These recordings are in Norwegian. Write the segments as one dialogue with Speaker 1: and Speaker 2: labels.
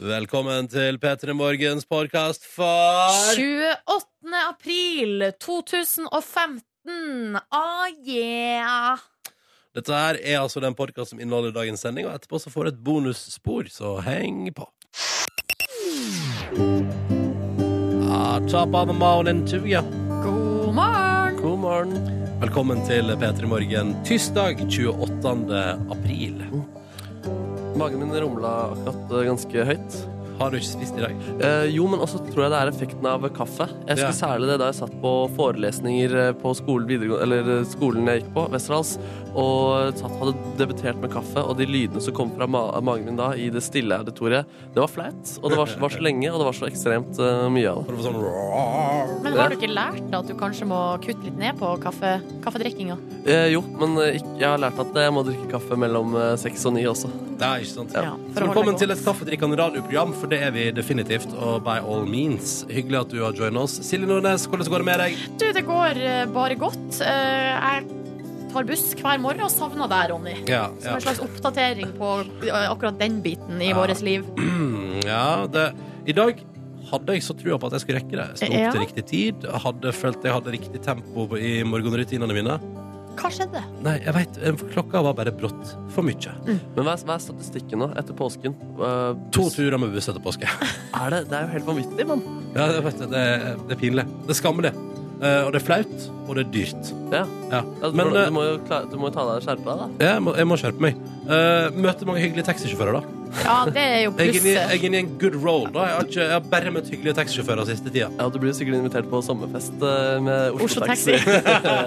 Speaker 1: Velkommen til P3 Morgens podkast for
Speaker 2: 28. april 2015. Ah, yeah!
Speaker 1: Dette her er altså den podkasten som inneholder dagens sending, og etterpå så får du et bonusspor, så heng på. Ah, top of the morning to you.
Speaker 2: God morgen!
Speaker 1: God morgen. Velkommen til P3 Morgen, tirsdag 28. april.
Speaker 3: Magen min rumla akkurat eh, ganske høyt.
Speaker 1: Har du ikke spist i dag?
Speaker 3: Eh, jo, men også tror jeg det er effekten av kaffe. Jeg husker
Speaker 1: Ja.
Speaker 3: særlig det da jeg satt på forelesninger eh, på skolen, videregå- eller eh, skolen jeg gikk på, Westerdals, og satt, hadde debutert med kaffe, og de lydene som kom fra ma magen min da, i det stille auditoriet, det var flaut, og det var, så- var så lenge, og det var så ekstremt eh, mye av
Speaker 1: Har
Speaker 3: det.
Speaker 1: du fått sånn
Speaker 2: Men har du ikke lært deg at du kanskje må kutte litt ned på kaffe, kaffedrikkinga?
Speaker 3: Eh, jo, men eh, ikk- jeg har lært at jeg må drikke kaffe mellom eh, seks og ni også.
Speaker 1: Det er ikke sant.
Speaker 2: Ja, for
Speaker 1: så
Speaker 2: å holde
Speaker 1: velkommen
Speaker 2: det
Speaker 1: til
Speaker 2: gående.
Speaker 1: et kaffedrikkende radioprogram, for det er vi definitivt. Og by all means. Hyggelig at du har joina oss. Silje Nordnes, hvordan går det med deg?
Speaker 2: Du, det går eh, bare godt. Eh, Jeg tar buss hver morgen og savner deg, Ronny.
Speaker 1: Ja,
Speaker 2: Som
Speaker 1: ja.
Speaker 2: en slags oppdatering på eh, akkurat den biten i
Speaker 1: Ja.
Speaker 2: vårt liv.
Speaker 1: Mm, ja det, I dag hadde jeg så trua på at jeg skulle rekke det. Jeg Sto opp
Speaker 2: Ja.
Speaker 1: til riktig tid. Hadde følt jeg hadde riktig tempo i morgenrutinene mine.
Speaker 2: Hva skjedde?
Speaker 1: Nei, jeg veit. Klokka var bare brått for mye.
Speaker 2: Mm.
Speaker 3: Men hva er, hva er statistikken nå, etter påsken? Eh,
Speaker 1: To turer med buss etter påske.
Speaker 3: Er det, det er jo helt vanvittig, mann.
Speaker 1: Ja, jeg vet, det, det, er- det er pinlig. Det er skammelig. Eh, og det er flaut, og det er dyrt.
Speaker 3: Ja.
Speaker 1: Ja.
Speaker 3: Ja, du,
Speaker 1: Men
Speaker 3: må,
Speaker 1: eh,
Speaker 3: Altså, du, må jo kla- du må jo ta deg skjerpe deg, da.
Speaker 1: jeg, må, jeg må skjerpe meg. Eh, møter mange hyggelige taxisjåfører, da.
Speaker 2: Ja, det er jo
Speaker 1: Jeg er, inne, i-
Speaker 2: plusset.
Speaker 1: jeg er inne i en good roll, da. Jeg har, ikke, jeg har bare møtt hyggelige taxisjåfører siste tida.
Speaker 3: Ja, Du blir jo sikkert invitert på sommerfest eh, med Oslo,
Speaker 2: Oslo
Speaker 3: Taxi.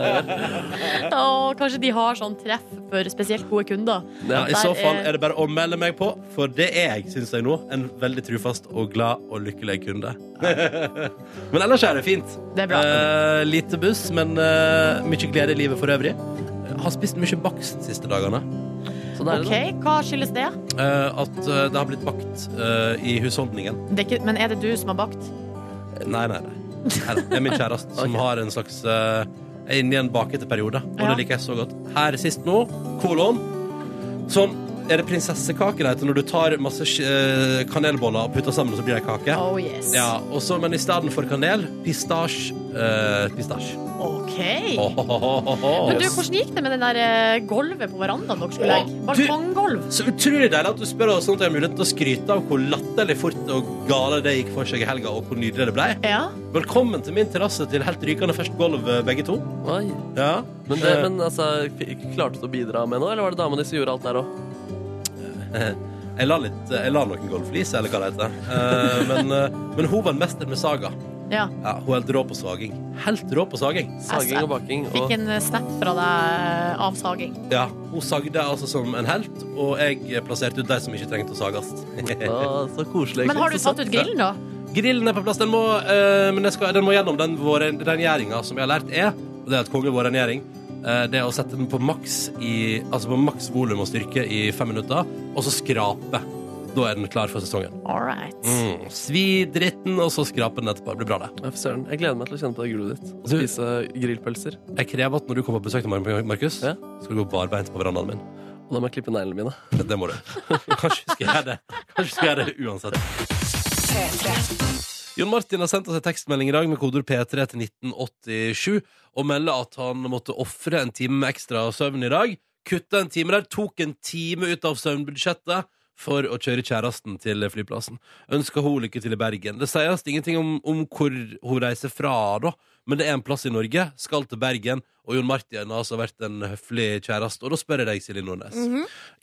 Speaker 2: Og kanskje de har sånn treff for spesielt gode kunder.
Speaker 1: Ja,
Speaker 3: ja.
Speaker 1: I
Speaker 2: Der
Speaker 1: så fall
Speaker 2: er-
Speaker 1: er det bare å melde meg på, for det er jeg, syns jeg nå. En veldig trufast og glad og lykkelig kunde. men ellers er det fint.
Speaker 2: Det er bra.
Speaker 1: Eh, lite buss, men eh, mye glede i livet for øvrig. Jeg Har spist mye bakst de siste dagene.
Speaker 3: Så det er
Speaker 2: OK,
Speaker 3: det,
Speaker 2: hva skyldes det?
Speaker 1: Eh, at eh, det har blitt bakt eh, i husholdningen.
Speaker 2: det er ikke, men er det du som har bakt?
Speaker 1: Nei, nei, nei. Her, det er min kjæreste som
Speaker 3: Ok.
Speaker 1: har en slags eh, Er inne i en bakete periode, og
Speaker 2: Ja.
Speaker 1: det liker jeg så godt. Her sist nå, kolon, som er det prinsessekake det heter når du tar masse eh, kanelboller og putter sammen, så blir det en kake?
Speaker 2: Oh yes.
Speaker 1: Ja, og så, men i stedet for kanel, pistasje. eh, pistasje.
Speaker 2: OK.
Speaker 1: Åhåhåhåhå.
Speaker 2: Men du, hvordan gikk det med den der eh, golvet på verandaen dere skulle legge?
Speaker 1: Å, du-
Speaker 2: Balkonggolv?
Speaker 1: Så utrolig deilig at du spør oss sånn at jeg har mulighet til å skryte av hvor latterlig fort og gale det gikk for seg i helga, og hvor nydelig det ble.
Speaker 2: Ja.
Speaker 1: Velkommen til min terrasse til helt rykende ferskt gulv, eh, begge to. Eh,
Speaker 3: da. sånn, Oi.
Speaker 1: Ja.
Speaker 3: Men, det, men altså, f- klarte du å bidra med noe, eller var det dama di som gjorde alt der òg?
Speaker 1: Jeg la, litt, eh, jeg la noen golflis, eller hva det heter. Eh, men, eh, men hun var en mester med saga.
Speaker 2: ja.
Speaker 1: Ja, hun er helt rå på saging. Helt rå på saging.
Speaker 3: Saging og baking. Og,
Speaker 2: Altså, Fikk en eh, snap fra deg eh, av saging.
Speaker 1: Ja, Hun sagde altså som en helt, og jeg plasserte ut de som ikke trengte å sages.
Speaker 3: Å, så koselig.
Speaker 2: Men har du
Speaker 3: Så
Speaker 2: tatt
Speaker 3: søtt.
Speaker 2: ut grillen, da?
Speaker 1: Grillen er på plass. Den må, eh, men jeg skal, den må gjennom den våre- rengjøringa som jeg har lært er. Og det er at konge vår rengjøring. eh, det er å sette den på maks i, altså på maks volum og styrke i fem minutter, og så skrape. Da er den klar for sesongen.
Speaker 2: All right.
Speaker 1: Mm. Svi dritten, og så skrape den etterpå. Det blir bra, det.
Speaker 3: Ja, fy søren. Jeg gleder meg til å kjenne på det gullet ditt. Og
Speaker 1: Du-
Speaker 3: spise grillpølser.
Speaker 1: Jeg krever at når du kommer på besøk til meg, Markus,
Speaker 3: Ja.
Speaker 1: skal du gå barbeint på verandaen min.
Speaker 3: Og da må jeg klippe neglene mine.
Speaker 1: Det må du. Kanskje vi skal gjøre det. Kanskje vi skal gjøre det uansett. Jon Martin har sendt oss en tekstmelding i dag med kodeord P3 til 1987 og melder at han måtte ofre en time ekstra søvn i dag. Kutta en time der, tok en time ut av søvnbudsjettet for å kjøre kjæresten til flyplassen. Ønsker hun lykke til i Bergen. Det sies ingenting om, om hvor hun reiser fra, da, men det er en plass i Norge. Skal til Bergen, og Jon Martin har altså vært en høflig kjæreste. Og da spør jeg deg, Silje Nordnes,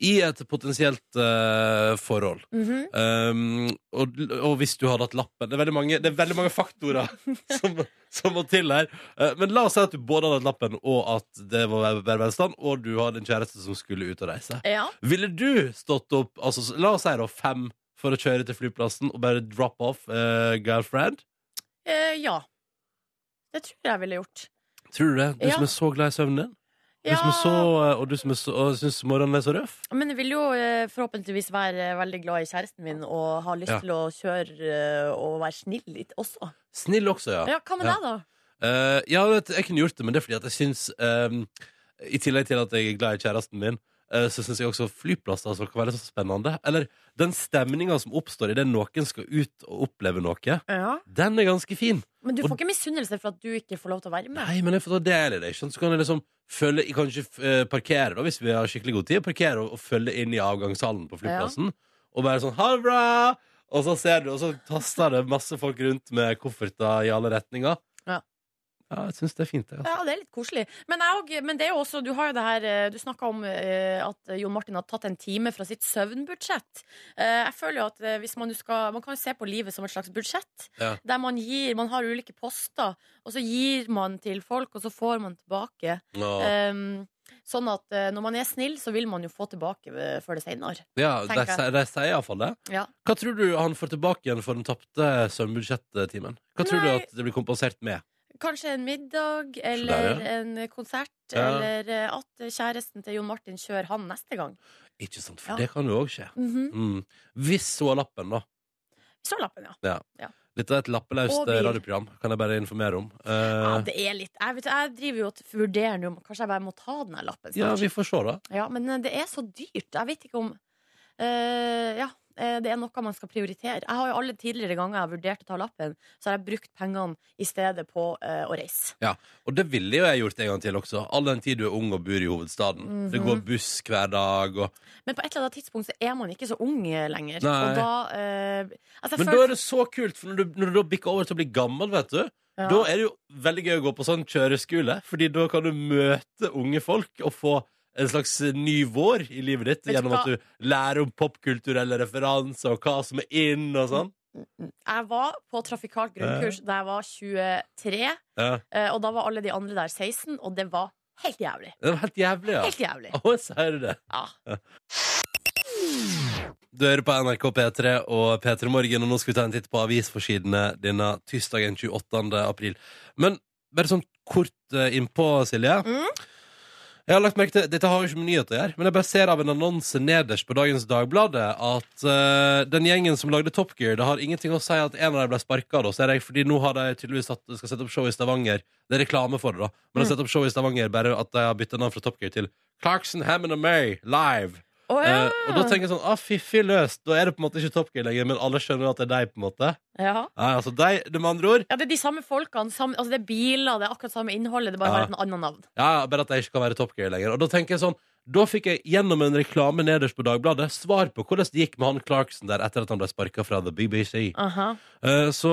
Speaker 1: i et potensielt eh, forhold.
Speaker 2: Mhm.
Speaker 1: Um, og, og hvis du hadde hatt lappen Det er veldig mange, det er veldig mange faktorer som, som må til her. Eh, men la oss si at du både hadde hatt lappen, og at det var bare velstand, og du hadde en kjæreste som skulle ut og reise.
Speaker 2: Ja.
Speaker 1: Ville du stått opp altså, s- La oss si da fem for å kjøre til flyplassen og bare drop off eh, girlfriend?
Speaker 2: Eh, ja. Det tror jeg jeg ville gjort.
Speaker 1: Tror du det? Du
Speaker 2: Ja.
Speaker 1: som er så glad i søvnen din? Du
Speaker 2: Ja,
Speaker 1: som er så, eh, og du som er så, og syns morgenen er så røff?
Speaker 2: men jeg vil jo eh, forhåpentligvis være eh, veldig glad i kjæresten min og ha lyst
Speaker 1: Ja.
Speaker 2: til å kjøre eh, og være snill litt også.
Speaker 1: Snill også, ja.
Speaker 2: Ja, hva med
Speaker 1: Ja.
Speaker 2: deg, da?
Speaker 1: Eh, ehm, ja, vet, du, jeg kunne gjort det, men det er fordi at jeg syns eh, I tillegg til at jeg er glad i kjæresten min, eh, så syns jeg også flyplasser kan være så spennende. Eller den stemninga som oppstår idet noen skal ut og oppleve noe,
Speaker 2: Ja.
Speaker 1: den er ganske fin.
Speaker 2: Men du
Speaker 1: Og-
Speaker 2: får ikke misunnelse for at du ikke får lov til å være med.
Speaker 1: Nei, men jeg får ta del i det. ikke sant? Så kan jeg liksom følge, jeg kan ikke eh, parkere, da, hvis vi har skikkelig god tid. Parkere og, og følge inn i avgangshallen på flyplassen. Og være sånn 'ha det bra', og så ser du, og så taster det masse folk rundt med kofferter i alle retninger.
Speaker 2: Ja.
Speaker 1: Ja, jeg syns det er fint, det. Altså.
Speaker 2: Ja, det er litt koselig. Men, jeg, og- men det er jo også, du har jo det her eh, Du snakka om eh, at Jon Martin har tatt en time fra sitt søvnbudsjett. Eh, jeg føler jo at eh, hvis man nå skal Man kan jo se på livet som et slags budsjett.
Speaker 1: Ja.
Speaker 2: Der man gir Man har ulike poster, og så gir man til folk, og så får man tilbake.
Speaker 1: Nå-
Speaker 2: Ehm, sånn at eh, når man er snill, så vil man jo få tilbake eh, før det seinere.
Speaker 1: Ja, de,
Speaker 2: tenker jeg.
Speaker 1: sier- de sier iallfall det.
Speaker 2: Ja.
Speaker 1: Hva tror du han får tilbake igjen for den tapte søvnbudsjettimen? Hva tror du
Speaker 2: Nei.
Speaker 1: at det blir kompensert med?
Speaker 2: Kanskje en middag
Speaker 1: der,
Speaker 2: eller en konsert,
Speaker 1: Ja.
Speaker 2: eller eh, at kjæresten til Jon Martin kjører han neste gang.
Speaker 1: Ikke sant, for
Speaker 2: Ja.
Speaker 1: det kan jo òg skje.
Speaker 2: Mhm.
Speaker 1: Mm. Hvis hun har lappen, da.
Speaker 2: Så lappen, ja.
Speaker 1: Litt av et lappeløst
Speaker 2: Og bil.
Speaker 1: radioprogram, kan jeg bare informere om. Eh,
Speaker 2: ja. Det er litt Jeg, vet, jeg driver jo og vurderer nå om Kanskje jeg bare må ta den her lappen.
Speaker 1: ja,
Speaker 2: snart.
Speaker 1: vi får se, da.
Speaker 2: Ja, men eh, det er så dyrt. Jeg vet ikke om eh, Ja, eh, det er noe man skal prioritere. Jeg har jo alle tidligere ganger jeg har vurdert å ta lappen, så har jeg brukt pengene i stedet på eh, å reise.
Speaker 1: Og det ville jo jeg gjort en gang til også. All den tid du er ung og bor i hovedstaden.
Speaker 2: Mhm.
Speaker 1: Det går buss hver dag og
Speaker 2: Men på et eller annet tidspunkt så er man ikke så ung eh, lenger.
Speaker 1: Nei.
Speaker 2: Og da eh, altså, jeg
Speaker 1: Men da
Speaker 2: føler-
Speaker 1: er det så kult, for når du, når du da bikker over til å bli gammel, vet du,
Speaker 2: Ja.
Speaker 1: da er det jo veldig gøy å gå på sånn kjøreskole, fordi da kan du møte unge folk og få en slags ny vår i livet ditt
Speaker 2: Vet du
Speaker 1: gjennom at
Speaker 2: hva?
Speaker 1: du lærer om popkulturelle referanser og hva som er in og sånn.
Speaker 2: Jeg var på trafikalt grunnkurs da jeg var 23,
Speaker 1: Ja.
Speaker 2: eh, og da var alle de andre der 16, og det var helt jævlig.
Speaker 1: Det var helt jævlig, ja. Ah.
Speaker 2: Helt jævlig.
Speaker 1: Å, sier du det?
Speaker 2: Ja.
Speaker 1: Du hører på NRK P3 og P3 Morgen, og nå skal vi ta en titt på avisforsidene denne tirsdagen 28. april. Men bare sånn kort eh, innpå, Silje.
Speaker 2: Mm.
Speaker 1: Jeg har lagt merke til, Dette har jo ikke med nyhet å gjøre, men jeg bare ser av en annonse nederst på dagens Dagbladet at eh, den gjengen som lagde Top Gear, det har ingenting å si at en av dem ble sparka. Fordi nå har de tydeligvis satt, skal sette opp show i Stavanger. Det er reklame for det, da. Men de har satt opp show i Stavanger bare at de har bytta navn fra Top Gear til Clarkson, Hammond og May live.
Speaker 2: Å, ja.
Speaker 1: Eh, og da tenker jeg sånn, ah, fiffig løst Da er det på en måte ikke Top Gear lenger, men alle skjønner at det er deg på en måte
Speaker 2: ja.
Speaker 1: Nei, altså deg, det med andre ord
Speaker 2: Ja, det er de samme folkene. Samme, altså det er biler, det er akkurat samme innholdet, det bare
Speaker 1: Ja.
Speaker 2: har et annet navn.
Speaker 1: Ja, bare at jeg ikke kan være Top Gear lenger Og da tenker jeg sånn, da fikk jeg gjennom en reklame nederst på Dagbladet Svar på hvordan det gikk med han Clarkson der Etter at han ble sparket fra The BBC
Speaker 2: Aha.
Speaker 1: Eh, Så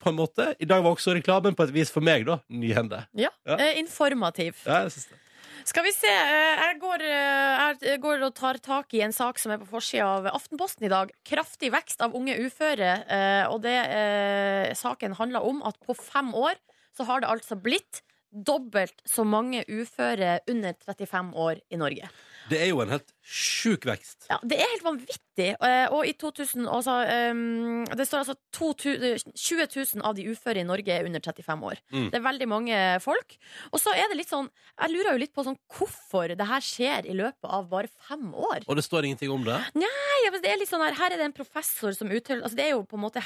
Speaker 1: på en måte, i dag var også reklamen på et vis for meg da Nyhende
Speaker 2: Ja.
Speaker 1: Ja.
Speaker 2: Eh, informativ.
Speaker 1: ja, jeg synes det.
Speaker 2: Skal vi se. eh, Jeg går, eh, jeg går og tar tak i en sak som er på forsida av Aftenposten i dag. Kraftig vekst av unge uføre. eh, Og det eh, saken handler om at på fem år så har det altså blitt dobbelt så mange uføre under 35 år i Norge.
Speaker 1: det er jo en helt syk vekst
Speaker 2: Ja, det er helt vanvittig. Eh, Og i 2000, altså, ehm, det står altså 2000 20 000 av de uføre i Norge er under 35 år.
Speaker 1: Mm.
Speaker 2: Det er veldig mange folk. Og så er det litt sånn, jeg lurer jo litt på sånn, hvorfor det her skjer i løpet av bare fem år.
Speaker 1: Og det står ingenting om det
Speaker 2: Nei, men det er litt sånn her, her er det en professor som uttaler altså, Det er jo på en måte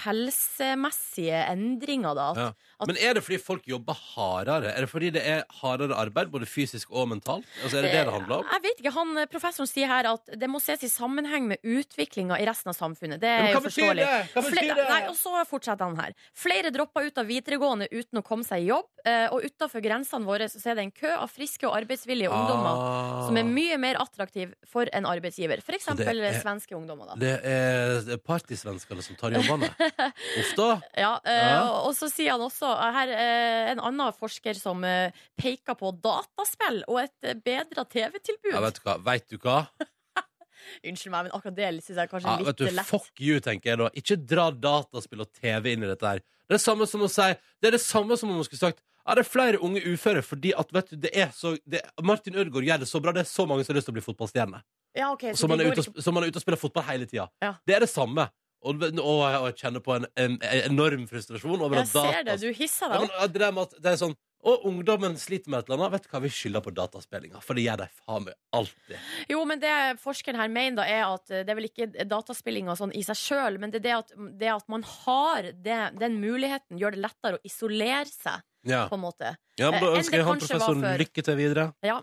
Speaker 2: helsemessige endringer, da. At,
Speaker 1: Ja. Men er det fordi folk jobber hardere? Er det fordi det er hardere arbeid, både fysisk og mentalt? Altså, er det det det handler om?
Speaker 2: Jeg vet ikke, han, eh, Professoren sier her at det må ses i sammenheng med utviklinga i resten av samfunnet. Det er
Speaker 1: Men
Speaker 2: jo
Speaker 1: hva betyr
Speaker 2: forståelig.
Speaker 1: det? Hva betyr
Speaker 2: Flere,
Speaker 1: det?
Speaker 2: nei, og så fortsetter han her. Flere dropper ut av videregående uten å komme seg i jobb. eh, Og utenfor grensene våre så er det en kø av friske og arbeidsvillige ungdommer
Speaker 1: Ah.
Speaker 2: som er mye mer attraktiv for en arbeidsgiver. For eksempel
Speaker 1: det er-
Speaker 2: svenske ungdommer, da.
Speaker 1: Det er det er partysvenskene som tar jobbene. Uff da.
Speaker 2: Ja, eh,
Speaker 1: Ja.
Speaker 2: og- Og så sier han også eh, her eh, en annen forsker som eh, peker på dataspill og et eh, bedra
Speaker 1: Ja,
Speaker 2: TV-tilbud.
Speaker 1: vet du hva? Vet du hva?
Speaker 2: Unnskyld meg, men akkurat det syns jeg kanskje
Speaker 1: Ja,
Speaker 2: er litt
Speaker 1: vet du,
Speaker 2: lett.
Speaker 1: fuck you, tenker jeg da. Ikke dra dataspill og TV inn i dette her. Det er det samme som å si Det er det samme som om man skulle sagt ja, det er flere unge uføre fordi at, vet du, det er så det, Martin Ødegaard gjør det så bra. Det er så mange som har lyst til å bli fotballstjerne.
Speaker 2: Ja, ok, så
Speaker 1: Som man,
Speaker 2: det
Speaker 1: er
Speaker 2: går
Speaker 1: ute og,
Speaker 2: ikke-
Speaker 1: sp- som man er ute og spiller fotball hele tida.
Speaker 2: Ja.
Speaker 1: Det er det samme. Og, og, jeg- og jeg kjenner på en, en, en enorm frustrasjon over
Speaker 2: jeg
Speaker 1: at
Speaker 2: ser det,
Speaker 1: dataspill
Speaker 2: du hisser
Speaker 1: Ja,
Speaker 2: deg.
Speaker 1: men, ja, det, der med at det er sånn og ungdommen sliter med et eller annet. Vet du hva vi skylder på dataspillinga? For det gjør de faen meg alltid.
Speaker 2: Jo, men det forskeren her mener da er at eh, det er vel ikke dataspillinga sånn i seg sjøl, men det er det at, det at man har det, den muligheten, gjør det lettere å isolere seg,
Speaker 1: Ja,
Speaker 2: på en måte.
Speaker 1: ja men Da
Speaker 2: Eh, enn
Speaker 1: ønsker jeg
Speaker 2: det
Speaker 1: han
Speaker 2: kanskje var
Speaker 1: professoren
Speaker 2: før.
Speaker 1: lykke til videre.
Speaker 2: Ja.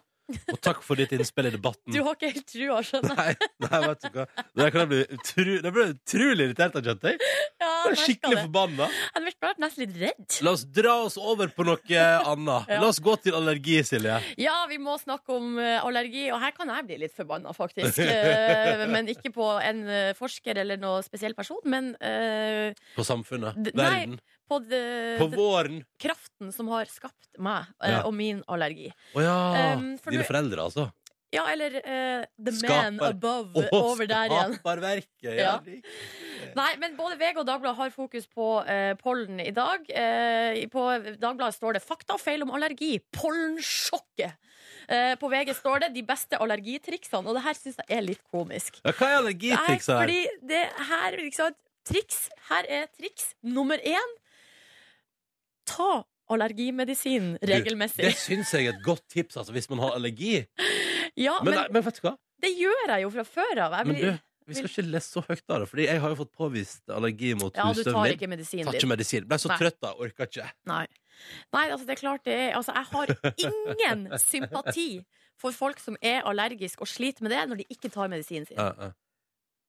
Speaker 1: Og takk for ditt innspill i debatten.
Speaker 2: Du har ikke helt altså. trua, skjønner jeg.
Speaker 1: Mm. Nei, nei, vet du hva. Det der kan jeg bli utru, det ble jeg utrolig irritert av, kjente
Speaker 2: Ja,
Speaker 1: jeg. Jeg
Speaker 2: jeg
Speaker 1: er
Speaker 2: merker
Speaker 1: skikkelig
Speaker 2: det.
Speaker 1: forbanna.
Speaker 2: Jeg ble bare nesten litt redd.
Speaker 1: La oss dra oss over på noe annet.
Speaker 2: Ja.
Speaker 1: La oss gå til allergi, Silje.
Speaker 2: Ja, vi må snakke om eh, allergi, og her kan jeg bli litt forbanna, faktisk. Eh, Men ikke på en eh, forsker eller noe spesiell person, men eh,
Speaker 1: På samfunnet.
Speaker 2: D- nei. eh,
Speaker 1: Verden.
Speaker 2: på, de,
Speaker 1: På våren.
Speaker 2: kraften som har skapt meg eh,
Speaker 1: Ja.
Speaker 2: og min allergi.
Speaker 1: Å ja.
Speaker 2: Um, for
Speaker 1: Dine
Speaker 2: nå-
Speaker 1: foreldre, altså.
Speaker 2: Ja, eller eh, the man
Speaker 1: Skaper.
Speaker 2: above,
Speaker 1: Å,
Speaker 2: over der igjen.
Speaker 1: Skaperverket. Ja.
Speaker 2: Ja. Nei, men både VG og Dagbladet har fokus på eh, pollen i dag. Eh, på Dagbladet står det 'Fakta og feil om allergi'. Pollensjokket. Eh, på VG står det 'De beste allergitriksene', og det her syns jeg er litt komisk.
Speaker 1: Ja, hva er
Speaker 2: Nei,
Speaker 1: allergitriks her?
Speaker 2: fordi det her ikke sant? Triks, her er triks nummer én. Ta allergimedisin
Speaker 1: Det
Speaker 2: regelmessig.
Speaker 1: syns jeg er et godt tips, altså, hvis man har allergi.
Speaker 2: Ja,
Speaker 1: Men,
Speaker 2: men,
Speaker 1: nei, men vet du hva?
Speaker 2: det gjør jeg jo fra før av. Jeg
Speaker 1: Men du,
Speaker 2: blir,
Speaker 1: vi skal ikke lese så høyt av det, Fordi jeg har jo fått påvist allergi mot
Speaker 2: ja, du
Speaker 1: husstøvelen
Speaker 2: tar
Speaker 1: min.
Speaker 2: ikke medisinen
Speaker 1: Tar ikke
Speaker 2: din.
Speaker 1: medisin. Ble så
Speaker 2: Nei.
Speaker 1: trøtt da, orka ikke.
Speaker 2: Nei. Nei, altså det er klart det er altså, Jeg har ingen sympati for folk som er allergisk og sliter med det når de ikke tar medisinen sin.
Speaker 1: Ja, ja.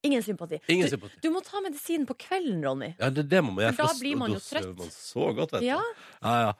Speaker 2: Ingen sympati.
Speaker 1: Ingen
Speaker 2: Du,
Speaker 1: sympati.
Speaker 2: du må ta medisinen på kvelden, Ronny.
Speaker 1: Ja, det, det må man gjøre.
Speaker 2: For da
Speaker 1: s-
Speaker 2: blir man jo
Speaker 1: sover
Speaker 2: trøtt.
Speaker 1: Man så godt, vet du.
Speaker 2: Ja,
Speaker 1: Ja, ja.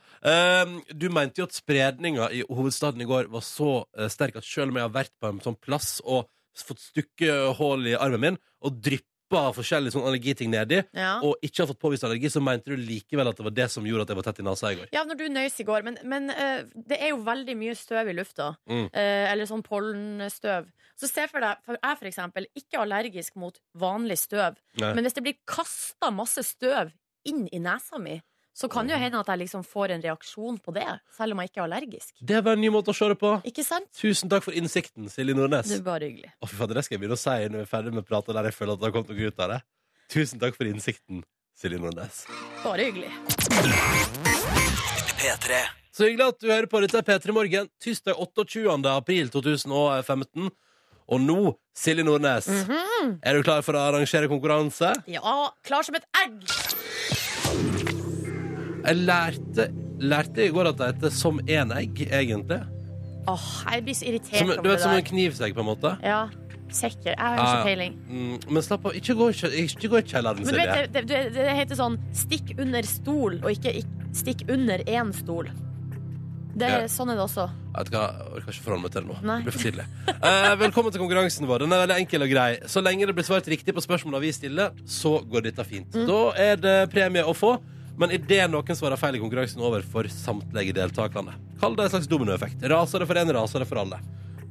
Speaker 1: Ehm, du mente jo at spredninga i hovedstaden i går var så eh, sterk at selv om jeg har vært på en sånn plass og fått stukkehull i armen min og dryppa forskjellige sånn allergiting nedi,
Speaker 2: ja.
Speaker 1: og ikke har fått påvist allergi, så mente du likevel at det var det som gjorde at jeg var tett i nesa i går.
Speaker 2: Ja, når du nøys i går, men, men eh, det er jo veldig mye støv i lufta.
Speaker 1: Mm.
Speaker 2: Eh, eller sånn pollenstøv. Så se for deg, for jeg er for eksempel ikke allergisk mot vanlig støv,
Speaker 1: Nei.
Speaker 2: men hvis det blir kasta masse støv inn i nesa mi, så kan
Speaker 1: Mm.
Speaker 2: det jo hende at jeg liksom får en reaksjon på det, selv om jeg ikke er allergisk.
Speaker 1: Det var en ny måte å se det på.
Speaker 2: Ikke sant?
Speaker 1: Tusen takk for innsikten, Silje Nordnes.
Speaker 2: Det er bare hyggelig.
Speaker 1: Å, fy fader, det skal jeg begynne å si når vi er ferdig med praten der jeg føler at det har kommet noe ut av det. Tusen takk for innsikten, Silje Nordnes.
Speaker 2: Bare hyggelig.
Speaker 1: Så hyggelig at du hører på. Dette er P3 Morgen, tirsdag 28. april 2015. Og nå, Silje Nordnes,
Speaker 2: Mhm.
Speaker 1: er du klar for å arrangere konkurranse?
Speaker 2: Ja, klar som et egg!
Speaker 1: Jeg lærte, lærte i går at det heter Som en egg, egentlig.
Speaker 2: Åh, jeg blir så irritert
Speaker 1: Som, du
Speaker 2: over
Speaker 1: vet, som en
Speaker 2: det der.
Speaker 1: knivsegg, på en måte.
Speaker 2: Ja, sikker. Jeg har
Speaker 1: Ja, ja.
Speaker 2: ikke peiling.
Speaker 1: Mm, men slapp av, ikke gå, i kjø- ikke gå i kjelleren,
Speaker 2: Men du
Speaker 1: Silje.
Speaker 2: vet, det, det, det heter sånn 'stikk under stol', og ikke ikk- 'stikk under én stol'. Det,
Speaker 1: Ja.
Speaker 2: Sånn er det også.
Speaker 1: Vet du hva, Jeg orker ikke forholde meg til det nå.
Speaker 2: Nei.
Speaker 1: Det blir for tidlig. Eh, velkommen til konkurransen vår. Den er veldig enkel og grei. Så lenge det blir svart riktig på spørsmåla vi stiller, så går dette fint. Da er det premie å få, men idet noen svarer feil i konkurransen, over for samtlige deltakerne. Kall det en slags dominoeffekt. Raser det for én, raser det for alle.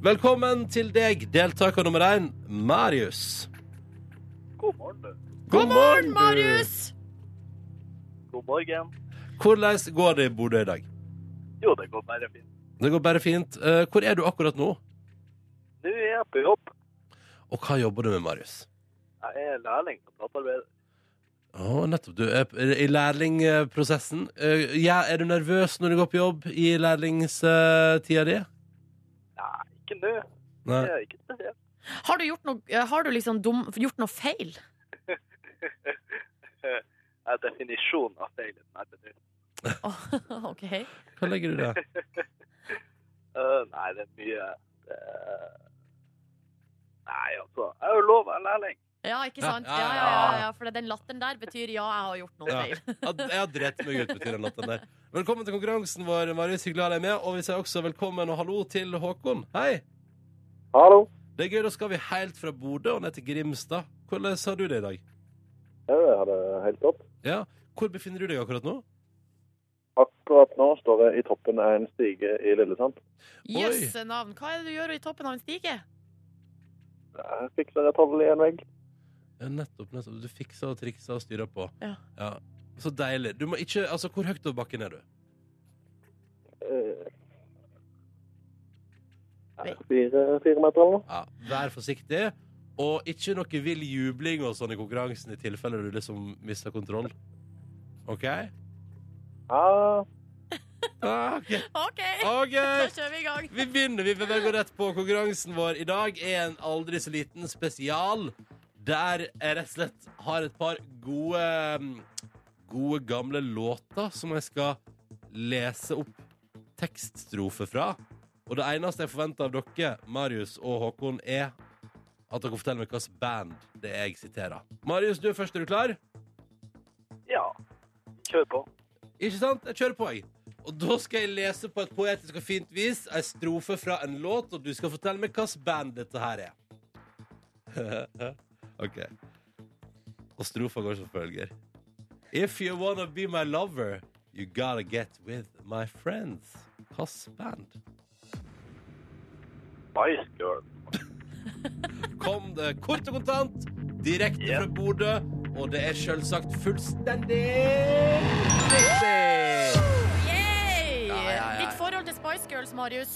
Speaker 1: Velkommen til deg, deltaker nummer én, Marius.
Speaker 4: God morgen, du.
Speaker 1: God morgen,
Speaker 2: Marius!
Speaker 4: God morgen.
Speaker 1: Hvordan går det i Bodø i dag?
Speaker 4: Jo, det går bare fint.
Speaker 1: Det går bare fint. Eh, hvor er du akkurat nå?
Speaker 4: Nå er jeg på jobb.
Speaker 1: Og hva jobber du med, Marius?
Speaker 4: Jeg er lærling som platearbeider.
Speaker 1: Å, nettopp. Du er p- i lærlingprosessen. Eh, Ja, er du nervøs når du går på jobb i lærlingstida di?
Speaker 4: Nei, ikke nå. Det
Speaker 1: Nei.
Speaker 4: er ikke spesielt.
Speaker 2: Har du gjort noe, har du liksom dum, gjort noe feil?
Speaker 4: Jeg er definisjonen av feil i denne bedriften.
Speaker 2: Åh, OK.
Speaker 1: Hva legger du i det?
Speaker 4: Øh, nei, det er mye det... er- Nei, altså. Jeg har jo lov å være lærling.
Speaker 2: Ja, ikke sant? Ja, ja, ja, ja, For den latteren der betyr 'ja, jeg har gjort noe
Speaker 1: Ja.
Speaker 2: feil'.
Speaker 1: At Jeg har drept meg ut på den natten der. Velkommen til konkurransen vår, Marius. Hyggelig å ha deg med. Og vi sier også velkommen og hallo til Håkon. Hei!
Speaker 4: Hallo.
Speaker 1: Det er gøy, da skal vi helt fra Bodø og ned til Grimstad. Hvordan har du det i dag?
Speaker 4: Jeg har det helt topp.
Speaker 1: Ja, Hvor befinner du deg akkurat nå?
Speaker 4: Akkurat nå står jeg i toppen av en stige i Lillesand.
Speaker 2: Jøsse navn. Hva er det du gjør i toppen av en stige?
Speaker 4: Jeg fikser et hold i en vegg.
Speaker 1: Ja, nettopp, nettopp. Du fikser og trikser og styrer på.
Speaker 2: Ja.
Speaker 1: Så deilig. Du må ikke, altså, Hvor høyt over bakken er du?
Speaker 4: Eh. Fire, fire meter eller noe.
Speaker 1: Ja, vær forsiktig. Og ikke noe vill jubling og sånn i konkurransen i tilfelle du liksom mister kontroll. OK?
Speaker 4: Ja,
Speaker 1: Ah, OK.
Speaker 2: OK,
Speaker 1: OK.
Speaker 2: da kjører vi i gang.
Speaker 1: Vi begynner. Vi bør gå rett på konkurransen vår. I dag er en aldri så liten spesial der jeg rett og slett har et par gode Gode, gamle låter som jeg skal lese opp tekststrofe fra. Og det eneste jeg forventer av dere, Marius og Håkon, er at dere forteller meg hvilket band det er jeg siterer. Marius, du er først. Er du klar?
Speaker 4: Ja. Kjør på.
Speaker 1: Ikke sant? Jeg kjører på, jeg. Og da skal jeg lese på et poetisk og fint vis ei strofe fra en låt, og du skal fortelle meg hvilket band dette her er. OK. Og strofa går som følger. If you wanna be my lover, you gotta get with my friends. Hvilket band?
Speaker 4: Spice Girl.
Speaker 1: Kom det kort og kontant, direkte
Speaker 4: Ja.
Speaker 1: fra Bodø, og det er selvsagt fullstendig riktig!
Speaker 2: Yay!
Speaker 3: Ja, ja, ja, ja.
Speaker 2: Ditt forhold til Spice Girls, Marius.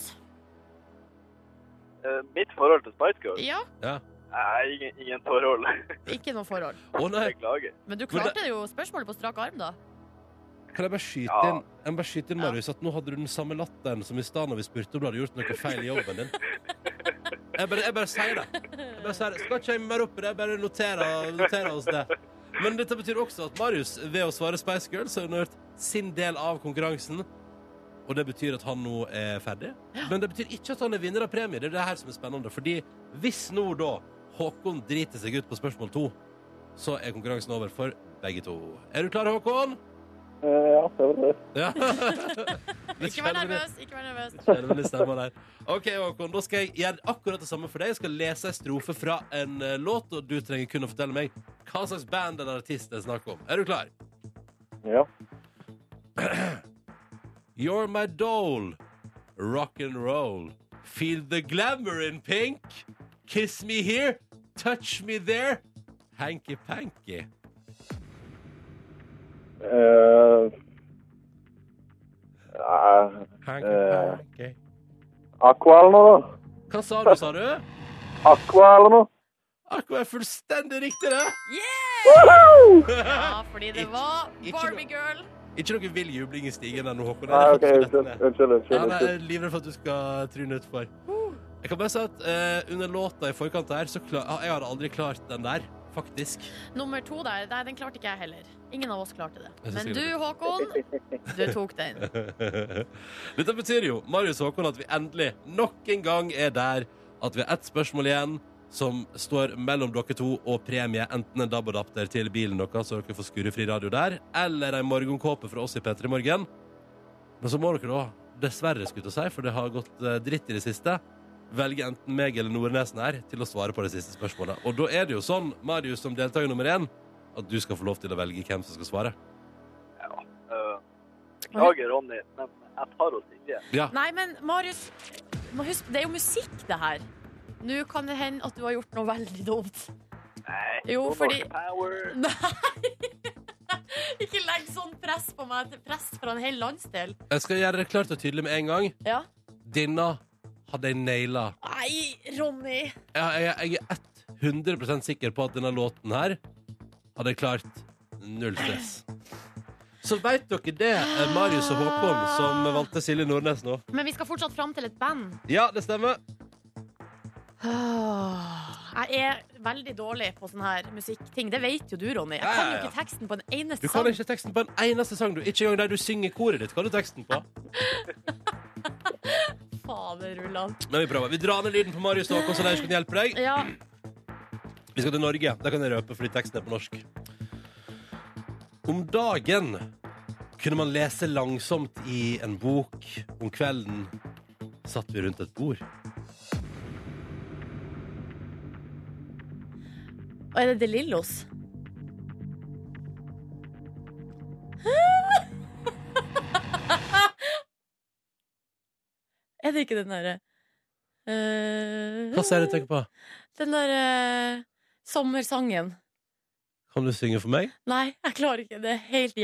Speaker 4: Eh, mitt forhold til Spice Girl?
Speaker 2: Ja,
Speaker 1: Ja.
Speaker 4: Nei, ingen, ingen forhold.
Speaker 2: ikke noe forhold.
Speaker 1: Å nei,
Speaker 4: Beklager.
Speaker 2: Men du
Speaker 1: Men det-
Speaker 2: klarte jo spørsmålet på strak arm, da.
Speaker 1: kan jeg bare skyte
Speaker 4: Ja.
Speaker 1: inn, jeg må bare skyte inn
Speaker 2: Ja.
Speaker 1: Marius, at nå hadde du den samme latteren som i stad når vi spurte om du hadde gjort noe feil i jobben din. Jeg bare, jeg bare sier det. Jeg bare sier det. Skal ikke jeg mer opp i det, jeg bare noterer, noterer oss det. Men dette betyr også at Marius, ved å svare Spice Girls, har underhørt sin del av konkurransen. Og det betyr at han nå er ferdig. Men det betyr ikke at han er vinner av premie. Det er det her som er spennende. Fordi hvis nå da Håkon driter seg ut på spørsmål to, så er konkurransen over for begge to. Er du klar, Håkon?
Speaker 4: Eh, ja, det var det.
Speaker 1: Ja.
Speaker 2: Ikke vær nervøs. ikke vær nervøs
Speaker 1: Skjelvende stemmer der. Ok, Håkon, da skal jeg gjøre akkurat det samme for deg. Jeg skal lese en strofe fra en eh, låt, og du trenger kun å fortelle meg hva slags band eller artist det er snakk om. Er du klar?
Speaker 4: Ja.
Speaker 1: You're my doll. Rock and roll. Feel the glamour in pink. Kiss me here. Touch me there. Hanky panky.
Speaker 4: Uh, uh,
Speaker 1: Hanky
Speaker 4: Eh.
Speaker 1: panky.
Speaker 4: aqua eller noe, da?
Speaker 1: Hva sa du, sa du?
Speaker 4: Aqua eller noe?
Speaker 1: Akkurat er fullstendig riktig, det!
Speaker 2: Ja, fordi det
Speaker 1: Ikke-
Speaker 2: var
Speaker 1: ikke
Speaker 2: Barbie Girl.
Speaker 1: Ikke noe vill jubling i stigen ennå, Håkon.
Speaker 4: Nei,
Speaker 1: Det er
Speaker 4: OK,
Speaker 1: faktisk
Speaker 4: unnskyld.
Speaker 1: dette.
Speaker 4: Unnskyld.
Speaker 1: Ja,
Speaker 4: unnskyld,
Speaker 1: nei, jeg
Speaker 4: unnskyld.
Speaker 1: er livredd for at du skal tryne utfor. Jeg kan bare si at eh, under låta i forkant der, så klar, ah, jeg hadde aldri klart den der, faktisk.
Speaker 2: Nummer to der, nei, den klarte ikke jeg heller. Ingen av oss klarte det.
Speaker 1: Jeg synes
Speaker 2: Men
Speaker 1: jeg
Speaker 2: du, Håkon, du tok den.
Speaker 1: Dette betyr jo, Marius Håkon, at vi endelig nok en gang er der at vi har ett spørsmål igjen som står mellom dere to og premie, enten en DAB-adapter til bilen deres, så dere får skurrefri radio der, eller en morgenkåpe fra oss i P3 Morgen. Men så må dere da, dessverre skulle jeg til å si, for det har gått eh, dritt i det siste, velge enten meg eller Nordnesen her til å svare på det siste spørsmålet. Og da er det jo sånn, Marius som deltaker nummer én, at du skal få lov til å velge hvem som skal svare.
Speaker 4: Eh, Beklager, Ronny, men jeg tar oss ikke.
Speaker 2: Nei, men Marius, må huske, det er jo musikk, det her. Nå kan det hende at du har gjort noe veldig dumt.
Speaker 4: Nei.
Speaker 2: Jo,
Speaker 4: Monarch
Speaker 2: fordi-
Speaker 4: Power.
Speaker 2: Ikke legg sånn press på meg til press fra en hel landsdel.
Speaker 1: Jeg skal gjøre det klart og tydelig med en gang.
Speaker 2: Ja.
Speaker 1: Denne hadde jeg naila.
Speaker 2: Nei, Ronny.
Speaker 1: Jeg, jeg, jeg er 100 sikker på at denne låten her hadde jeg klart null stress. Så veit dere det, eh, Marius og Håkon, som valgte Silje Nordnes nå.
Speaker 2: Men vi skal fortsatt fram til et band.
Speaker 1: Ja, det stemmer.
Speaker 2: Ah, Jeg er veldig dårlig på sånne her musikkting. Det vet jo du, Ronny. Jeg kan
Speaker 1: Ja,
Speaker 2: jo
Speaker 1: ja, ja.
Speaker 2: ikke teksten på en
Speaker 1: Du
Speaker 2: eneste
Speaker 1: kan
Speaker 2: sang.
Speaker 1: ikke teksten på en eneste sang. Du. Ikke engang der du synger i koret ditt, kan du teksten på.
Speaker 2: Fader, Ulland.
Speaker 1: Men vi prøver. Vi drar ned lyden på Marius og Håkon, så de ikke kan hjelpe deg.
Speaker 2: Ja,
Speaker 1: Vi skal til Norge. Da kan jeg røpe fordi teksten er på norsk. Om dagen kunne man lese langsomt i en bok. Om kvelden satt vi rundt et bord.
Speaker 2: og er det De Lillos? er det ikke den derre eh,
Speaker 1: Hva ser du tenker på?
Speaker 2: Den derre eh, sommersangen.
Speaker 1: Kan du synge for meg?
Speaker 2: Nei, jeg klarer ikke. Det er helt eh,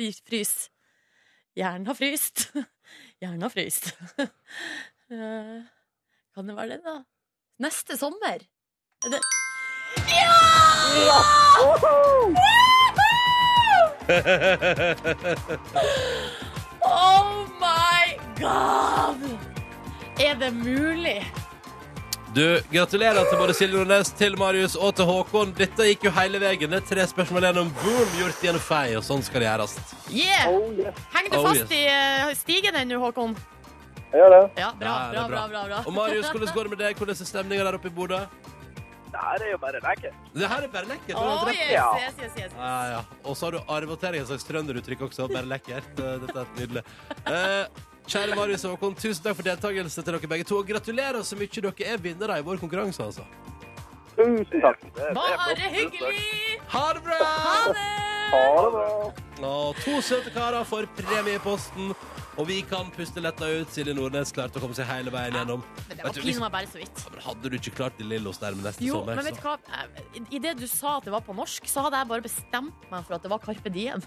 Speaker 2: hjernefrys. Hjernen har fryst. Hjernen har fryst. Eh, kan det være den, da? Neste sommer. Er det Ja! Oh my god! Er det mulig?
Speaker 1: Du, Gratulerer til både Silje Nordnes, til Marius og til Håkon. Dette gikk jo hele veien. Det er tre spørsmål gjennom. Boom, gjort i en fei, og sånn skal det gjøres.
Speaker 2: Yeah!
Speaker 4: Oh, yes.
Speaker 2: Henger du
Speaker 1: Oh,
Speaker 2: fast i eh, stigen ennå, Håkon?
Speaker 4: Eh, Jeg gjør det.
Speaker 2: Ja, bra,
Speaker 1: Ja, det
Speaker 2: bra,
Speaker 1: er
Speaker 2: bra,
Speaker 1: bra.
Speaker 2: bra, bra.
Speaker 1: Og Marius, hvordan går det med deg? Hvordan er stemninga der oppe i Bodø?
Speaker 4: Det her er jo bare lekkert.
Speaker 1: Det her er bare lekkert. du har
Speaker 2: Oh,
Speaker 1: helt rett.
Speaker 2: yes,
Speaker 4: Ja.
Speaker 2: yes, yes, yes.
Speaker 1: Ja, ja. Og så har du arvet til deg et slags trønderuttrykk også. Bare lekkert. Eh, Dette er helt nydelig. Eh, kjære Marius og Håkon, tusen takk for deltakelse til dere begge to. Og gratulerer så mye. Dere er vinnere i vår konkurranse, altså.
Speaker 4: Tusen takk. Det- det er flott.
Speaker 2: Bare
Speaker 4: Tusen takk.
Speaker 2: hyggelig!
Speaker 1: Ha det bra!
Speaker 2: Ha det!
Speaker 4: Ha det bra.
Speaker 1: Og to søte karer får premie i posten. Og vi kan puste letta ut. Silje Nordnes klarte å komme seg hele veien gjennom.
Speaker 2: Men det
Speaker 1: Vet
Speaker 2: var
Speaker 1: du,
Speaker 2: pinlig
Speaker 1: hvis-
Speaker 2: meg bare så vidt.
Speaker 1: Men Hadde du ikke klart De Lillos nærme neste
Speaker 2: Jo,
Speaker 1: sommer,
Speaker 2: men vet du hva? Idet du sa at det var på norsk, så hadde jeg bare bestemt meg for at det var Carpe Diem.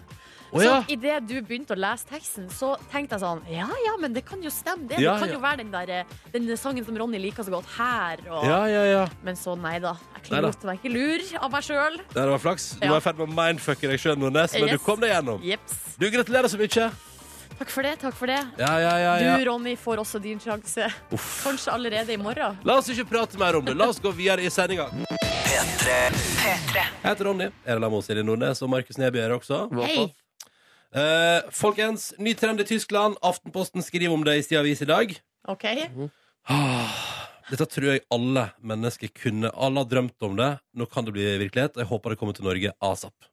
Speaker 1: Å, ja.
Speaker 2: Så idet du begynte å lese teksten, så tenkte jeg sånn Ja ja, men det kan jo stemme, det.
Speaker 1: Ja,
Speaker 2: det kan
Speaker 1: ja.
Speaker 2: jo være den, der, eh, den sangen som Ronny liker så godt, her og
Speaker 1: Ja, ja, ja.
Speaker 2: Men så nei da. Jeg
Speaker 1: Nei da.
Speaker 2: klarte meg ikke lur av meg sjøl.
Speaker 1: Nei, Det var flaks. Du
Speaker 2: Ja.
Speaker 1: var i ferd med å mindfucke deg sjøl, Nordnes, men
Speaker 2: Yes.
Speaker 1: du kom deg gjennom.
Speaker 2: Jeps.
Speaker 1: Du, gratulerer så mye.
Speaker 2: Takk for det. takk for det
Speaker 1: Ja, ja, ja, ja.
Speaker 2: Du, Ronny, får også din sjanse. Kanskje allerede i morgen.
Speaker 1: La oss ikke prate mer om det. La oss gå videre i sendinga. Jeg heter Ronny. Erla Moe, Silje Nordnes og Markus Neby er her også.
Speaker 2: Hei!
Speaker 1: Eh, folkens, ny trend i Tyskland. Aftenposten skriver om det i Stia Avis i dag. Ah,
Speaker 2: OK.
Speaker 1: Dette tror jeg alle mennesker kunne Alle har drømt om det. Nå kan det bli virkelighet. og Jeg håper det kommer til Norge asap.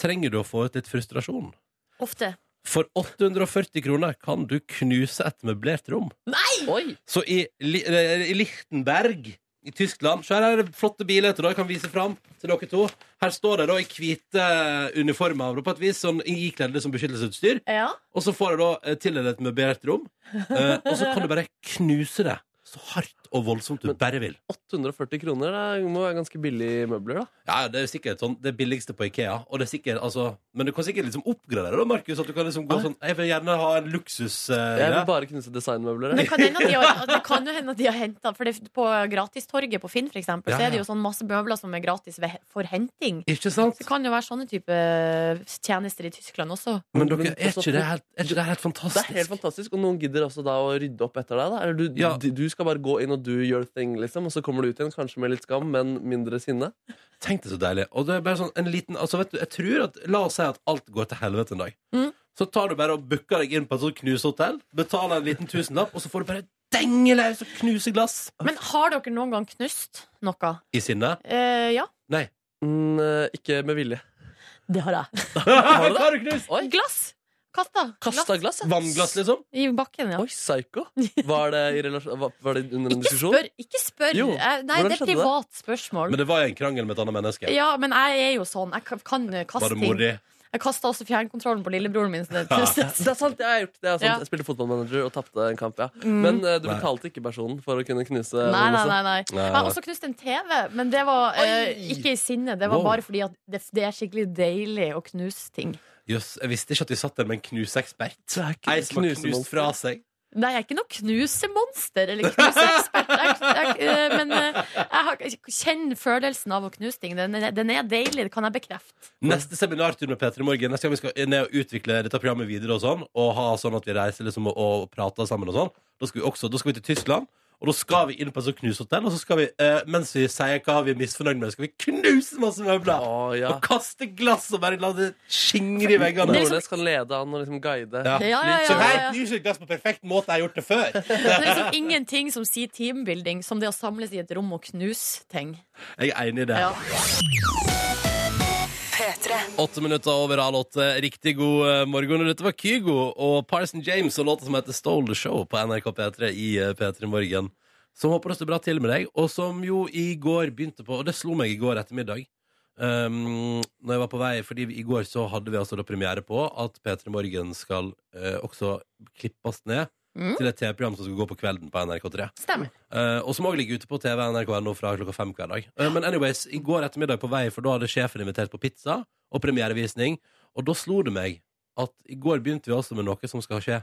Speaker 1: Trenger du å få ut litt frustrasjon?
Speaker 2: Ofte.
Speaker 1: For 840 kroner kan du knuse et møblert rom.
Speaker 3: Oi!
Speaker 1: Så i, Li- eh, i Lichtenberg i Tyskland Så her er det flotte bilder da, jeg kan vise fram til dere to. Her står de da i hvite eh, uniformer da, på et vis, sånn ikledde som beskyttelsesutstyr.
Speaker 2: Ja.
Speaker 1: Og så får de da eh, tildelt et møblert rom, eh, og så kan du bare knuse det så hardt og voldsomt du
Speaker 3: Men-
Speaker 1: bare vil.
Speaker 3: 840 kroner det må være ganske billige møbler, da.
Speaker 1: Ja, Det er jo sikkert sånn, det billigste på Ikea. Og det er sikkert, altså, men du kan sikkert liksom oppgradere da, Markus. At du kan liksom gå sånn Jeg vil gjerne ha en luksus... Eh,
Speaker 3: Jeg vil
Speaker 1: ja.
Speaker 3: bare knuse designmøbler.
Speaker 2: Men det
Speaker 3: jeg.
Speaker 2: kan hende at de har, det kan jo hende at de har henta For det, på gratistorget på Finn, for eksempel,
Speaker 1: Ja,
Speaker 2: så
Speaker 1: ja.
Speaker 2: er det jo sånn masse møbler som er gratis ved, for henting.
Speaker 1: Ikke sant?
Speaker 2: Det kan jo være sånne type eh, tjenester i Tyskland også.
Speaker 1: Men dere, er ikke det
Speaker 3: helt
Speaker 1: helt, er ikke det helt
Speaker 3: det
Speaker 1: fantastisk?
Speaker 3: er helt fantastisk, og noen gidder også da å rydde opp etter deg. da Eller du,
Speaker 1: Ja.
Speaker 3: du skal bare gå inn og do your thing, liksom, og så kommer du ut igjen, kanskje med litt skam, men mindre sinne.
Speaker 1: Tenk det så deilig. Og det er bare sånn en liten altså vet du, jeg tror at, La oss si at alt går til helvete en dag.
Speaker 2: Mm.
Speaker 1: Så tar du bare og booker deg inn på et sånt knusehotell, betaler en liten tusenlapp, og så får du bare denge løs og knuse glass.
Speaker 2: Men har dere noen gang knust noe?
Speaker 1: I sinnet?
Speaker 2: Eh, ja,
Speaker 3: Mm, eh, ikke med vilje.
Speaker 2: det har jeg.
Speaker 1: Har
Speaker 3: du det?
Speaker 1: du knust?
Speaker 3: Oi.
Speaker 2: Eh, Glass! Kasta. Glass
Speaker 3: Kasta glass, ja.
Speaker 1: Vannglass, liksom?
Speaker 2: i bakken, ja.
Speaker 3: Oi, psycho. Var det, i relasjon, var- var det under en
Speaker 2: Ikke
Speaker 3: diskusjon?
Speaker 2: spør! Ikke spør.
Speaker 3: Jo,
Speaker 2: Eh, Nei,
Speaker 3: hvordan
Speaker 2: det er
Speaker 3: skjedde det?
Speaker 2: privat spørsmål.
Speaker 1: Men det var i en krangel med et annet menneske.
Speaker 2: Ja, men jeg er jo sånn. Jeg kan- kan kaste
Speaker 1: Var det
Speaker 2: ting.
Speaker 1: modig?
Speaker 2: Jeg kasta også fjernkontrollen på lillebroren min. Så det
Speaker 3: Det er sant, jeg har gjort det. Jeg, har sant.
Speaker 2: Ja.
Speaker 3: jeg spilte fotballmanager og tapte en kamp, ja.
Speaker 2: Mm.
Speaker 3: Men eh, du
Speaker 1: Nei.
Speaker 3: betalte ikke personen for å kunne knuse
Speaker 2: Nei, nei,
Speaker 3: noe sånt.
Speaker 2: nei, nei.
Speaker 1: Eh, Nei,
Speaker 2: Jeg har også knust en TV, men det var eh,
Speaker 3: Oi!
Speaker 2: ikke i sinne. Det var
Speaker 1: Wow.
Speaker 2: bare fordi at det, det er skikkelig deilig å knuse ting.
Speaker 1: Jøss, jeg visste ikke at vi satt der med en knuseekspert.
Speaker 3: Det er ikke
Speaker 1: Ei som har knust
Speaker 3: knusemonster.
Speaker 1: fra seg.
Speaker 2: Nei, jeg er ikke noe knusemonster eller knuseekspert, Jeg- jeg- eh, men eh, jeg har- jeg kjenner følelsen av å knuse ting. Den, er- den er deilig, det kan jeg bekrefte.
Speaker 1: Neste seminartur med Peter i morgen. Neste gang vi skal ned og utvikle dette programmet videre og sånn, og ha sånn at vi reiser liksom og, og prater sammen og sånn, da skal vi også da skal vi til Tyskland. Og da skal vi inn på et sånt knusehotell, og så skal vi, eh, mens vi sier hva vi er misfornøyd med, skal vi knuse masse møbler!
Speaker 3: Å, ja.
Speaker 1: Og kaste glass og bare la det skingre i veggene.
Speaker 2: Det er liksom-
Speaker 3: Nordnes kan lede an og liksom guide.
Speaker 1: Ja.
Speaker 2: Ja, ja,
Speaker 1: Så
Speaker 2: ja,
Speaker 1: her
Speaker 2: ja, ja.
Speaker 1: knuser jeg glass på perfekt måte, jeg har gjort det før.
Speaker 2: Det er liksom ingenting som sier teambuilding som det å samles i et rom og knuse ting.
Speaker 1: Jeg er enig i det.
Speaker 2: Ja.
Speaker 1: Åtte minutter over halv åtte. Riktig god eh, morgen. Og dette var Kygo og Parson James og låta som heter Stole the Show på NRK P3 i eh, P3 Morgen. Som håper det står bra til med deg, og som jo i går begynte på Og det slo meg i går ettermiddag. Um, når jeg var på vei, fordi i går så hadde vi altså da premiere på at P3 Morgen skal eh, også klippes ned
Speaker 2: Mm.
Speaker 1: til et TV-program som skal gå på kvelden på NRK3.
Speaker 2: Stemmer.
Speaker 1: Eh, og som òg ligger ute på TV NRK.no fra klokka fem hver dag. Eh, men anyways, i går ettermiddag på vei, for da hadde sjefen invitert på pizza og premierevisning. Og da slo det meg at i går begynte vi altså med noe som skal skje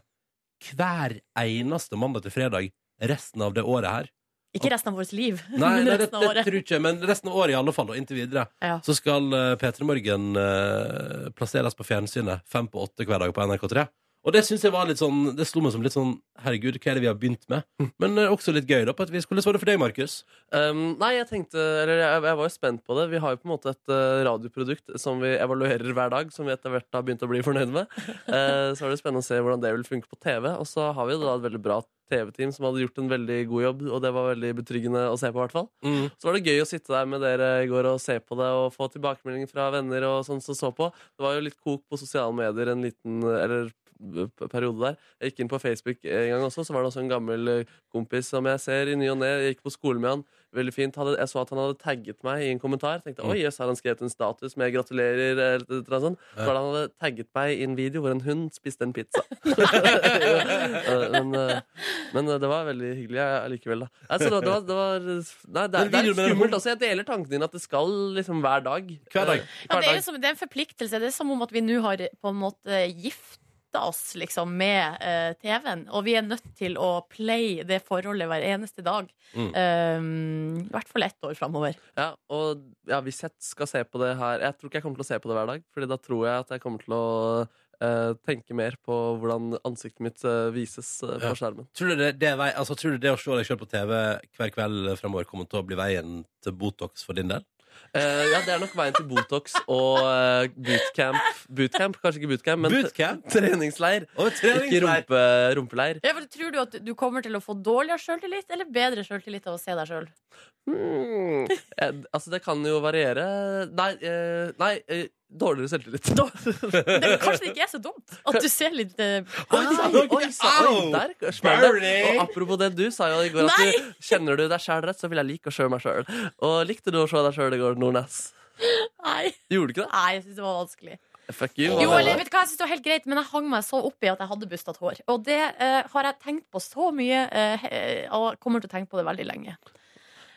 Speaker 1: hver eneste mandag til fredag resten av det året her.
Speaker 2: Ikke resten av vårt liv,
Speaker 1: Nei,
Speaker 2: men
Speaker 1: nei det, det
Speaker 2: resten av
Speaker 1: tror
Speaker 2: året.
Speaker 1: jeg ikke, men resten av året i alle fall, og inntil videre.
Speaker 2: Ja.
Speaker 1: Så eh, skal uh, P3 Morgen eh, plasseres på fjernsynet fem på åtte hver dag på NRK3. Og det synes jeg var litt sånn Det slo meg som litt sånn Herregud, hva er det vi har begynt med? Men eh, også litt gøy, da. på et vis Hvordan var det for deg, Markus?
Speaker 3: Um, nei, jeg tenkte Eller jeg, jeg var jo spent på det. Vi har jo på en måte et eh, radioprodukt som vi evaluerer hver dag, som vi etter hvert har begynt å bli fornøyd med. Eh, så er det spennende å se hvordan det vil funke på TV. Og så har vi jo da et veldig bra TV-team som hadde gjort en veldig god jobb, og det var veldig betryggende å se på, i hvert fall.
Speaker 1: Mm.
Speaker 3: Så var det gøy å sitte der med dere i går og se på det og få tilbakemeldinger fra venner og sånn som så på. Det var jo litt kok på sosiale medier en liten eller, p- periode der. Jeg gikk inn på Facebook en gang også, så var det også en gammel eh, kompis som jeg ser i ny og ne. Jeg gikk på skole med han. Veldig fint. Hadde, jeg så at han hadde tagget meg i en kommentar. Tenkte,
Speaker 1: Mm.
Speaker 3: oi, jøss, har han skrevet en status med 'gratulerer' eller et eller annet sånt? Så
Speaker 1: Ja.
Speaker 3: var det han hadde tagget meg i en video hvor en hund spiste en pizza. Eh, men, eh, men eh, det var veldig hyggelig eh, allikevel, da. Nei, så det, det var, det var Nei, det,
Speaker 1: Men
Speaker 3: er- det er
Speaker 1: videoen med den
Speaker 3: skummelt
Speaker 1: hunden-
Speaker 3: også. Jeg deler tanken din at det skal liksom hver dag.
Speaker 1: Hver dag.
Speaker 3: Eh,
Speaker 2: Ja,
Speaker 3: hver
Speaker 2: det, er
Speaker 3: dag.
Speaker 2: jo som, det er en forpliktelse. Det er som om at vi nå har på en måte gifta oss liksom, med eh, TV-en. Og vi er nødt til å play det forholdet hver eneste dag.
Speaker 1: Mm.
Speaker 2: Um, I hvert fall ett år framover.
Speaker 3: Ja, og ja, hvis jeg skal se på det her Jeg tror ikke jeg kommer til å se på det hver dag, Fordi da tror jeg at jeg kommer til å eh, tenke mer på hvordan ansiktet mitt eh, vises eh,
Speaker 1: Ja.
Speaker 3: på skjermen.
Speaker 1: Tror du det, det, er vei, altså, tror du det å se deg sjøl på TV hver kveld framover kommer til å bli veien til Botox for din del?
Speaker 3: Eh, ja, det er nok veien til Botox og eh, bootcamp. Bootcamp, kanskje ikke bootcamp, men
Speaker 1: Bootcamp?
Speaker 3: treningsleir.
Speaker 1: Og
Speaker 3: Ikke
Speaker 1: treningsleir!
Speaker 3: rumpe, rumpeleir.
Speaker 2: Ja, for tror du at du kommer til å få dårligere sjøltillit eller bedre sjøltillit av å se deg sjøl?
Speaker 3: Hmm. Eh, altså, det kan jo variere. Nei, eh, nei eh, dårligere selvtillit.
Speaker 2: Kanskje det ikke er så dumt at du ser litt eh,
Speaker 3: Oi, Ah, oi, sa- oi,
Speaker 1: Au!
Speaker 3: der smell det.
Speaker 1: Bernie!
Speaker 3: Og apropos det du sa jo i går, at
Speaker 2: Nei!
Speaker 3: du kjenner du deg sjæl rett, så vil jeg like å se meg sjøl. Og likte du å se deg sjøl i går, Nordnes?
Speaker 2: Nei,
Speaker 3: Gjorde du ikke det?
Speaker 2: Nei jeg syns det var vanskelig.
Speaker 3: Fuck you.
Speaker 2: Jo,
Speaker 3: hva
Speaker 2: eller
Speaker 3: mener du?
Speaker 2: vet du hva, jeg synes det var helt greit Men jeg hang meg så opp i at jeg hadde bustet hår Og det eh, har jeg tenkt på så mye eh, he- Og kommer til å tenke på det veldig lenge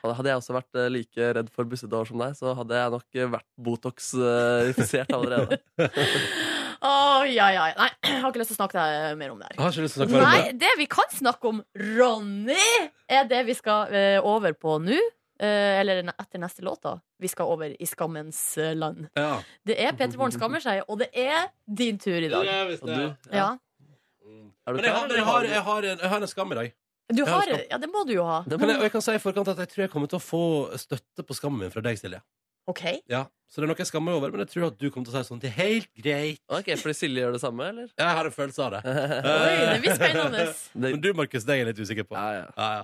Speaker 3: Hadde jeg også vært eh, like redd for bussete hår som deg, så hadde jeg nok eh, vært Botox-ifisert allerede.
Speaker 2: Åh, ja, ja, ja. Nei, jeg har ikke lyst til å snakke eh, mer om det
Speaker 1: Jeg
Speaker 2: her
Speaker 1: har ikke lyst til å snakke mer om
Speaker 2: Nei, det vi kan snakke om, Ronny Er det vi skal eh, over på nå eh, Eller ne- etter neste låt da Vi skal over i skammens eh, land
Speaker 1: det. Ja.
Speaker 2: Det er Peter Morgen skammer seg Og det er din tur i dag
Speaker 1: Ja, visst
Speaker 3: Og
Speaker 1: det.
Speaker 3: du?
Speaker 2: Ja,
Speaker 1: Mm.
Speaker 3: Er du
Speaker 1: Men jeg har,
Speaker 3: klar?
Speaker 1: jeg, har, jeg, har en, jeg har en skam i dag.
Speaker 2: du
Speaker 1: har
Speaker 2: har,
Speaker 1: skam.
Speaker 2: ja det må du jo ha
Speaker 3: Det
Speaker 1: Men
Speaker 3: må
Speaker 1: jeg, og jeg kan si i forkant at jeg tror jeg kommer til å få støtte på skammen min fra deg, Silje.
Speaker 2: Ok
Speaker 1: Ja. Så det er noe jeg skammer meg over, men jeg tror at du kommer til å si sånn Det er helt greit.
Speaker 3: Ok, Fordi Silje gjør det samme, eller?
Speaker 1: Jeg har en følelse av det.
Speaker 3: det,
Speaker 2: Oi, det
Speaker 3: Eh,
Speaker 2: blir spennende
Speaker 1: Eh, Men du, Markus, det er jeg litt usikker på.
Speaker 3: ja, ja.
Speaker 1: Ja, ja.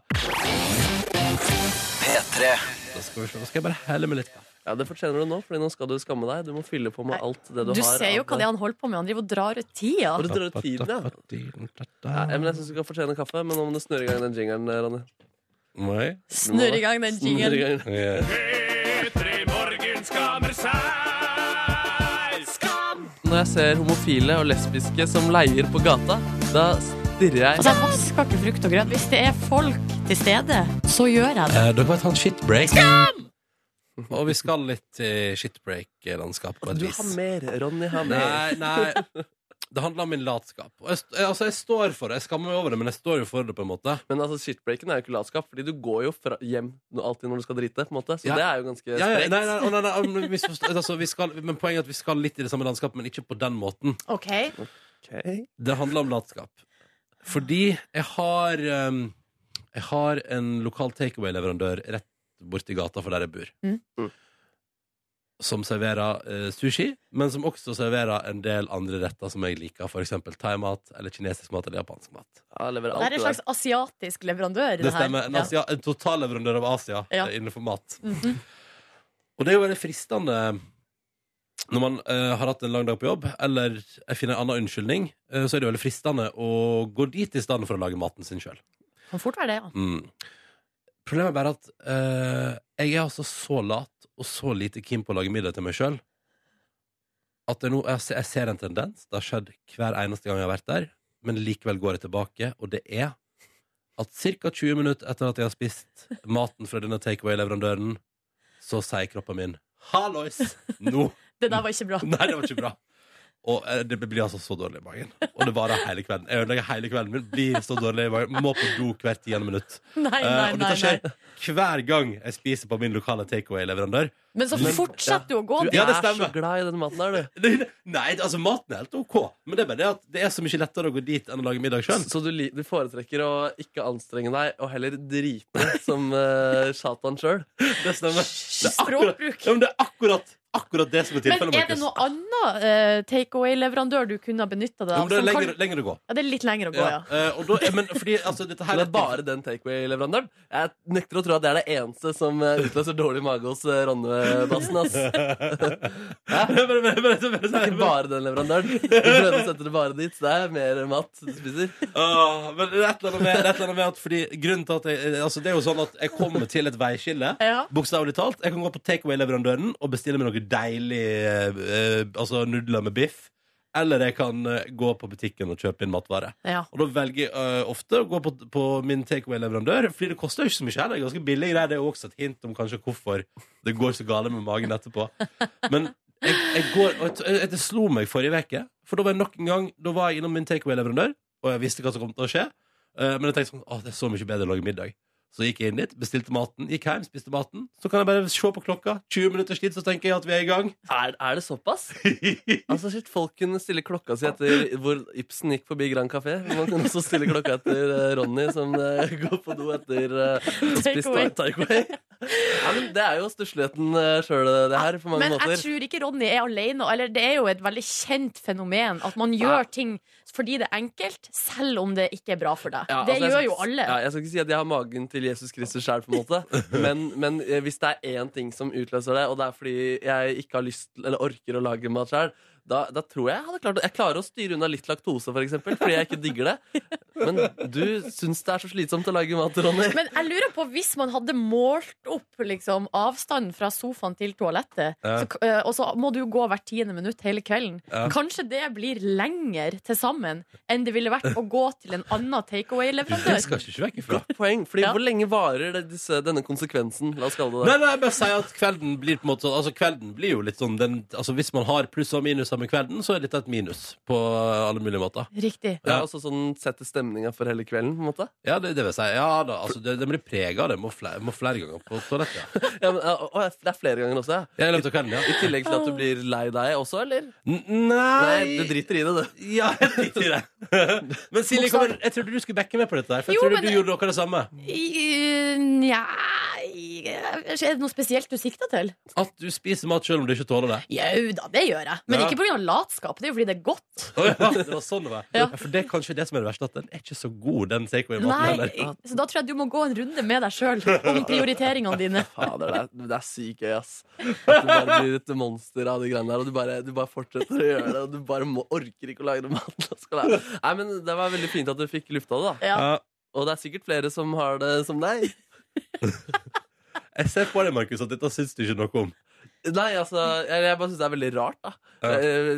Speaker 1: Da skal vi se. Nå skal jeg bare helle med litt kaffe.
Speaker 3: ja, det fortjener du nå, Fordi nå skal du skamme deg. Du må fylle på med
Speaker 2: Nei,
Speaker 3: alt det du,
Speaker 2: Du
Speaker 3: har.
Speaker 2: ser jo
Speaker 3: av-
Speaker 2: hva det er han holder på med. Han driver og drar ut tida.
Speaker 3: Og du drar ut tiden, ja. Ja, men jeg syns du skal fortjene kaffe, men nå må du snurre i gang den jingeren, Ronny.
Speaker 1: Nei.
Speaker 2: Snurr i gang den
Speaker 3: Snurre i
Speaker 2: jingelen.
Speaker 3: gang.
Speaker 1: Ja.
Speaker 3: Når jeg ser homofile og lesbiske som leier på gata, da stirrer jeg
Speaker 2: Altså, jeg vasker ikke frukt og grønt. Hvis det er folk til stede, så gjør jeg det.
Speaker 1: Eh, dere må ta en shitbreak. Og vi skal litt til shitbreak-landskapet på et
Speaker 3: Du
Speaker 1: vis.
Speaker 3: har mer, Ronny har mer.
Speaker 1: Nei, nei. Det handler om min latskap. Og jeg, st- altså, jeg står for det. Jeg skammer meg over det, men jeg står jo for det, på en måte.
Speaker 3: Men altså, shitbreaken er jo ikke latskap, fordi du går jo fra hjem nå- alltid når du skal drite. på en måte Så
Speaker 1: Ja.
Speaker 3: det er jo ganske
Speaker 1: Ja, ja,
Speaker 3: sprekt.
Speaker 1: nei, nei, å, nei, nei, men misforstå- altså, vi skal, men poenget er at vi skal litt i det samme landskapet, men ikke på den måten.
Speaker 2: Ok,
Speaker 3: Ok.
Speaker 1: Det handler om latskap. Fordi jeg har ehm, Jeg har en lokal takeaway-leverandør rett borti gata for der jeg bor.
Speaker 2: Mm.
Speaker 3: Mm.
Speaker 1: Som serverer eh, sushi, men som også serverer en del andre retter som jeg liker. For eksempel thaimat, eller kinesisk mat eller japansk mat.
Speaker 3: Ja, jeg leverer
Speaker 2: Det her er
Speaker 3: alltid
Speaker 2: en
Speaker 3: der.
Speaker 2: slags asiatisk leverandør.
Speaker 1: Det stemmer.
Speaker 2: her.
Speaker 1: En, Asia, en totalleverandør av Asia
Speaker 2: Ja.
Speaker 1: eh, innenfor mat.
Speaker 2: Ja. Mhm.
Speaker 1: Og det er jo veldig fristende eh, når man eh, har hatt en lang dag på jobb, eller jeg finner en annen unnskyldning, eh, så er det jo veldig fristende å gå dit i stedet for å lage maten sin sjøl.
Speaker 2: Kan fort være det, ja.
Speaker 1: Mm. Problemet er bare at eh, jeg er altså så lat og så lite keen på å lage middag til meg sjøl at det er noe- jeg, ser- jeg ser en tendens. Det har skjedd hver eneste gang jeg har vært der, men likevel går jeg tilbake, og det er at ca. 20 minutter etter at jeg har spist maten fra denne takeaway-leverandøren, så sier kroppen min 'hallois', nå
Speaker 2: Det der var ikke bra.
Speaker 1: Nei, det var ikke bra. Og eh, det blir altså så dårlig i magen. Og det varer hele kvelden. Jeg ødelegger hele kvelden min. Blir så dårlig i magen. Må på do hvert tiende minutt.
Speaker 2: Nei,
Speaker 1: Eh,
Speaker 2: nei,
Speaker 1: og
Speaker 2: nei,
Speaker 1: dette
Speaker 2: nei.
Speaker 1: skjer hver gang jeg spiser på min lokale takeaway-leverandør.
Speaker 2: Men så
Speaker 1: Men-
Speaker 2: fortsetter du å gå
Speaker 3: Du
Speaker 1: Ja,
Speaker 2: dit.
Speaker 1: det
Speaker 3: er så
Speaker 1: stemmer.
Speaker 3: glad i den maten her, du.
Speaker 1: Det- Nei, altså maten er helt OK, men det er bare det at det er så mye lettere å gå dit enn å lage middag sjøl.
Speaker 3: Så du, li- du foretrekker å ikke anstrenge deg, og heller drite som eh, Satan sjøl?
Speaker 1: Det stemmer. Det er akkurat,
Speaker 2: Språkbruk.
Speaker 1: ja, men det er akkurat, akkurat det som er
Speaker 2: Men
Speaker 1: tilfellet,
Speaker 2: er det noe annet eh, takeaway-leverandør du kunne ha benytta deg
Speaker 1: Ja,
Speaker 2: av?
Speaker 1: men det er
Speaker 2: som kan-
Speaker 1: lenger, lenger å gå.
Speaker 2: Ja, det er litt lenger å gå,
Speaker 1: Ja.
Speaker 2: ja.
Speaker 1: Eh, og da, eh, men fordi altså, dette her
Speaker 3: Det er bare den takeaway-leverandøren. Jeg nekter å tro at det er det eneste som eh, utløser dårlig mage hos eh, Ronnebassen. ass. Det
Speaker 1: Men- men- men- men- men-
Speaker 3: er
Speaker 1: men-
Speaker 3: ikke bare den leverandøren. Du prøvde å sette det bare dit, så det er mer mat du spiser.
Speaker 1: Åh, men det er et eller annet med, det er et eller annet med at fordi, Grunnen til at jeg, eh, altså, Det er jo sånn at jeg kommer til et veiskille.
Speaker 2: Ja.
Speaker 1: Bokstavelig talt. Jeg kan gå på takeaway-leverandøren og bestille meg noe deilig eh, eh, Altså nudler med biff. Eller jeg kan eh, gå på butikken og kjøpe inn matvare.
Speaker 2: ja.
Speaker 1: Og da velger jeg øh, ofte å gå på, på min takeaway-leverandør, fordi det koster jo ikke så mye heller. Det er Ganske billig greier. Det er jo også et hint om kanskje hvorfor det går så gale med magen etterpå. Men jeg, jeg går, og jeg, jeg, det slo meg forrige uke, for da var jeg nok en gang Da var jeg innom min takeaway-leverandør, og jeg visste hva som kom til å skje, Eh, men jeg tenkte sånn Å, det er så mye bedre å lage middag. Så gikk jeg inn dit, bestilte maten, gikk hjem, spiste maten. Så kan jeg bare se på klokka. 20 minutter slitt, så tenker jeg at vi er i gang.
Speaker 3: Er, er det såpass? Altså, shit, Folk kunne stille klokka si etter hvor Ibsen gikk forbi Grand Café. Men Man kunne også stille klokka etter eh, Ronny, som eh, går på do etter uh, spist
Speaker 2: Takeaway.
Speaker 3: takeaway. Ja, men det er jo stussligheten uh, sjøl, det her, på mange
Speaker 2: Men jeg
Speaker 3: måter.
Speaker 2: tror ikke Ronny er alene. Eller det er jo et veldig kjent fenomen at man gjør ting fordi det er enkelt, selv om det ikke er bra for deg.
Speaker 3: Ja,
Speaker 2: det
Speaker 3: altså, jeg
Speaker 2: gjør
Speaker 3: skal-
Speaker 2: jo alle.
Speaker 3: Ja, jeg skal ikke si at jeg har magen til Jesus Kristus sjæl, men, men eh, hvis det er én ting som utløser det, og det er fordi jeg ikke har lyst eller orker å lage mat sjæl, da, da tror jeg jeg hadde klart å- Jeg klarer å styre unna litt laktose, for eksempel, fordi jeg ikke digger det. Men du syns det er så slitsomt å lage mat, Ronny.
Speaker 2: Men jeg lurer på, hvis man hadde målt opp liksom, avstanden fra sofaen til toalettet,
Speaker 1: Ja.
Speaker 2: så, eh, og så må du gå hvert tiende minutt hele kvelden,
Speaker 1: Ja.
Speaker 2: kanskje det blir lenger til sammen enn det ville vært å gå til en annen
Speaker 1: Det
Speaker 2: takeaway-leverandør.
Speaker 1: skal ikke vekk ifra.
Speaker 3: Godt poeng. Fordi
Speaker 2: Ja.
Speaker 3: Hvor lenge varer det, disse, denne konsekvensen? La oss kalle det det.
Speaker 1: Nei, nei, jeg bare sier at kvelden blir på en måte sånn- Altså kvelden blir jo litt sånn den, altså, Hvis man har pluss og minuser med kvelden Så er dette et minus på alle mulige måter
Speaker 2: Riktig.
Speaker 3: Det er også sånn Setter stemninga for hele kvelden. på en måte
Speaker 1: Ja, det, det vil jeg si Ja da, altså det, det blir preget av det Må flere, må flere ganger på toalettet ja.
Speaker 3: ja, men, ja, og- og Det er flere ganger også, ja.
Speaker 1: Jeg løpte kvelden,
Speaker 3: I
Speaker 1: ja
Speaker 3: tillegg til at du blir lei deg også, eller?
Speaker 1: N
Speaker 3: Nei, du
Speaker 1: Nei
Speaker 3: driter i det, du.
Speaker 1: Ja, jeg driter i det Men Silje, kom, igjen. jeg trodde du skulle bekke med på dette der For jeg
Speaker 2: Jo,
Speaker 1: trodde
Speaker 2: men-
Speaker 1: du gjorde noe av det samme
Speaker 2: I- Nja Er det noe spesielt du sikter til?
Speaker 1: At du spiser mat selv om du ikke tåler det
Speaker 2: Jau da, det gjør jeg. Men
Speaker 1: Ja.
Speaker 2: ikke pga. latskap. Det er jo fordi det er godt.
Speaker 1: Å ja, det var sånn det var
Speaker 2: Ja.
Speaker 1: For det er kanskje det som er det verste At den er ikke så god, den takeaway-maten
Speaker 2: Nei,
Speaker 1: heller.
Speaker 2: Så da tror jeg du må gå en runde med deg sjøl om prioriteringene dine.
Speaker 3: Fader, det er, det er sykt gøy, ass. At du bare blir et monster av de greiene der, og du bare, du bare fortsetter å gjøre det. Og du bare må, orker ikke å lagre mat. Da skal det- Nei, men Det var veldig fint at du fikk lufta det, da.
Speaker 2: Ja.
Speaker 1: Ja,
Speaker 3: Og det er sikkert flere som har det som deg.
Speaker 1: Jeg ser på deg, Markus, at dette synes du ikke noe om
Speaker 3: Nei, altså, jeg, jeg bare syns det er veldig rart, da.
Speaker 1: Ja.
Speaker 3: Eh,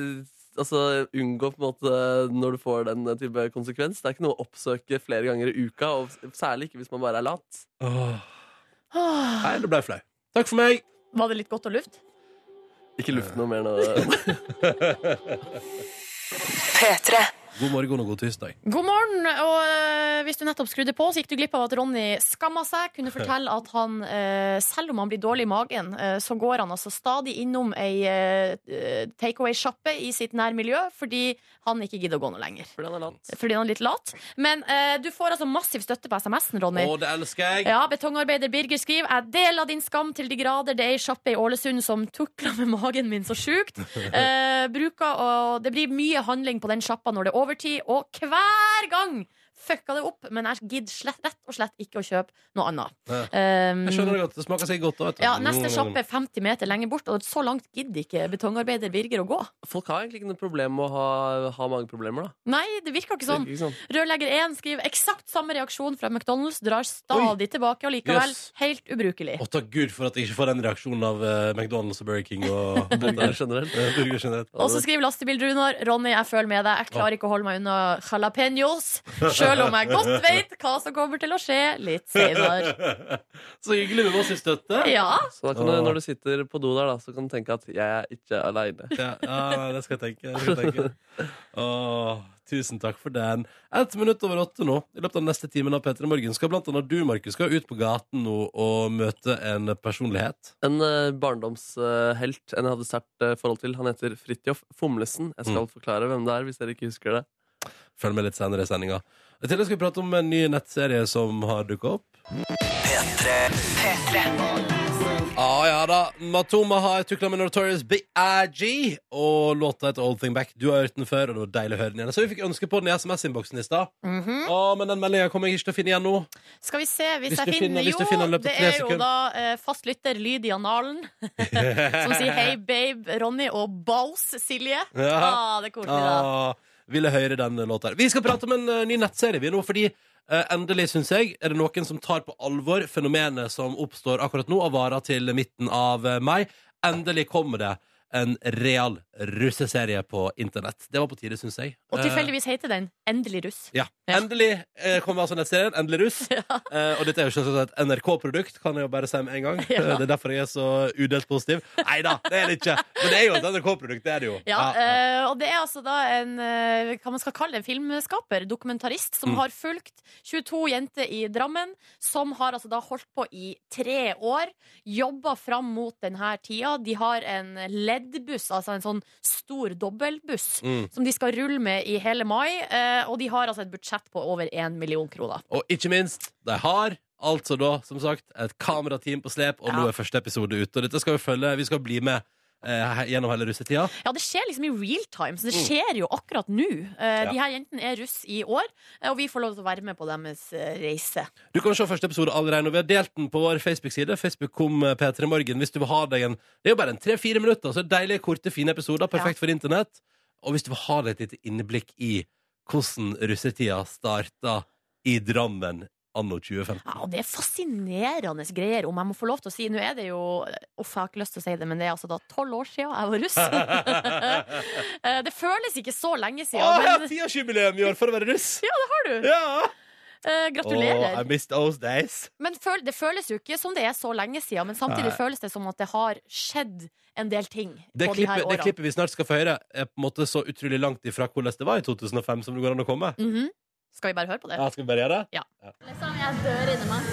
Speaker 3: altså, Unngå på en måte når du får den type konsekvens. Det er ikke noe å oppsøke flere ganger i uka, og særlig ikke hvis man bare er lat.
Speaker 1: Åh
Speaker 2: Åh,
Speaker 1: Nei, det ble jeg flau. Takk for meg!
Speaker 2: Var det litt godt å lufte?
Speaker 3: Ikke luft noe mer nå.
Speaker 1: God morgen og god tirsdag.
Speaker 2: God morgen. Og eh, hvis du nettopp skrudde på, så gikk du glipp av at Ronny skamma seg. Kunne fortelle at han, eh, selv om han blir dårlig i magen, eh, så går han altså stadig innom ei eh, takeaway-sjappe i sitt nærmiljø fordi han ikke gidder å gå noe lenger.
Speaker 3: Fordi han er lat.
Speaker 2: Fordi han er litt lat. Men eh, du får altså massiv støtte på SMS-en, Ronny.
Speaker 1: Å, det elsker jeg!
Speaker 2: Ja, Betongarbeider Birger skriver Jeg deler din skam til de grader. Det er ei sjappe i Ålesund som tukler med magen min så sjukt. Eh, bruker å, det blir mye handling på den sjappa når det er overtid, og hver gang fucka det opp. Men jeg gidder slett, rett og slett ikke å kjøpe noe annet.
Speaker 1: Ja.
Speaker 2: Um,
Speaker 1: Jeg skjønner det godt. Det smaker seg godt. da, Vet du.
Speaker 2: ja, neste
Speaker 1: Mm.
Speaker 2: sjappe er 50 meter lenger bort, og så langt gidder ikke betongarbeider Birger å gå.
Speaker 3: Folk har egentlig ikke noe problem med å ha, ha mageproblemer, da.
Speaker 2: Nei, det virker ikke sånn.
Speaker 3: Det er ikke sånn.
Speaker 2: Rørlegger 1 skriver eksakt samme reaksjon fra McDonald's, drar stadig tilbake og likevel
Speaker 1: Jøss.
Speaker 2: helt ubrukelig.
Speaker 1: Å, takk Gud for at jeg ikke får den reaksjonen av eh, McDonald's og Burger King og
Speaker 3: Burger
Speaker 1: burger
Speaker 3: generelt.
Speaker 1: burger generelt.
Speaker 2: Og så skriver lastebil-Runar Ronny, jeg føler med deg. Jeg klarer ikke å holde meg unna jalapeños. Sjøl selv om jeg godt vet hva som kommer til å skje litt senere.
Speaker 1: Så hyggelig med oss i støtte.
Speaker 2: Ja.
Speaker 3: Så da kan du, når du sitter på do der, da, så kan du tenke at jeg er ikke aleine.
Speaker 1: Ja, ja, nei, det skal jeg tenke. Det skal jeg tenke. Åh, tusen takk for den. Ett minutt over åtte nå. I løpet av den neste timen av P3 Morgen skal blant annet du, Markus, skal ut på gaten nå og møte en personlighet.
Speaker 3: En eh, barndomshelt en jeg hadde sterkt eh, forhold til. Han heter Fridtjof Fomlesen. Jeg
Speaker 5: Mm.
Speaker 3: skal forklare hvem det er, hvis dere ikke husker det.
Speaker 1: Følg med litt senere i sendinga. I tillegg skal vi prate om en ny nettserie som har dukka opp. Ah, ja da. Matoma har tukla med Notorious BIG og låta heter Old Thing Back. Du har hørt den før, og det var deilig å høre den igjen. Så vi fikk ønske på den i SMS-innboksen i stad.
Speaker 2: Mhm.
Speaker 1: Å, men den meldinga kommer jeg ikke til å finne igjen nå.
Speaker 2: Skal vi se hvis,
Speaker 1: Hvis du
Speaker 2: jeg finner,
Speaker 1: finner- hvis du finner den i
Speaker 2: Jo,
Speaker 1: løpet av
Speaker 2: det
Speaker 1: tre
Speaker 2: er jo
Speaker 1: sekunder.
Speaker 2: da eh, fast lytter Lyd i analen som sier hei, babe, Ronny og Baus, Silje.
Speaker 1: Ja.
Speaker 2: Ah, det er koselig, da.
Speaker 1: Ah, ville høre den låta. her. Vi skal prate om en eh, ny nettserie vi nå, fordi eh, endelig, syns jeg, er det noen som tar på alvor fenomenet som oppstår akkurat nå, og varer til midten av eh, mai. Endelig kommer det en real russeserie på internett. Det var på tide, syns jeg.
Speaker 2: Og
Speaker 1: Eh,
Speaker 2: tilfeldigvis heter den Endelig russ.
Speaker 1: ja.
Speaker 2: Ja.
Speaker 1: Endelig eh, kommer altså nettserien. Endelig russ. Eh, og dette er jo selvsagt et NRK-produkt, kan jeg jo bare si med en gang.
Speaker 2: Ja.
Speaker 1: Eh, Det er derfor jeg er så udelt positiv. Nei da, det er det ikke. Men det er jo et NRK-produkt, det er det jo.
Speaker 2: Ja,
Speaker 1: Ja, ja.
Speaker 2: eh, og det er altså da en eh, hva man skal kalle det, en filmskaper, dokumentarist, som
Speaker 1: Mm.
Speaker 2: har fulgt 22 jenter i Drammen, som har altså da holdt på i tre år, jobba fram mot denne tida. De har en leddbuss, altså en sånn stor dobbeltbuss,
Speaker 1: Mm.
Speaker 2: som de skal rulle med i hele mai, eh, og de har altså et budsjett på over 1 million kroner.
Speaker 1: Og ikke minst, de har altså da, som sagt, et kamerateam på slep, og nå
Speaker 2: Ja.
Speaker 1: er første episode ute. Og dette skal vi følge, vi skal bli med eh, he- gjennom hele russetida.
Speaker 2: Ja, det skjer liksom i real time, så det skjer jo akkurat nå. Eh,
Speaker 1: Ja.
Speaker 2: De her jentene er russ i år, eh, og vi får lov til å være med på deres eh, reise.
Speaker 1: Du kan se første episode allerede, og vi har delt den på vår Facebook-side. Facebook kom eh, P3 Morgen hvis du vil ha deg en Det er jo bare en tre-fire minutter, så deilige, korte, fine episoder. Perfekt for internett. Og hvis du vil ha deg et lite innblikk i hvordan russetida starta i Drammen anno 2015.
Speaker 2: Ja, og det er fascinerende greier, om jeg må få lov til å si. Nå er det jo Uff, jeg har ikke lyst til å si det, men det er altså da tolv år siden jeg var russ. Eh, det føles ikke så lenge
Speaker 1: Å,
Speaker 2: siden,
Speaker 1: jeg har
Speaker 2: men
Speaker 1: tiårsjubileum i år for å være russ!
Speaker 2: Ja, det har du.
Speaker 1: Ja!
Speaker 2: Eh,
Speaker 1: Å, I
Speaker 2: gratulerer.
Speaker 1: missed those days.
Speaker 2: Men føl, det føles jo ikke som det er så lenge siden, men samtidig
Speaker 1: Nei.
Speaker 2: føles det som at det har skjedd en del ting
Speaker 1: Det
Speaker 2: på de her
Speaker 1: klippet, det
Speaker 2: årene.
Speaker 1: klippet vi snart skal få høre, er på en måte så utrolig langt ifra hvordan det var i 2005 som det går an å komme.
Speaker 2: Mhm. Skal vi bare høre på det?
Speaker 1: Ja, skal vi bare gjøre det?
Speaker 6: Liksom, jeg dør inni meg.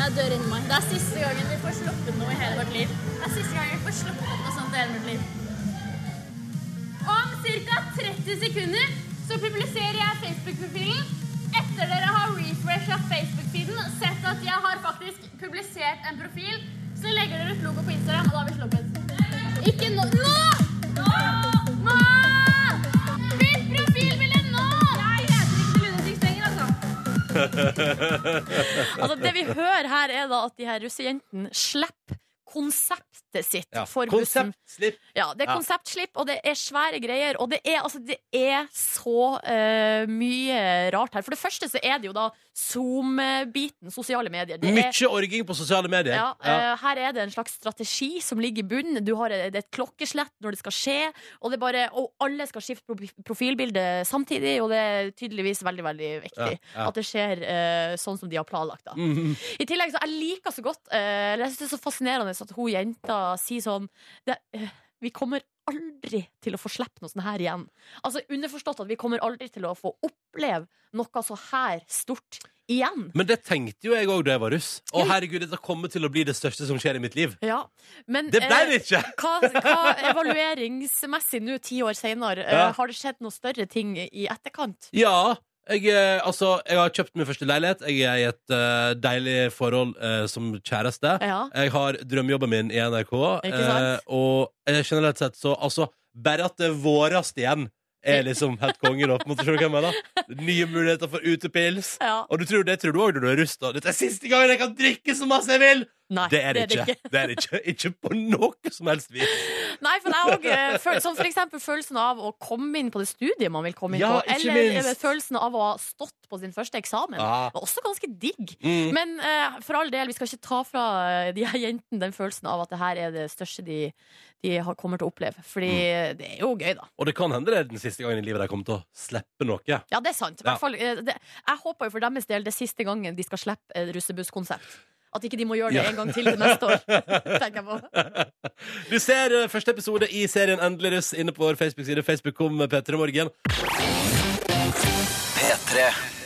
Speaker 6: Jeg dør inni meg. Det er siste gangen vi får sluppet noe i hele vårt liv. Det er siste gangen vi får sluppet noe sånt i hele mitt liv. Om ca. 30 sekunder så publiserer jeg Facebook-profilen. Etter dere har refresha Facebook-feeden og sett at jeg har faktisk publisert en profil, så legger dere ut logo på Instagram, og da har vi sluppet. Ikke nå. Nå! Nå! Bytt profilbilde nå! Jeg heter ikke Lune Six lenger, altså.
Speaker 2: Altså, det vi hører her, er da at de her russejentene slipper konseptet sitt
Speaker 1: Ja.
Speaker 2: for bussen.
Speaker 1: Konsept, slipp.
Speaker 2: Ja, det er
Speaker 1: Ja.
Speaker 2: konseptslipp, og det er svære greier. Og det er, altså, det er så eh, mye rart her. For det første så er det jo da Zoom-biten, sosiale medier. Det er,
Speaker 1: Mye orging på sosiale medier.
Speaker 2: ja,
Speaker 1: Ja.
Speaker 2: eh, her er det en slags strategi som ligger i bunnen. Du har et, et klokkeslett når det skal skje, og, det er bare, og alle skal skifte pro- profilbilde samtidig. Og det er tydeligvis veldig, veldig viktig
Speaker 1: Ja, ja.
Speaker 2: at det skjer eh, sånn som de har planlagt. da
Speaker 1: Mhm.
Speaker 2: i tillegg så jeg liker så godt eh, eller Jeg synes det er så fascinerende at hun jenta sier sånn det, eh, Vi kommer aldri til å få slippe noe sånt her igjen. Altså Underforstått at vi kommer aldri til å få oppleve noe så her stort igjen.
Speaker 1: Men det tenkte jo jeg òg da jeg var russ. Å, herregud, dette kommer til å bli det største som skjer i mitt liv.
Speaker 2: Ja, men
Speaker 1: Det ble
Speaker 2: eh,
Speaker 1: det ikke!
Speaker 2: hva, hva evalueringsmessig nå, ti år seinere,
Speaker 1: Ja.
Speaker 2: har det skjedd noe større ting i etterkant?
Speaker 1: Ja. Jeg, eh, altså, jeg har kjøpt min første leilighet. Jeg er i et eh, deilig forhold eh, som kjæreste.
Speaker 2: Ja.
Speaker 1: Jeg har drømmejobben min i NRK.
Speaker 2: Ikke sant?
Speaker 1: Eh, og eh, generelt sett så altså, Bare at det er vårast igjen, er liksom helt konge. da, på en måte, skjønner du hva jeg mener? Nye muligheter for utepils.
Speaker 2: Ja.
Speaker 1: Og du tror, det tror du òg når du er russ. da. Dette er siste gangen jeg kan drikke så masse jeg vil!
Speaker 2: Nei,
Speaker 1: Det er det ikke. Det er det ikke. Ikke på noe som helst vis.
Speaker 2: Nei, for jeg òg eh, føl- Som for eksempel følelsen av å komme inn på det studiet man vil komme inn
Speaker 1: Ja,
Speaker 2: på.
Speaker 1: ikke
Speaker 2: Eller,
Speaker 1: minst.
Speaker 2: eller følelsen av å ha stått på sin første eksamen.
Speaker 1: Ah.
Speaker 2: Var også ganske digg.
Speaker 1: Mm.
Speaker 2: Men eh, for all del, vi skal ikke ta fra eh, de her jentene den følelsen av at det her er det største de, de har, kommer til å oppleve. Fordi
Speaker 1: Mm.
Speaker 2: det er jo gøy, da.
Speaker 1: Og det kan hende det er den siste gangen i livet de kommer til å slippe noe.
Speaker 2: Ja, det er sant. I
Speaker 1: Ja.
Speaker 2: hvert fall, eh, det, jeg håper jo for deres del det er siste gangen de skal slippe eh, russebusskonsept. At ikke de må gjøre det
Speaker 1: Ja.
Speaker 2: en gang til til neste år. Tenker jeg på.
Speaker 1: Du ser eh, første episode i serien Endelig russ inne på vår Facebook-side. Facebook kom med P3 Morgen.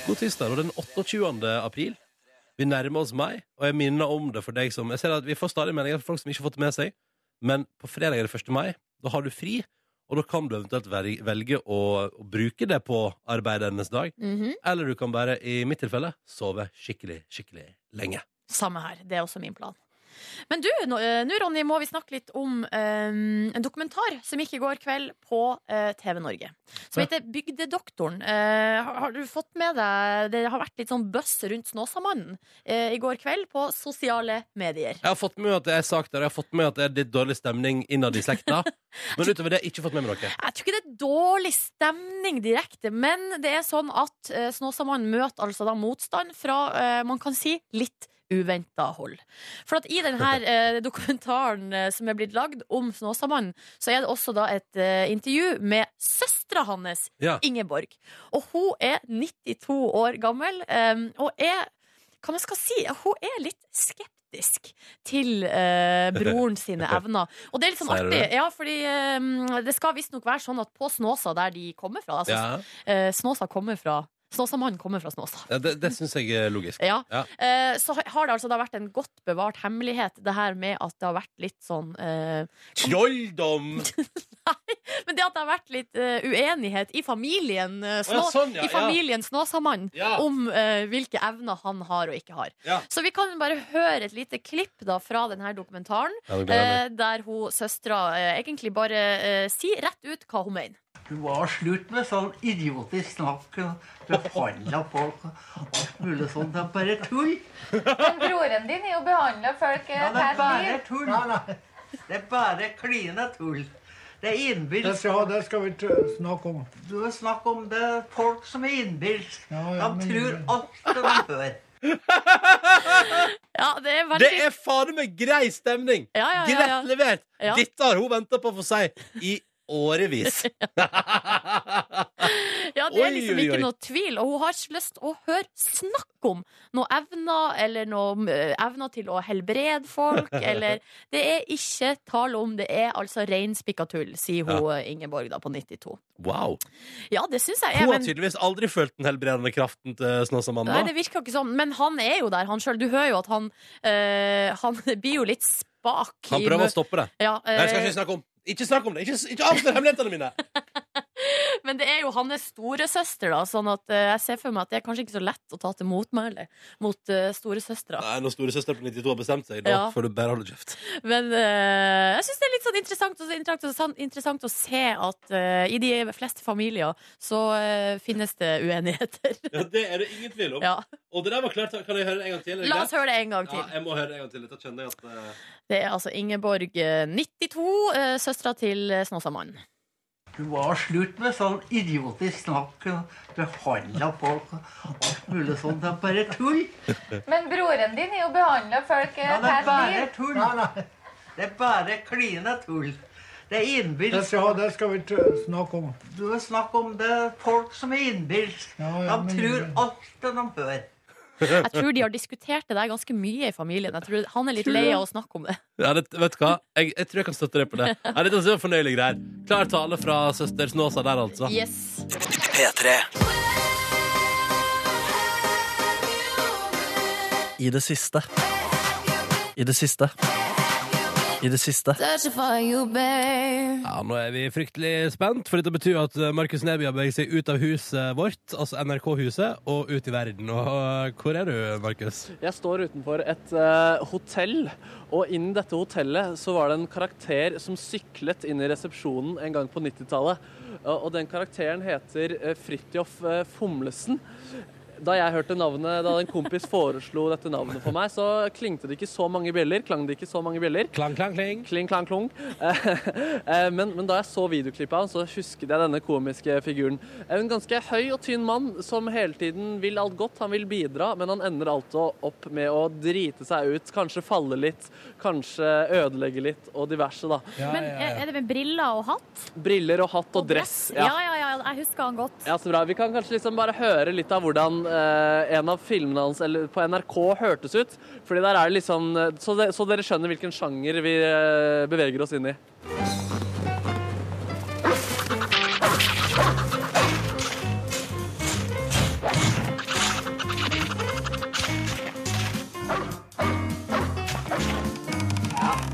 Speaker 1: God tirsdag. Og den 28. april. Vi nærmer oss meg, og jeg minner om det for deg som Jeg ser at Vi får stadig meldinger fra folk som ikke har fått det med seg, men på fredag er det 1. mai. Da har du fri, og da kan du eventuelt vel- velge å, å bruke det på arbeidernes dag.
Speaker 2: Mhm.
Speaker 1: Eller du kan bare, i mitt tilfelle, sove skikkelig, skikkelig lenge.
Speaker 2: Samme her. Det er også min plan. Men du, nå, eh, nå, Ronny, må vi snakke litt om eh, en dokumentar som gikk i går kveld på eh, TV Norge. Som
Speaker 1: Ja.
Speaker 2: heter Bygdedoktoren. Eh, har, har du fått med deg Det har vært litt sånn buzz rundt Snåsamannen eh, i går kveld på sosiale medier.
Speaker 1: Jeg har fått med meg at det er sak der, jeg har fått med meg at det er litt dårlig stemning innad i slekta. Men utover det, ikke fått med meg noe.
Speaker 2: Jeg tror ikke det er dårlig stemning direkte, men det er sånn at eh, Snåsamannen møter altså da motstand fra, eh, man kan si, litt uventa hold. For at i denne eh, dokumentaren eh, som er blitt lagd om Snåsamannen, så er det også da et eh, intervju med søstera hans,
Speaker 1: Ja.
Speaker 2: Ingeborg. Og hun er 92 år gammel, eh, og er hva man skal si, hun er litt skeptisk til eh, broren sine evner. Og det er litt sånn
Speaker 1: Sier du
Speaker 2: artig,
Speaker 1: det?
Speaker 2: ja, fordi eh, det skal visstnok være sånn at på Snåsa, der de kommer fra altså,
Speaker 1: Ja,
Speaker 2: eh, Snåsa kommer fra Snåsamannen kommer fra Snåsa.
Speaker 1: ja, det det syns jeg er logisk.
Speaker 2: Ja.
Speaker 1: Ja.
Speaker 2: Eh, så har- har det altså da vært en godt bevart hemmelighet, det her med at det har vært litt sånn eh,
Speaker 1: Trolldom!
Speaker 2: Men det at det har vært litt eh, uenighet i familien, eh,
Speaker 1: Å, ja,
Speaker 2: Snå-
Speaker 1: sånn, ja,
Speaker 2: i familien Snåsamannen
Speaker 1: Ja.
Speaker 2: om eh, hvilke evner han har og ikke har.
Speaker 1: Ja.
Speaker 2: Så vi kan bare høre et lite klipp da fra denne dokumentaren.
Speaker 1: Ja, nå gleder jeg meg.
Speaker 2: Eh, der hun søstera eh, egentlig bare eh, sier rett ut hva hun mener.
Speaker 7: Du var slutt med sånn idiotisk snakk. og Behandla folk og alt mulig sånt. Det er bare tull.
Speaker 6: Men broren din er jo behandla folk eh,
Speaker 7: Ja, det er bare tull. Det er bare klina tull. Det er
Speaker 8: Det
Speaker 7: innbilsk.
Speaker 8: skal, det skal vi t- snakke om.
Speaker 7: Du har snakk om det er folk som er innbilsk.
Speaker 8: Ja, ja,
Speaker 7: De
Speaker 8: men-
Speaker 7: tror alt det de hører.
Speaker 2: Ja, det er veldig
Speaker 1: Det er fader meg grei stemning!
Speaker 2: ja, ja, ja, ja.
Speaker 1: Greit levert!
Speaker 2: Ja.
Speaker 1: Dette har hun venta på å få si i årevis.
Speaker 2: ja, det er
Speaker 1: Oi,
Speaker 2: liksom
Speaker 1: oi, oi.
Speaker 2: ikke noe tvil. Og hun har ikke lyst å høre snakk om noe evner, eller noe eh, evner til å helbrede folk, eller Det er ikke tale om, det er altså reinspikka tull, sier hun eh, Ingeborg da på 92.
Speaker 1: Wow.
Speaker 2: Ja, det syns jeg
Speaker 1: Hun
Speaker 2: er
Speaker 1: har
Speaker 2: men,
Speaker 1: tydeligvis aldri følt den helbredende kraften til
Speaker 2: Nei,
Speaker 1: Snåsamannen.
Speaker 2: det virker jo ikke sånn. Men han er jo der, han sjøl. Du hører jo at han eh, Han blir jo litt spak.
Speaker 1: Han
Speaker 2: i
Speaker 1: prøver
Speaker 2: mø-
Speaker 1: å stoppe det.
Speaker 2: ja,
Speaker 1: Nei, jeg skal
Speaker 2: eh,
Speaker 1: ikke snakke om Ikke snakk om det! Ikke, ikke avslør hemmelighetene mine!
Speaker 2: Men det er jo hans storesøster, da, sånn at eh, jeg ser for meg at det er kanskje ikke så lett å ta til motmæle mot uh, storesøstera.
Speaker 1: Nei, Når storesøster på 92 har bestemt seg, da
Speaker 2: Ja.
Speaker 1: får du bare holde kjeft.
Speaker 2: Men eh, jeg syns det er litt sånn interessant, og så interessant, og sånn interessant å se at eh, i de fleste familier så eh, finnes det uenigheter.
Speaker 1: Ja, Det er det ingen tvil om.
Speaker 2: ja.
Speaker 1: Og det der var klart, Kan jeg høre det en gang til? er det
Speaker 2: La
Speaker 1: greit?
Speaker 2: oss høre det en gang til.
Speaker 1: Ja, jeg må høre det en gang til. Dette kjenner jeg at eh,
Speaker 2: Det er altså Ingeborg, eh, 92, uh, søstera til eh, Snåsamannen.
Speaker 7: Du var slutt med sånn idiotisk snakk. og Behandla folk og alt mulig sånt. Det er bare tull.
Speaker 6: Men broren din er jo behandla folk eh,
Speaker 7: Ja, det er bare tull. Det er bare klina tull. Det er
Speaker 8: Det
Speaker 7: innbilsk.
Speaker 8: skal, det skal vi t- snakke om.
Speaker 7: Du har snakk om det er folk som er innbilsk.
Speaker 8: Ja, ja,
Speaker 7: de
Speaker 8: men-
Speaker 7: tror alt det de hører.
Speaker 2: Jeg tror de har diskutert det der ganske mye i familien. Jeg tror Han er litt lei av å snakke om det.
Speaker 1: ja, det, vet du hva? Jeg, jeg tror jeg kan støtte deg på det. Ja, dette er fornøyelige greier. Klar tale fra søster Snåsa der, altså.
Speaker 2: Yes
Speaker 5: I det siste. I det siste. I det siste.
Speaker 1: Ja, Nå er vi fryktelig spent, for dette betyr at eh, Markus Neby har beveget seg ut av huset vårt, altså NRK-huset, og ut i verden. Og eh, hvor er du, Markus?
Speaker 3: Jeg står utenfor et eh, hotell, og innen dette hotellet så var det en karakter som syklet inn i resepsjonen en gang på 90-tallet. Og- og den karakteren heter eh, Fridtjof eh, Fomlesen. da jeg hørte navnet, da en kompis foreslo dette navnet for meg, så klingte det ikke så mange bjeller. Klang det ikke så mange bjeller.
Speaker 1: Klang, klang, kling.
Speaker 3: Kling, klang, klung. Eh, eh, men, men da jeg så videoklippet av han, så husket jeg denne komiske figuren. Eh, En ganske høy og tynn mann som hele tiden vil alt godt, han vil bidra, men han ender alltid opp med å drite seg ut, kanskje falle litt, kanskje ødelegge litt, og diverse, da.
Speaker 9: Men
Speaker 2: eh,
Speaker 9: er er det med briller og hatt?
Speaker 3: Briller og hatt og dress.
Speaker 9: Ja, ja, ja. Jeg husker han godt.
Speaker 3: Ja, så bra. Vi kan kanskje liksom bare høre litt av hvordan eh, en av filmene hans eller, på NRK hørtes ut. Fordi der er det liksom eh, så, de, så dere skjønner hvilken sjanger vi eh, beveger oss inn i.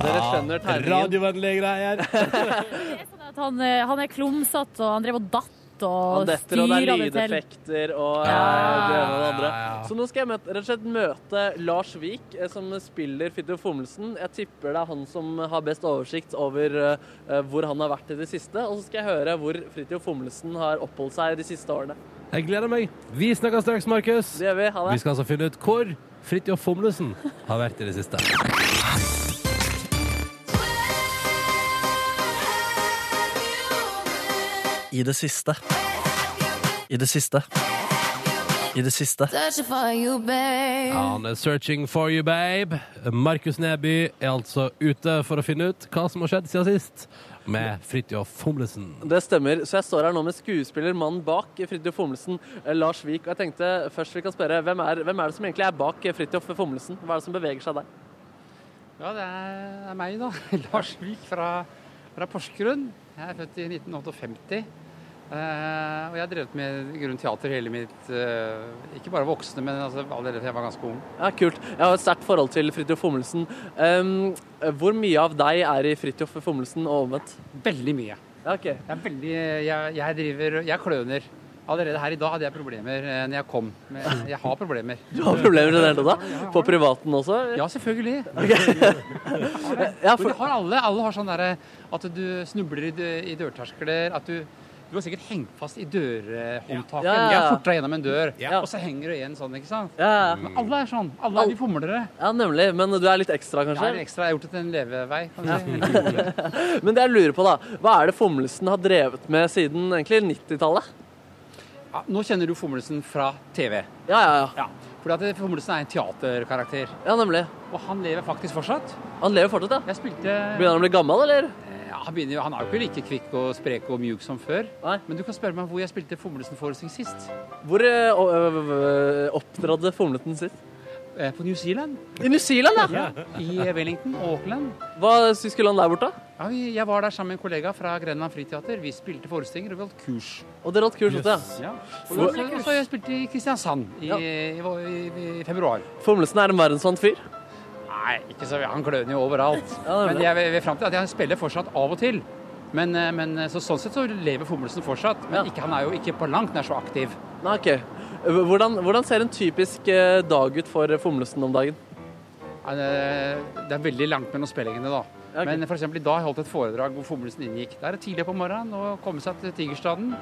Speaker 3: Dere skjønner tegningen.
Speaker 1: Radiovennlige greier.
Speaker 9: Det er sånn at han, eh, han er klumsete, og han drev og datt
Speaker 3: Han
Speaker 9: og
Speaker 3: detter, og
Speaker 9: styra
Speaker 3: det
Speaker 9: det
Speaker 3: er
Speaker 9: til.
Speaker 3: lydeffekter og eh, det ene og det andre. Så nå skal jeg møte, rett og slett møte Lars Vik, eh, som spiller Fridtjof Fommelsen. Jeg tipper det er han som har best oversikt over eh, eh, hvor han har vært i det siste. Og så skal jeg høre hvor Fridtjof Fommelsen har oppholdt seg de siste årene.
Speaker 1: Jeg gleder meg. Vi snakkes straks, Markus.
Speaker 3: Det gjør vi. Ha det.
Speaker 1: Vi skal altså finne ut hvor Fridtjof Fomlesen har vært i det siste.
Speaker 5: I det siste. I det siste. I det siste.
Speaker 1: Ja, Han er 'Searching for you, babe'. Markus Neby er altså ute for å finne ut hva som har skjedd siden sist med Fridtjof Fomlesen.
Speaker 3: Det stemmer. Så jeg står her nå med skuespiller, mannen bak Fridtjof Fommelsen, eh, Lars Vik. Og jeg tenkte først vi kan spørre, hvem er, hvem er det som egentlig er bak eh, Fridtjof Fommelsen? Hva er det som beveger seg der?
Speaker 10: Ja, det er, er meg, da. Lars Vik fra, fra Porsgrunn. Jeg er født i 1958. Eh, og jeg har drevet med grunn teater hele mitt eh, Ikke bare voksne, men altså, allerede fra jeg var ganske ung.
Speaker 3: Ja, Kult. Jeg har et sterkt forhold til Fridtjof Fommelsen. Um, hvor mye av deg er i Fridtjof Fommelsen og omvendt?
Speaker 10: Veldig mye.
Speaker 3: Ja, ok.
Speaker 10: Jeg, er veldig, jeg, jeg driver Jeg kløner. Allerede her i dag hadde jeg problemer eh, når jeg kom. Men jeg har problemer.
Speaker 3: Du har problemer med det hele tatt? da? På privaten også?
Speaker 10: Ja, selvfølgelig.
Speaker 3: Ja,
Speaker 10: Men
Speaker 3: for,
Speaker 10: det har alle. Alle har sånn derre at du snubler i, dø- i dørterskler. At du Du har sikkert hengt fast i dørhåndtaket.
Speaker 3: Ja.
Speaker 10: Jeg forta gjennom en dør,
Speaker 3: Ja.
Speaker 10: og så henger du igjen sånn, ikke sant?
Speaker 3: ja,
Speaker 10: Men alle er sånn. Alle er de fomlere.
Speaker 3: ja, nemlig. Men du er litt ekstra,
Speaker 10: Jeg har
Speaker 3: kanskje?
Speaker 10: ekstra jeg har gjort det til en levevei. Kan du si.
Speaker 3: Men det jeg lurer på, da. Hva er det Fommelsen har drevet med siden egentlig 90-tallet?
Speaker 10: Ja, nå kjenner du Fommelsen fra TV.
Speaker 3: Ja, ja, ja.
Speaker 10: Ja. Fordi at Fommelsen er en teaterkarakter.
Speaker 3: Ja, nemlig.
Speaker 10: Og han lever faktisk fortsatt.
Speaker 3: Han lever fortsatt, ja.
Speaker 10: Jeg spilte
Speaker 3: Begynner han å bli gammel, eller?
Speaker 10: Ja, han, begynner, jo- han er jo ikke like kvikk og sprek og mjuk som før.
Speaker 3: Nei.
Speaker 10: Men du kan spørre meg hvor jeg spilte Fommelsen-forestilling sist.
Speaker 3: Hvor eh, å- ø- ø- opptrådde Fomleten sitt?
Speaker 10: Eh, På New Zealand.
Speaker 3: I New Zealand, ja!
Speaker 10: I Wellington og Auckland.
Speaker 3: Hva skulle han der borte? da?
Speaker 10: Ja, vi- jeg var der sammen med en kollega fra Grenland Friteater. Vi spilte forestillinger og vi holdt kurs.
Speaker 3: Og dere holdt kurs, også, ja.
Speaker 10: Ja. Og så- og så jeg spilte i Kristiansand i,
Speaker 3: Ja.
Speaker 10: i, i, i februar.
Speaker 3: Fomlesen er en verdensvant fyr.
Speaker 10: Nei, ikke så Han kløner jo overalt.
Speaker 3: Ja, det er
Speaker 10: Men
Speaker 3: bra.
Speaker 10: jeg vil vil frem til at jeg spiller fortsatt av og til. Men, eh, men eh, så sånn sett så lever Fommelsen fortsatt. Men
Speaker 3: Ja.
Speaker 10: ikke, han er jo ikke på langt nær så aktiv.
Speaker 3: Nei, ok. Hvordan, hvordan ser en typisk eh, dag ut for Fomlesen om dagen?
Speaker 10: Han, eh, Det er veldig langt mellom spillingene, da.
Speaker 3: Ja, ok.
Speaker 10: Men for eksempel i dag har jeg holdt et foredrag hvor Fommelsen inngikk. Der er det tidlig på morgenen å komme seg til Tigerstaden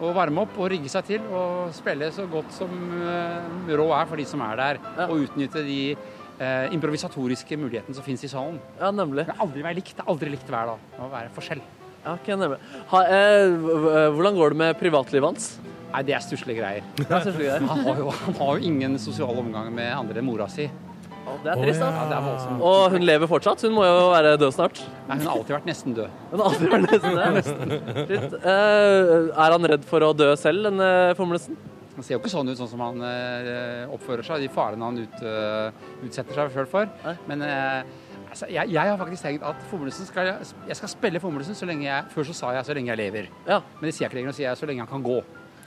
Speaker 10: og varme opp og rigge seg til og spille så godt som eh, rå er for de som er der,
Speaker 3: Ja.
Speaker 10: og utnytte de eh, improvisatoriske mulighetene som finnes i salen.
Speaker 3: Ja, nemlig.
Speaker 10: Det er aldri være likt. Det er aldri likt hver dag. Det må være forskjell.
Speaker 3: Ja, ok, nemlig. Ha, eh, h- h- hvordan går det med privatlivet hans?
Speaker 10: Nei, det er stusslige greier.
Speaker 3: Ja, selvfølgelig.
Speaker 10: Han har jo, han har jo ingen sosial omgang med andre enn mora si.
Speaker 3: Det er trist,
Speaker 10: Ja,
Speaker 3: da.
Speaker 10: det er voldsomt.
Speaker 3: Og hun lever fortsatt. Hun må jo være død snart.
Speaker 10: Nei, hun har alltid vært nesten død.
Speaker 3: Hun har aldri vært nesten det. Shit. Eh, er han redd for å dø selv, denne Fomlesen?
Speaker 10: Han ser jo ikke sånn ut sånn som han eh, oppfører seg, de farene han ut, eh, utsetter seg selv for.
Speaker 3: Nei.
Speaker 10: Men eh, altså, jeg, jeg har faktisk tenkt at Fommelsen skal, jeg skal spille Fommelsen så lenge jeg Før så sa jeg 'så lenge jeg lever',
Speaker 3: Ja.
Speaker 10: men det sier jeg ikke lenger. Nå sier jeg 'så lenge han kan gå'.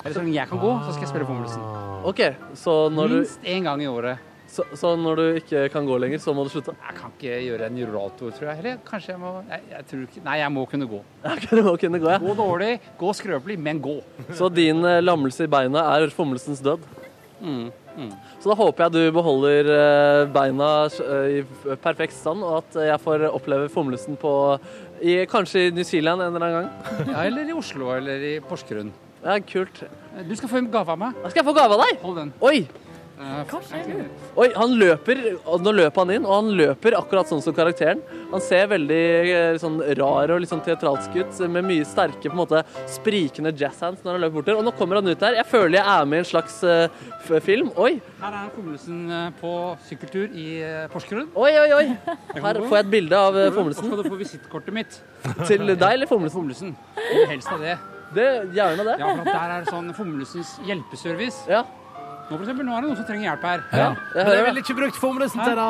Speaker 10: Eller så lenge jeg kan gå, så skal jeg spille Fommelsen.
Speaker 3: OK, så Ah. når du,
Speaker 10: Minst én gang i året.
Speaker 3: så, så når du ikke kan gå lenger, så må du slutte?
Speaker 10: Jeg kan ikke gjøre en rollator, tror jeg. Eller kanskje jeg må jeg, jeg tror ikke, Nei, jeg må kunne gå.
Speaker 3: Ja, ok, du må kunne gå, ja.
Speaker 10: Gå dårlig, gå skrøpelig, men gå.
Speaker 3: Så din eh, lammelse i beina er Fomlesens død? Mm. Så da håper jeg du beholder eh, beina eh, i f- perfekt stand, og at eh, jeg får oppleve Fomlesen på i, Kanskje i New Zealand en eller annen gang?
Speaker 10: Ja, eller i Oslo eller i Porsgrunn.
Speaker 3: Ja, kult.
Speaker 10: Du skal få en gave av meg.
Speaker 3: Skal jeg få gave av deg?
Speaker 10: Hold den. Eh,
Speaker 3: Oi!
Speaker 10: Hva skjer?
Speaker 3: Oi, han løper, og nå løper han inn, og han løper akkurat sånn som karakteren. Han ser veldig eh, sånn rar og litt sånn teatralsk ut, med mye sterke, på en måte sprikende jazzhands når han løper bort der. Og nå kommer han ut der. Jeg føler jeg er med i en slags eh, f- film. Oi!
Speaker 10: Her er Fommelsen eh, på sykkeltur i eh, Porsgrunn.
Speaker 3: Oi, oi, oi! Her får jeg et bilde av eh, Fommelsen.
Speaker 10: Og skal du få visittkortet mitt.
Speaker 3: Til deg eller Fommelsen?
Speaker 10: Fommelsen. Eller Helst av det.
Speaker 3: Det, gjerne det.
Speaker 10: Ja, for at der er sånn Fommelsens hjelpeservice.
Speaker 3: Ja.
Speaker 10: Nå for eksempel, nå er det noen som trenger hjelp her.
Speaker 3: Ja. Jeg hører det.
Speaker 10: ikke brukt Fommelsen
Speaker 3: til
Speaker 10: da.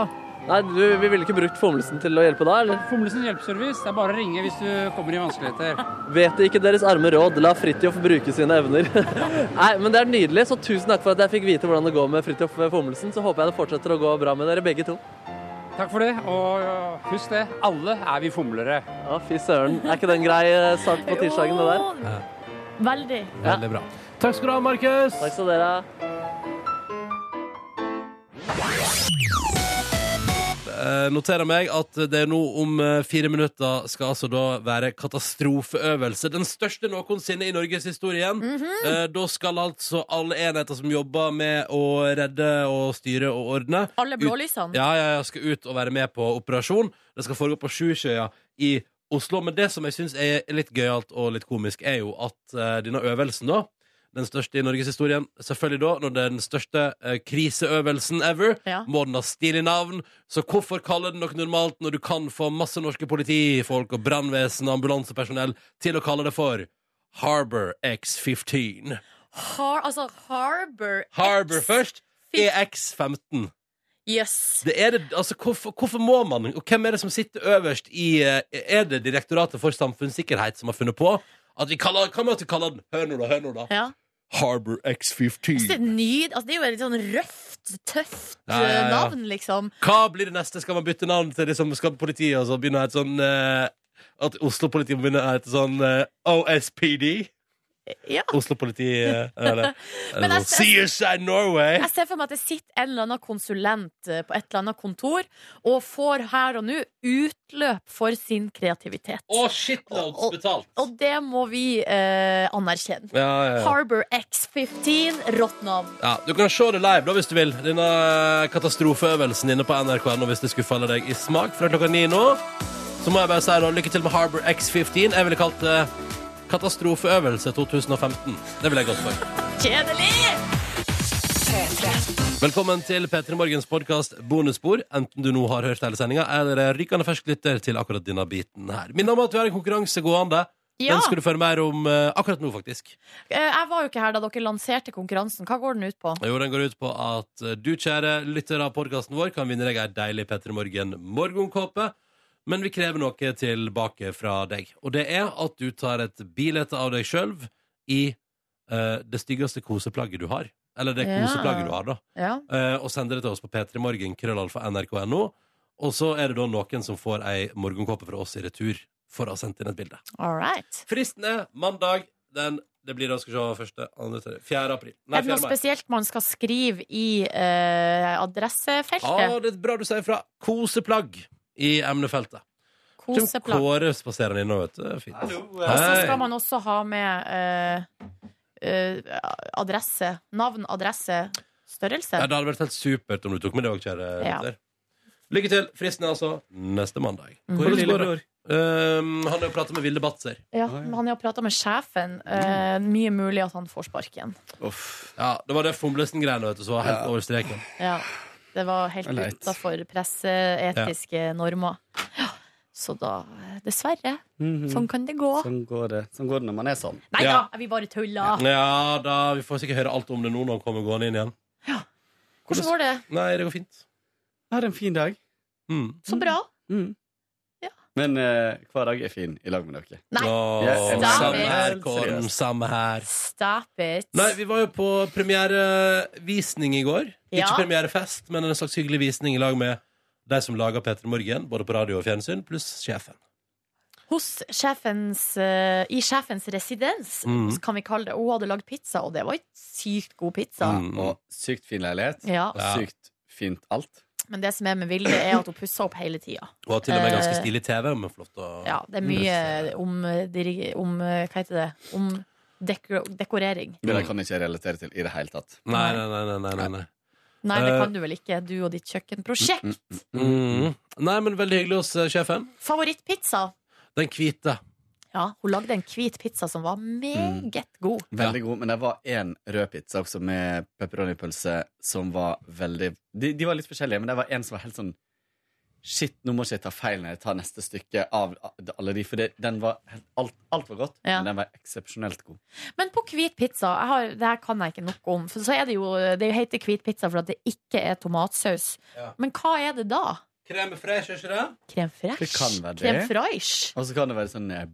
Speaker 3: Nei, du, vi ville ikke brukt Fommelsen til å hjelpe da, eller?
Speaker 10: Fommelsen hjelpeservice, det er bare å ringe hvis du kommer i vanskeligheter.
Speaker 3: Vet ikke deres arme råd, la Fridtjof bruke sine evner. Nei, men det er nydelig, så tusen takk for at jeg fikk vite hvordan det går med Fridtjof Fommelsen. Så håper jeg det fortsetter å gå bra med dere begge to.
Speaker 10: Takk for det, og øh, husk det, alle er vi fomlere.
Speaker 3: Ja, fy søren. Er ikke det en grei eh, start på tirsdagen, det der?
Speaker 9: Veldig.
Speaker 1: Veldig bra. Takk skal du ha, Markus.
Speaker 3: Takk skal dere ha.
Speaker 1: Eh, noterer meg at det nå om eh, fire minutter skal altså da være katastrofeøvelse. Den største noensinne i Norges historie. eh, da skal altså alle enheter som jobber med å redde og styre og ordne
Speaker 2: Alle
Speaker 1: ut-
Speaker 2: blålysene?
Speaker 1: Ja, ja, ja, skal ut og være med på operasjon. Det skal foregå på Sjusjøya i Oslo. Men det som jeg syns er litt gøyalt og litt komisk, er jo at eh, denne øvelsen, da den største i norgeshistorien. Selvfølgelig da, når det er den største eh, kriseøvelsen ever,
Speaker 2: Ja.
Speaker 1: må den ha stilig navn. Så hvorfor kalle den noe normalt når du kan få masse norske politifolk og brannvesen og ambulansepersonell til å kalle det for Harbor X15?
Speaker 2: Har, altså Harbor
Speaker 1: Harbor først, E EX15.
Speaker 2: Jøss.
Speaker 1: Det er det, altså, hvorfor, hvorfor må man? Og hvem er det som sitter øverst i eh, Er det Direktoratet for samfunnssikkerhet som har funnet på? At vi kaller, hva med at vi kaller den Hør nå, da. Hør nå, da.
Speaker 2: Ja.
Speaker 1: Harbor X15.
Speaker 2: Det, er ny, altså, det er jo et litt sånn røft, tøft
Speaker 1: Ja, ja,
Speaker 2: eh,
Speaker 1: ja.
Speaker 2: navn, liksom.
Speaker 1: Hva blir det neste? Skal man bytte navn til liksom, skal politiet og så begynne å hete sånn eh, At Oslo-politiet må begynne å hete sånn eh, OSPD?
Speaker 2: Ja.
Speaker 1: Oslo-politiet eh, eller,
Speaker 2: Men
Speaker 1: eller
Speaker 2: jeg- jeg-
Speaker 1: sånn, CSI Norway!
Speaker 2: Jeg ser for meg at det sitter en eller annen konsulent eh, på et eller annet kontor og får her og nå utløp for sin kreativitet.
Speaker 1: Og shitloads
Speaker 2: Og-
Speaker 1: betalt!
Speaker 2: Og det må vi eh, anerkjenne.
Speaker 1: Ja, ja, ja.
Speaker 2: Harbor X15, rått navn.
Speaker 1: ja, Du kan se det live da hvis du vil. Denne katastrofeøvelsen inne på nrk.no hvis det skulle falle deg i smak fra klokka ni nå. Så må jeg bare si da, lykke til med Harbor X15. Jeg ville kalt det Katastrofeøvelse 2015. Det vil jeg gått for.
Speaker 2: Kjedelig!
Speaker 1: Velkommen til P3 Morgens podkast Bonusspor. Enten du nå har hørt hele sendinga, eller er rykende fersk lytter til akkurat denne biten her. Minn om at vi har en konkurranse gående.
Speaker 2: Ja.
Speaker 1: Den skal du føre mer om eh, akkurat nå, faktisk.
Speaker 2: Eh, Jeg var jo ikke her da dere lanserte konkurransen. Hva går den ut på?
Speaker 1: Jo, den går ut på at eh, du, kjære lytter av podkasten vår, kan vinne deg ei deilig P3 Morgen morgenkåpe. Men vi krever noe tilbake fra deg. Og det er at du tar et bilde av deg sjøl i eh, det styggeste koseplagget du har. Eller det
Speaker 2: Ja.
Speaker 1: koseplagget du har, da.
Speaker 2: Ja.
Speaker 1: Eh, og sender det til oss på p3morgen, krøllalfa nrk.no. Og så er det da noen som får ei morgenkåpe fra oss i retur for å ha sendt inn et bilde.
Speaker 2: All right.
Speaker 1: Fristen er mandag den Det blir da skal vi se første, andre, tredje, 4. april.
Speaker 2: er
Speaker 1: Nei,
Speaker 2: det
Speaker 1: 4.
Speaker 2: noe
Speaker 1: mai.
Speaker 2: spesielt man skal skrive i eh,
Speaker 1: Ah,
Speaker 2: adressefeltet?
Speaker 1: det er bra du sier fra. Koseplagg i emnefeltet. Kjem
Speaker 2: Koseplagg.
Speaker 1: Kåre spaserende innom, vet du. Det er Fint.
Speaker 2: Og så
Speaker 1: Hei.
Speaker 2: skal man også ha med eh, eh, adresse. Navn, adresse, størrelse.
Speaker 1: Ja, det hadde vært helt supert om du tok med det òg, kjære
Speaker 2: Ja.
Speaker 1: lytter. Lykke til. Fristen er altså neste mandag.
Speaker 2: Mhm.
Speaker 1: Hvordan går det? Um, han har jo prata med Vilde Batzer.
Speaker 2: Ja, men han har prata med sjefen. eh, mye mulig at han får sparken.
Speaker 1: Ja, det var det fomlesen-greiene, vet du, som var helt over streken.
Speaker 2: Ja. Det var helt
Speaker 1: Det er leit.
Speaker 2: utafor presseetiske normer. Ja. Så da, eh, dessverre. Sånn kan det gå.
Speaker 11: Sånn går det, sånn går det når man er sånn.
Speaker 2: Nei
Speaker 1: Mm. Ja.
Speaker 2: da, vi bare tulla.
Speaker 1: Ja, da, Vi får sikkert høre alt om det nå når han kommer gående inn igjen.
Speaker 2: Hvordan går det?
Speaker 1: Nei, det går fint. Mm.
Speaker 11: Jeg hadde en fin dag.
Speaker 2: Så bra.
Speaker 11: Men eh, hver dag er fin i lag med dere.
Speaker 2: Nei.
Speaker 1: Åh,
Speaker 11: Jeg elsker
Speaker 1: samme
Speaker 11: dere.
Speaker 1: her, Kåren.
Speaker 11: Seriøst.
Speaker 1: Samme her.
Speaker 2: Stop it.
Speaker 1: Nei, vi var jo på premierevisning i går.
Speaker 2: Ja.
Speaker 1: Ikke premierefest, men en slags hyggelig visning i lag med de som lager P3 Morgen, både på radio og fjernsyn, pluss sjefen.
Speaker 2: Hos sjefens, eh, I sjefens residens,
Speaker 1: Mm.
Speaker 2: kan vi kalle det. Hun hadde lagd pizza, og det var ikke sykt god pizza.
Speaker 1: Mm.
Speaker 11: Og sykt fin leilighet.
Speaker 2: Ja.
Speaker 11: Og sykt fint alt.
Speaker 2: Men det som er med Vilde, er at hun pusser opp hele tida.
Speaker 1: Og har til og med ganske
Speaker 2: Eh,
Speaker 1: stilig TV. Men flott å
Speaker 2: Ja, det er mye om, eh, diri- om eh, Hva heter det? Om deko dekorering.
Speaker 11: Men
Speaker 1: Mm.
Speaker 11: det kan jeg ikke relatere til i det hele tatt.
Speaker 1: Nei, nei, nei. nei, nei, nei.
Speaker 2: Nei, det kan du vel ikke, du og ditt kjøkkenprosjekt.
Speaker 1: Mm. Nei, men veldig hyggelig hos eh, sjefen.
Speaker 2: Favorittpizza?
Speaker 1: Den hvite.
Speaker 2: Ja, hun lagde en hvit pizza som var meget god.
Speaker 11: Veldig god, men det var én rød pizza også med pepperoni-pølse som var veldig de, de var litt forskjellige, men det var en som var helt sånn Shit, nå må ikke jeg ta feil når jeg tar neste stykke av alle de, for det, den var helt, alt, alt var godt,
Speaker 2: Ja.
Speaker 11: men den var eksepsjonelt god.
Speaker 2: Men på hvit pizza jeg har, Det her kan jeg ikke nok om. For så er det jo, det heter hvit pizza for at det ikke er tomatsaus.
Speaker 1: Ja.
Speaker 2: Men hva er det da?
Speaker 1: Crème fraîche, ikke det?
Speaker 2: Crème fraîche?
Speaker 11: Det kan være det.
Speaker 2: Crème fraîche?
Speaker 11: Og så kan det være sånn eh,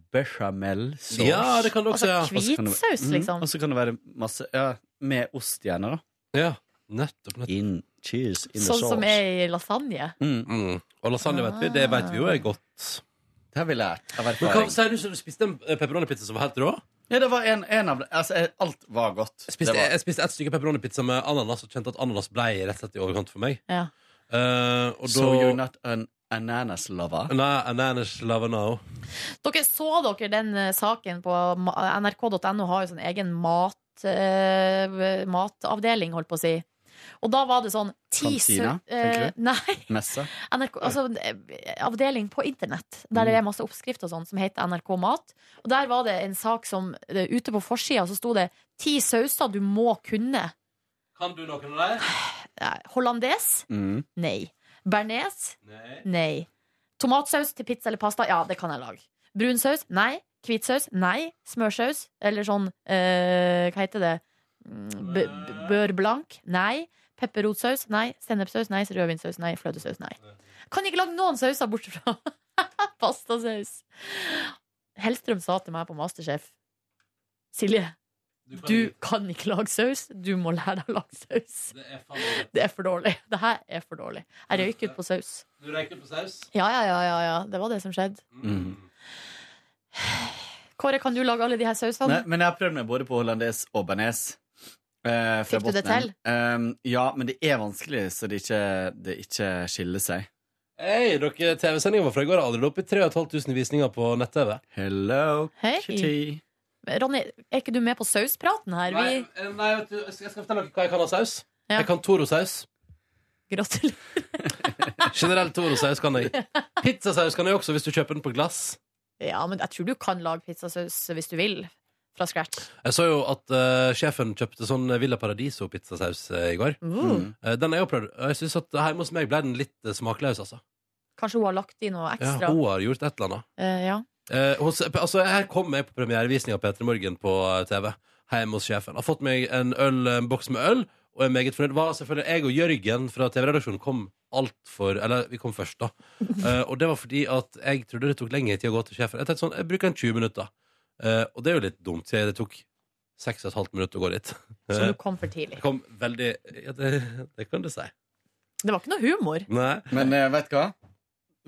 Speaker 11: bechamel-saus.
Speaker 1: Ja, det kan det også, Altså ja.
Speaker 11: Og så kan det-
Speaker 2: hvitsaus,
Speaker 11: Mhm,
Speaker 2: liksom.
Speaker 11: Og så kan det være masse Ja, med ost gjerne, da.
Speaker 1: Ja, nettopp.
Speaker 11: In cheese in the
Speaker 2: Sånn
Speaker 11: sauce.
Speaker 2: som er i lasagne?
Speaker 11: Mm.
Speaker 1: Og lasagne vet vi. Det vet vi jo er godt.
Speaker 11: Det har vi lært av
Speaker 1: Men hva
Speaker 11: erfaring.
Speaker 1: sier du som du spiste en eh, pepperoni-pizza som var helt rå?
Speaker 11: Ja, det var en, en av altså, eh, Alt var godt.
Speaker 1: Jeg spiste,
Speaker 11: Det var-
Speaker 1: jeg spiste et stykke pepperoni-pizza med ananas og kjente at ananas ble rett og slett i overkant for meg.
Speaker 2: Ja.
Speaker 1: Eh, og da,
Speaker 11: So you're not an ananas lover?
Speaker 1: Nei, ananas lover now.
Speaker 2: Dere så dere den eh, saken på ma- nrk.no har jo sånn egen mat, eh, matavdeling, holdt på å si. Og da var det sånn ti sø-
Speaker 11: Kantina,
Speaker 2: eh,
Speaker 11: tenker du?
Speaker 2: Nei,
Speaker 11: Messe?
Speaker 2: NRK, altså, eh, avdeling på internett der det
Speaker 11: Mm.
Speaker 2: er masse oppskrifter og sånn som heter NRK Mat. Og der var det en sak som eh, ute på forsida så sto det ti sauser du må kunne.
Speaker 1: Kan du noen av dem?
Speaker 2: Eh, Hollandes?
Speaker 11: Mm.
Speaker 2: Nei. Bearnés?
Speaker 1: Nei.
Speaker 2: Nei. Tomatsaus til pizza eller pasta? Ja, det kan jeg lage. Brun saus? Nei. Hvit saus? Nei. Smørsaus? Eller sånn eh, Hva heter det? Mm, B b- bør blank? Nei. Pepperrotsaus? Nei. Sennepssaus? Nei. Rødvinsaus? Nei. Fløtesaus? Nei. Kan ikke lage noen sauser bortsett fra pastasaus. Hellstrøm sa til meg på Masterchef Silje, du kan ikke lage saus. Du må lære deg å lage saus. Det er for dårlig. Det her er for dårlig. Jeg røyk ut på saus.
Speaker 1: Du røyker på saus? Mm.
Speaker 2: Ja, ja, ja, ja, ja. Det var det som skjedde.
Speaker 11: Mm.
Speaker 2: Kåre, kan du lage alle de her sausene?
Speaker 11: Nei, men jeg har prøvd meg både på hollandes og bearnés. eh, fra
Speaker 2: Fikk du det
Speaker 11: Bosnia.
Speaker 2: til?
Speaker 11: Um, ja, men det er vanskelig, så det ikke, det ikke skiller seg.
Speaker 1: Hei, dere, TV-sendinga vår fra i går har aldri oppe i 3500 visninger på nett-TV.
Speaker 11: Hello,
Speaker 2: Hei. Ronny, er ikke du med på sauspraten her?
Speaker 1: Nei,
Speaker 2: Vi
Speaker 1: eh, nei, vet du, jeg skal jeg skal fortelle dere hva jeg kan av saus.
Speaker 2: Ja.
Speaker 1: Jeg kan Toro-saus.
Speaker 2: Gratulerer.
Speaker 1: Generell Toro-saus kan jeg. Pizzasaus kan jeg også, hvis du kjøper den på glass.
Speaker 2: Ja, men jeg tror du kan lage pizzasaus hvis du vil. Fra scratch.
Speaker 1: Jeg så jo at eh, sjefen kjøpte sånn Villa Paradiso-pizzasaus eh, i går.
Speaker 2: Mm.
Speaker 1: Eh, den har jeg jo prøvd. og Jeg synes at Hjemme hos meg ble den litt eh, smakløs, altså.
Speaker 2: Kanskje hun har lagt i noe
Speaker 1: Ja,
Speaker 2: ekstra.
Speaker 1: hun har gjort et eller annet.
Speaker 2: Eh, ja.
Speaker 1: Eh, hos, altså, her kom jeg på premierevisning av Peter Morgen på eh, TV. Hjemme hos sjefen. Har fått meg en, øl, en boks med øl, og er meget fornøyd. Var selvfølgelig Jeg og Jørgen fra TV-redaksjonen kom altfor Eller vi kom først, da. Eh, og det var fordi at jeg trodde det tok lengre tid å gå til sjefen. Jeg tenkte sånn, jeg bruker en 20 minutter. Eh, og det er jo litt dumt, siden det tok 6 15 minutter å gå dit.
Speaker 2: Så du kom for tidlig.
Speaker 1: Jeg kom veldig Ja, det, det kan du si.
Speaker 2: Det var ikke noe humor.
Speaker 1: Nei.
Speaker 11: Men eh, vet du hva?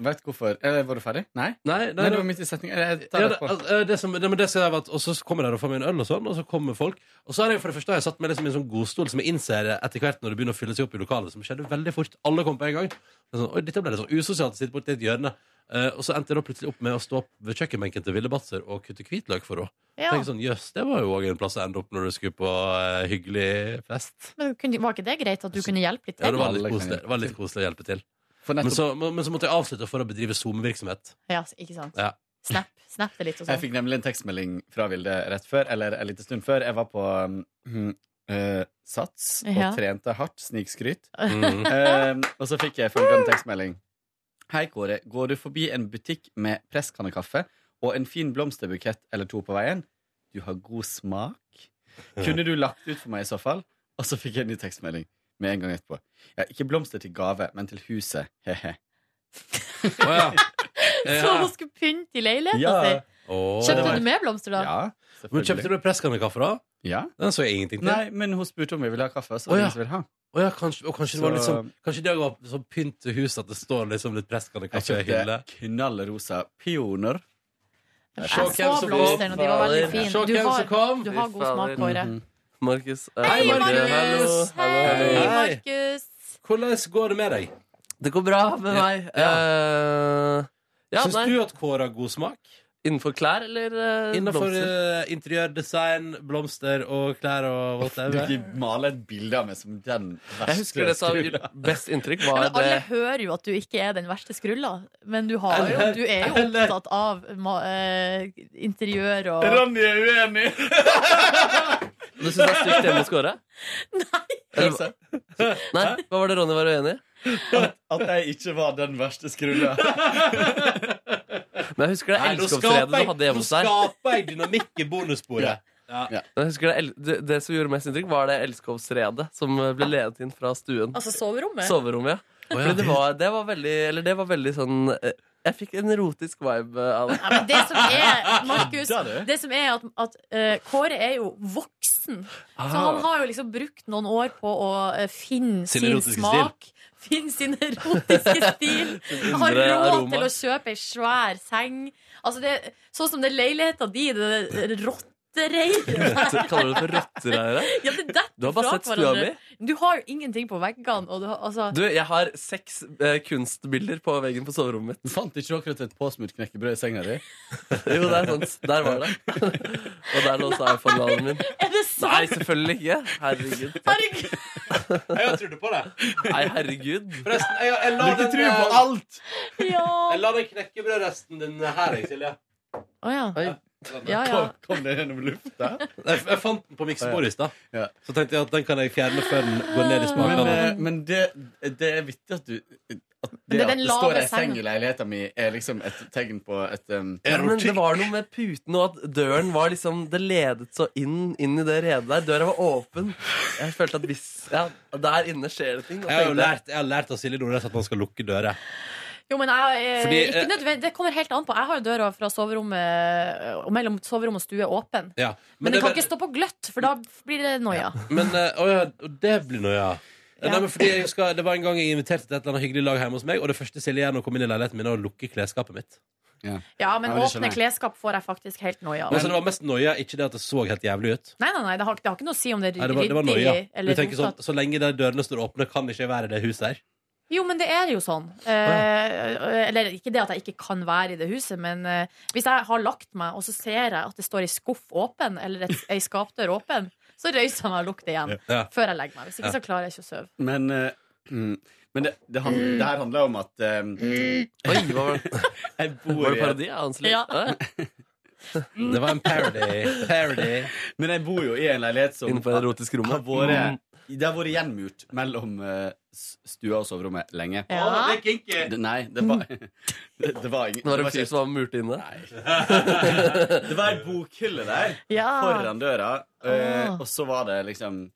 Speaker 11: Vet du hvorfor? Eller var du ferdig? Nei?
Speaker 1: Nei,
Speaker 11: det var midt i setningen. Jeg tar
Speaker 1: Ja,
Speaker 11: det
Speaker 1: det,
Speaker 11: på.
Speaker 1: altså, eh, det som, det, men det skal jeg være at, og så kommer de og får meg en øl, og sånn Og så kommer folk. Og så har jeg for det første har jeg satt meg liksom i en sånn godstol som jeg innser etter hvert når det begynner å fylle seg opp i lokalet, som skjedde veldig fort. Alle kom på en gang. Det er Sånn, Oi, dette ble litt sånn usosialt å sitte borti et hjørne. Eh, og så endte jeg da plutselig opp med å stå opp ved kjøkkenbenken til Ville Batzer og kutte hvitløk for henne.
Speaker 2: Ja.
Speaker 1: Tenk sånn, Jøss, det var jo òg en plass å ende opp når du skulle på eh, hyggelig fest.
Speaker 2: Men kunne- var ikke det greit at du kunne hjelpe litt
Speaker 1: Ja,
Speaker 2: til?
Speaker 1: det var litt koselig, det var litt koselig å hjelpe til.
Speaker 11: nettopp-
Speaker 1: Men så, men, men så måtte jeg avslutte for å bedrive SoMe-virksomhet.
Speaker 2: Ja, ikke sant.
Speaker 1: Ja.
Speaker 2: Snap, snap det litt og
Speaker 11: Jeg
Speaker 2: sånn.
Speaker 11: fikk nemlig en tekstmelding fra Vilde rett før, eller en liten stund før. Jeg var på mm, eh, Sats og
Speaker 2: Ja.
Speaker 11: trente hardt. Snikskryt.
Speaker 1: Mhm.
Speaker 11: Eh, og så fikk jeg følgende tekstmelding. Hei, Kåre. Går du forbi en butikk med presskannekaffe og en fin blomsterbukett eller to på veien? Du har god smak. Kunne du lagt ut for meg i så fall? Og så fikk jeg en ny tekstmelding med en gang etterpå. Ja, ikke blomster til gave, men til huset. He-he.
Speaker 2: Så hun skulle pynte i leiligheten sin!
Speaker 1: Åh.
Speaker 2: Kjøpte du med blomster, da?
Speaker 1: Men kjøpte du presskannekaffe, da?
Speaker 11: Ja.
Speaker 1: Den så jeg ingenting til.
Speaker 11: Nei, men hun spurte om vi ville ha kaffe. Så
Speaker 1: Å, ja.
Speaker 11: ingen som ville ha.
Speaker 1: Å ja, kanskje, og kanskje det var litt
Speaker 11: Så-
Speaker 1: sånn Kanskje det var sånn pynt til huset at det står liksom litt
Speaker 11: Jeg
Speaker 1: presskannekaffe i hylle.
Speaker 11: kjøpte knallrosa peoner.
Speaker 2: Jeg så blomsterne, og de var veldig fine.
Speaker 1: Se
Speaker 2: Du
Speaker 1: hvem
Speaker 2: har-
Speaker 1: som kom.
Speaker 2: Du har god smak, Kåre.
Speaker 3: Markus. eh,
Speaker 2: Mm. Hei,
Speaker 3: Markus.
Speaker 2: Markus!
Speaker 3: Hallo, hallo,
Speaker 2: Hei,
Speaker 3: hallo.
Speaker 2: Markus!
Speaker 1: Hvordan går det med deg?
Speaker 3: Det går bra med meg.
Speaker 1: Ja.
Speaker 3: Eh, ja,
Speaker 1: Syns
Speaker 3: nei.
Speaker 1: du at Kåre har god smak?
Speaker 3: Innenfor klær eller eh,
Speaker 1: Innenfor
Speaker 3: blomster?
Speaker 1: eh, interiørdesign, blomster og klær og whatever.
Speaker 10: Du maler et bilde av meg som den verste
Speaker 3: Jeg husker det som gjorde best inntrykk, var eh,
Speaker 10: Ja, men
Speaker 3: det
Speaker 10: alle
Speaker 2: Alle hører jo at du ikke er den verste skrulla, men du, har jo,
Speaker 10: Eller-
Speaker 2: du er jo
Speaker 10: eller-
Speaker 2: opptatt av ma- eh, interiør og
Speaker 10: Ronny er uenig!
Speaker 3: Du syns det er stygt hjemme hos Kåre? Nei. Nei? Hva var det Ronny var uenig i?
Speaker 10: At, at jeg ikke var den verste skrulla.
Speaker 3: Men jeg husker det
Speaker 1: Nei, nå
Speaker 3: elskovsfredet
Speaker 1: skaper jeg-
Speaker 3: du hadde hjemme hos
Speaker 1: Nå
Speaker 3: deg.
Speaker 1: skaper jeg dynamikk i bonussporet. Ja.
Speaker 3: Men jeg husker det, el- det, det som gjorde mest inntrykk, var det elskovsredet som eh, ble ledet inn fra stuen.
Speaker 12: Altså soverommet?
Speaker 3: Soverommet, ja.
Speaker 12: Å, ja.
Speaker 3: Fordi det, var, det, var veldig, eller det var veldig sånn eh, Jeg fikk en erotisk vibe eh, av det.
Speaker 2: men det som er, Markus,
Speaker 3: Kødder du?
Speaker 2: det som er at, at eh, Kåre er jo voksen.
Speaker 3: Ah.
Speaker 2: Så han har jo liksom brukt noen år på å eh, finne
Speaker 12: Sin
Speaker 2: sin,
Speaker 12: erotiske
Speaker 2: smak. Finne sin erotiske stil.
Speaker 12: Sin
Speaker 2: Har
Speaker 12: indre
Speaker 2: råd
Speaker 12: aroma.
Speaker 2: til å kjøpe ei svær seng. Altså det, sånn som det er leiligheta di, det er rottereiret
Speaker 3: Røtter- Kaller du det for rottereire?
Speaker 2: Ja, det detter
Speaker 3: Du har bare
Speaker 2: fra
Speaker 3: sett stua
Speaker 2: hverandre. Du har jo ingenting på veggene. Og du har, altså,
Speaker 3: Du, jeg har seks eh, kunstbilder på veggen på soverommet mitt.
Speaker 10: Fant ikke dere et påsmurt knekkebrød i senga di?
Speaker 3: jo, det er sant. Der var det. Og der lå også iPhone-laden min.
Speaker 2: Er det sant?
Speaker 3: Nei, selvfølgelig ikke. Herregud.
Speaker 2: Herregud.
Speaker 1: Jeg trodde på det.
Speaker 3: Nei, herregud.
Speaker 1: Forresten, jeg, jeg la
Speaker 3: Du ikke
Speaker 1: den,
Speaker 3: tror på
Speaker 1: eh,
Speaker 3: alt.
Speaker 1: Jeg la den knekkebrødresten din her, jeg, Silje.
Speaker 2: Å ja. Ja, ja.
Speaker 10: Kom, kom det gjennom lufta?
Speaker 1: Jeg, jeg fant den på miksebordet i stad. Så tenkte jeg at den kan jeg fjerne før den går ned i
Speaker 10: Men,
Speaker 1: smakene.
Speaker 11: Mm.
Speaker 10: eh, men det, det er vittig at du at
Speaker 1: Men det
Speaker 10: det,
Speaker 1: er
Speaker 10: at
Speaker 1: den
Speaker 10: det
Speaker 1: lave
Speaker 10: står ei
Speaker 1: senga.
Speaker 10: seng i leiligheta mi, er liksom et tegn på et um,
Speaker 3: Ja, men det var noe med puten og at døren var liksom Det ledet så inn, inn i det redet der. Døra var åpen. Jeg følte at hvis ja, Der inne skjer det ting. og
Speaker 1: Jeg har jo
Speaker 3: tenkte-
Speaker 1: lært, jeg har lært av Silje Nordnes at man skal lukke dører.
Speaker 2: Jo, men jeg, eh,
Speaker 1: Fordi, eh,
Speaker 2: ikke nødvendig, Det kommer helt an på. Jeg har jo døra fra soverommet eh, og mellom soverom og stue åpen.
Speaker 1: Ja.
Speaker 2: Men, den kan ikke stå på gløtt, for da blir det noia.
Speaker 1: Men eh, å ja, og det blir noe, ja.
Speaker 2: Ja.
Speaker 1: Nei, men fordi jeg husker, det var en gang jeg inviterte til et eller annet hyggelig lag hjemme hos meg, og det første Silje gjør når hun kommer inn i leiligheten min, er å lukke klesskapet mitt.
Speaker 2: Ja, men
Speaker 1: Ja, det skjønner
Speaker 2: åpne klesskap får jeg faktisk helt noia av.
Speaker 1: Men, altså, det var mest noia, ikke det at det så helt jævlig ut.
Speaker 2: Nei, nei, nei, det har, det har ikke noe å si om det
Speaker 1: Nei,
Speaker 2: er
Speaker 1: det var, det var
Speaker 2: ryddig
Speaker 1: noia. Du
Speaker 2: eller
Speaker 1: tenker sånn,
Speaker 2: rotete.
Speaker 1: så lenge de dørene står åpne, kan det ikke være i det huset her.
Speaker 2: Jo, men det er jo sånn. Eh, eller ikke det at jeg ikke kan være i det huset, men eh, hvis jeg har lagt meg, og så ser jeg at det står ei skuff åpen, eller et, ei skapdør åpen, så røyser jeg meg og lukter igjen
Speaker 10: Ja.
Speaker 2: før jeg legger meg. Hvis ikke
Speaker 10: Ja.
Speaker 2: så klarer jeg ikke å sove.
Speaker 10: Men, eh, mm, men det, det, handler,
Speaker 2: Mm.
Speaker 10: det her handler om at um,
Speaker 3: Oi, hva var det?
Speaker 10: Jeg bor
Speaker 3: Var det
Speaker 10: i et-
Speaker 3: parodi, ja, Hansel? Ja.
Speaker 10: Det
Speaker 1: var en parody. Parody.
Speaker 10: Men jeg bor jo i en leilighet som
Speaker 3: Innenfor erotisk Mm. rom.
Speaker 10: har vært
Speaker 11: Mm.
Speaker 10: Det har vært gjenmurt mellom eh, s- stua og soverommet lenge.
Speaker 3: Ja. Å, det
Speaker 10: Det, nei, det var Det, det var ingen
Speaker 3: Det var en
Speaker 10: ikke-
Speaker 3: fyr som var murt inne?
Speaker 10: det var ei bokhylle der
Speaker 3: Ja.
Speaker 13: Ah.
Speaker 10: foran døra, eh,
Speaker 3: Ah.
Speaker 10: og så var det liksom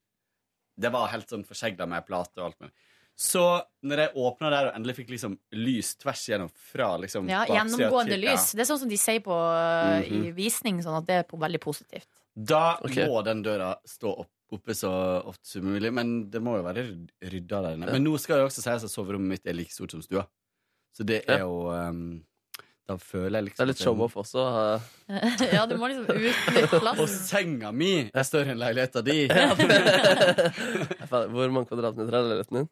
Speaker 10: Det var helt sånn forsegla med plate og alt mulig. Så når jeg åpna der og endelig fikk liksom lys tvers igjennom fra liksom
Speaker 2: Ja,
Speaker 10: baksida
Speaker 2: gjennomgående
Speaker 10: til- ja.
Speaker 2: lys. Det er sånn som de sier på eh, i
Speaker 10: Mhm.
Speaker 2: visning, sånn at det er på veldig positivt.
Speaker 10: Da
Speaker 2: Ok.
Speaker 10: må den døra stå opp, oppe så ofte som mulig, men det må jo være ryd- rydda der inne.
Speaker 3: Ja.
Speaker 10: Men nå skal jeg også sies at soverommet mitt er like stort som stua. Så det er
Speaker 3: Ja.
Speaker 10: jo ehm, Da føler jeg liksom
Speaker 3: Det er litt show-off også.
Speaker 2: ja, du må liksom utnytte
Speaker 10: Og
Speaker 2: plassen.
Speaker 10: senga mi er større enn leiligheta di.
Speaker 3: eh. Faen, Hvor mange kvadratmeter er leiligheten din?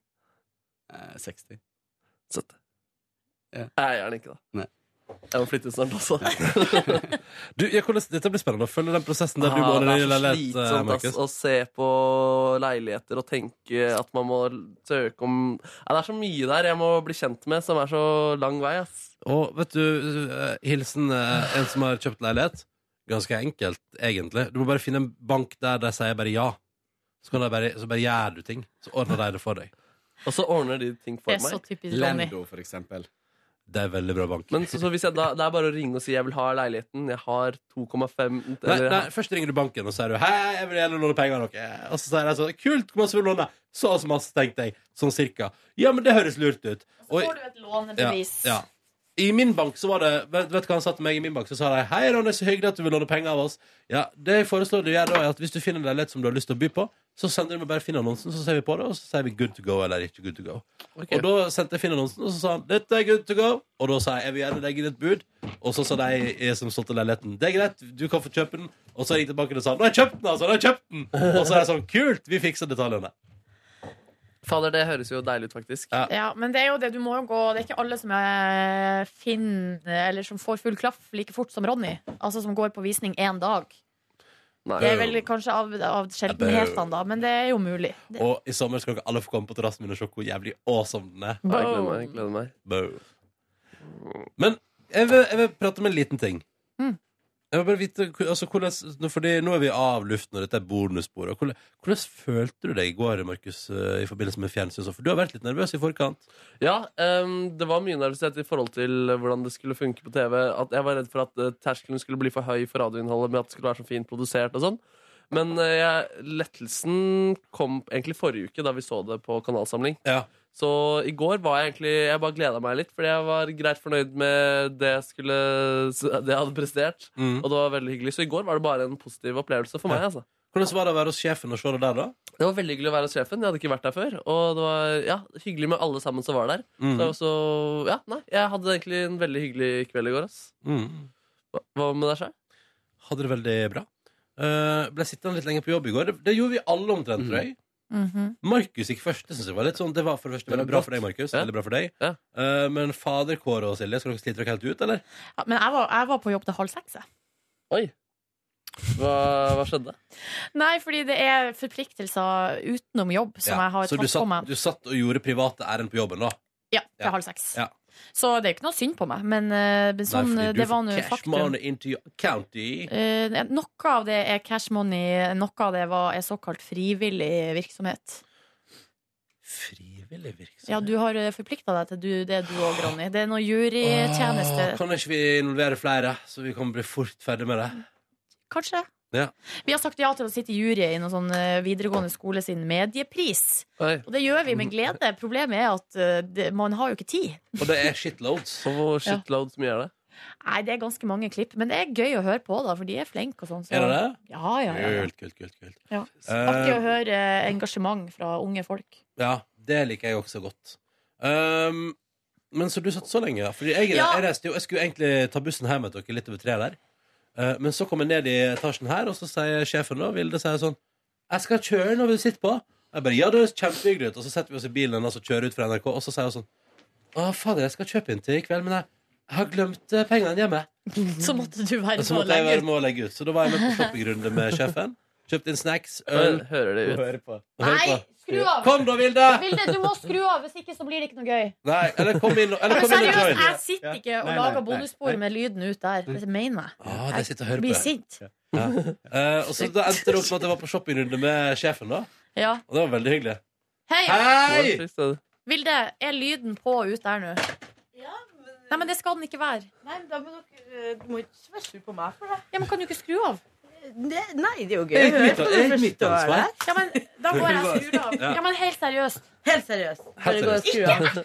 Speaker 10: 60.
Speaker 3: 70. Nei, jeg er den ikke, da.
Speaker 10: Nei.
Speaker 3: Jeg må flytte snart også.
Speaker 1: Du, ja, hvordan, dette blir spennende å følge den prosessen der du
Speaker 3: Ah,
Speaker 1: måler
Speaker 3: det
Speaker 1: din
Speaker 3: er så
Speaker 1: leilighet, eh,
Speaker 3: slitsomt ass,
Speaker 1: Markus.
Speaker 3: å se på leiligheter og tenke at man må søke om ja, Det er så mye der jeg må bli kjent med, som er så lang vei. ass.
Speaker 1: Og vet du, eh, hilsen eh, en som har kjøpt leilighet. Ganske enkelt, egentlig. Du må bare finne en bank der de sier bare ja. Så, kan de bare, så bare gjør du ting. Så ordner de det for deg.
Speaker 3: Og så ordner de ting for
Speaker 1: Det er
Speaker 3: meg.
Speaker 1: så typisk Ronny. Lendo,
Speaker 10: for eksempel.
Speaker 1: Det er veldig bra bank.
Speaker 3: Men så, så hvis jeg da, det er bare å ringe og si jeg vil ha leiligheten, jeg har 2,5
Speaker 1: Nei,
Speaker 3: eller-
Speaker 1: nei, først ringer du banken og sier du, Hei, jeg vil gjerne låne penger av dere. Og så sier de sånn Kult, hvor masse vil du låne? Så og så masse, tenkte jeg. Sånn cirka. Ja, men det høres lurt ut. Og-
Speaker 2: Får du et lånebevis?
Speaker 1: Ja, ja. I min bank så var det Vet, vet du hva han sa til meg i min bank? Så sa de Hei, Ronny, så hyggelig at du vil låne penger av oss. Ja, Det jeg foreslår du gjør da, er at hvis du finner en leilighet som du har lyst til å by på, så sender du meg bare Finn-annonsen, så ser vi på det, og så sier vi good to go eller ikke good to go. Og da sendte jeg Finn-annonsen, og så sa han dette er good to go. Og da sa jeg jeg vil gjerne legge inn et bud, og så sa de jeg som solgte leiligheten det er greit, du kan få kjøpe den. Og så ringte banken og sa nå har jeg kjøpt den, altså! Nå har jeg kjøpt den! Og så er det sånn kult, vi fikser detaljene.
Speaker 3: Fader, det høres jo deilig ut, faktisk.
Speaker 2: Ja, men det er jo det, du må jo gå Det er ikke alle som er Finn Eller som får full klaff like fort som Ronny Altså som går på visning en dag
Speaker 1: Nei.
Speaker 2: Det er vel kanskje av, av sjeldenhetene da Men det er jo mulig det,
Speaker 1: Og i sommer skal dere alle få komme på terrassen min og se hvor jævlig awesome den er.
Speaker 2: Ja, jeg gleder meg, jeg
Speaker 1: Bow. Men jeg vil, jeg vil prate om en liten ting.
Speaker 2: Mm.
Speaker 1: Jeg vil bare vite, hvor- altså, hvordan, nå- fordi Nå er vi av luften, og dette er bonussporet. Hvordan, hvordan følte du deg i går Markus, eh, i forbindelse med fjernsynet? For du har vært litt nervøs i forkant.
Speaker 3: Ja, ehm, det var mye nervøsitet i forhold til hvordan det skulle funke på TV. At jeg var redd for at eh, terskelen skulle bli for høy for radioinnholdet med at det skulle være så fint produsert og sånn. Men eh, jeg, lettelsen kom egentlig forrige uke, da vi så det på kanalsamling. Så i går var jeg egentlig Jeg bare gleda meg litt, fordi jeg var greit fornøyd med det jeg, skulle, det jeg hadde prestert.
Speaker 1: Mm.
Speaker 3: Og det var veldig hyggelig. Så i går var det bare en positiv opplevelse for meg.
Speaker 1: Ja.
Speaker 3: altså
Speaker 1: Hvordan var det å være hos sjefen og se det der, da?
Speaker 3: det var veldig hyggelig å være hos sjefen. Jeg hadde ikke vært der før. Og det var ja, hyggelig med alle sammen som var der.
Speaker 1: Mhm.
Speaker 3: Så jeg, var så- ja, nei, jeg hadde egentlig en veldig hyggelig kveld i går. Ass. Hva, hva med deg sjøl?
Speaker 1: Mm. Hadde det veldig bra. Eh, ble sittende litt lenger på jobb i går. Det, det gjorde vi alle
Speaker 3: Mm.
Speaker 1: omtrent, tror jeg.
Speaker 9: Mhm.
Speaker 1: Markus gikk først. Det synes jeg var litt sånn Det var for det første
Speaker 3: Det var
Speaker 1: veldig bra
Speaker 3: godt.
Speaker 1: for deg, Markus. Veldig bra for deg. Eh, men fader Kåre og Silje, skal dere slite dere helt ut, eller?
Speaker 2: ja, Men jeg var, jeg var på jobb til halv seks jeg.
Speaker 3: Oi. Hva, hva skjedde?
Speaker 2: Nei, fordi det er forpliktelser utenom jobb Som
Speaker 1: Ja,
Speaker 2: jeg har
Speaker 1: så
Speaker 2: tatt
Speaker 1: du
Speaker 2: på
Speaker 1: satt,
Speaker 2: meg
Speaker 1: du satt og gjorde private ærend på jobben, da?
Speaker 2: Ja, til
Speaker 1: Ja.
Speaker 2: halv seks
Speaker 1: Ja.
Speaker 2: Så det er ikke noe synd på meg Men, eh, men sånn,
Speaker 1: Nei, fordi
Speaker 2: det var
Speaker 1: du
Speaker 2: nå
Speaker 1: får cash
Speaker 2: faktum
Speaker 1: money into your county.
Speaker 2: Eh, noe av det er cash money, noe av det var, er såkalt frivillig virksomhet.
Speaker 1: Frivillig virksomhet?
Speaker 2: Ja, du har forplikta deg til du, det du òg, Ronny. Det er noe jurytjeneste.
Speaker 1: Åh, Ah, Kan ikke vi involvere flere, så vi kan bli fort ferdig med det?
Speaker 2: Kanskje.
Speaker 1: Ah. Ja.
Speaker 2: Vi har sagt ja til å sitte i jury i noen sånn eh, videregående skole sin mediepris.
Speaker 3: Oi.
Speaker 2: Og det gjør vi med glede. Problemet er at eh, det, man har jo ikke tid.
Speaker 1: Og det er shitloads.
Speaker 3: Og hvor shitloads mye er det?
Speaker 2: Nei, det er ganske mange klipp. Men det er gøy å høre på, da, for de er flinke og sånn. så-
Speaker 1: Er det det?
Speaker 2: Ja, ja, ja. ja.
Speaker 1: Kult, kult, kult. kult.
Speaker 2: ja. Artig å
Speaker 1: Eh,
Speaker 2: høre eh, engasjement fra unge folk.
Speaker 1: ja, det liker jeg også godt. Um, men så du satt så lenge, ja. Fordi jeg,
Speaker 2: Ja.
Speaker 1: jeg reiste jo Jeg skulle egentlig ta bussen hjem med dere litt over tre der. Eh, men så kom jeg ned i etasjen her, og så sier sjefen da, Vilde sier sånn 'Jeg skal kjøre når vi sitter på.' Jeg bare 'Ja, det høres kjempehyggelig ut.' Og så setter vi oss i bilen hennes og kjører ut fra NRK, og så sier hun sånn 'Å, fader, jeg skal kjøpe inn til i kveld, men jeg, jeg har glemt eh, pengene hjemme.'
Speaker 2: Så måtte du være
Speaker 1: Og så
Speaker 2: med å
Speaker 1: måtte jeg
Speaker 2: legge
Speaker 1: være med å legge ut. Så da var jeg med på shoppingrunde med sjefen. Kjøpte inn snacks, øl.
Speaker 3: Hører det ut?
Speaker 1: Og hører på.
Speaker 2: Nei, skru av!
Speaker 1: Kom da, Vilde!
Speaker 2: Vilde, du må skru av, hvis ikke så blir det ikke noe gøy.
Speaker 1: Nei, eller kom inn, eller
Speaker 2: Men
Speaker 1: kom inn og
Speaker 2: seriøst,
Speaker 1: join.
Speaker 2: jeg sitter ikke og
Speaker 1: Nei, nei,
Speaker 2: lager
Speaker 1: nei,
Speaker 2: bonusspor med lyden ut der. Det mener jeg.
Speaker 1: Ah, det sitter og hører på.
Speaker 2: Blir sint.
Speaker 1: Ja. Eh, og så da endte det opp med at jeg var på shoppingrunde med sjefen, da.
Speaker 2: Ja.
Speaker 1: Og det var veldig hyggelig.
Speaker 2: Hei!
Speaker 1: Hei!
Speaker 2: Vilde, er lyden på ut der nå? Nei, men det skal den ikke være.
Speaker 13: Nei, da må dere, eh, Du må ikke være sur på meg for det.
Speaker 2: Ja, men Kan du ikke skru av?
Speaker 13: Det, nei, det er jo gøy.
Speaker 2: Det er ikke
Speaker 13: å høre
Speaker 2: mitt- det
Speaker 13: på
Speaker 2: er
Speaker 13: når
Speaker 2: ikke
Speaker 13: du
Speaker 2: mitt
Speaker 13: først er
Speaker 2: ansvar.
Speaker 13: her.
Speaker 2: Ja, men da går jeg og skrur av.
Speaker 13: Ja.
Speaker 2: Ja, men helt seriøst.
Speaker 13: Helt seriøst.
Speaker 1: Helt
Speaker 13: Bare gå og skru
Speaker 2: seriøst.
Speaker 13: av.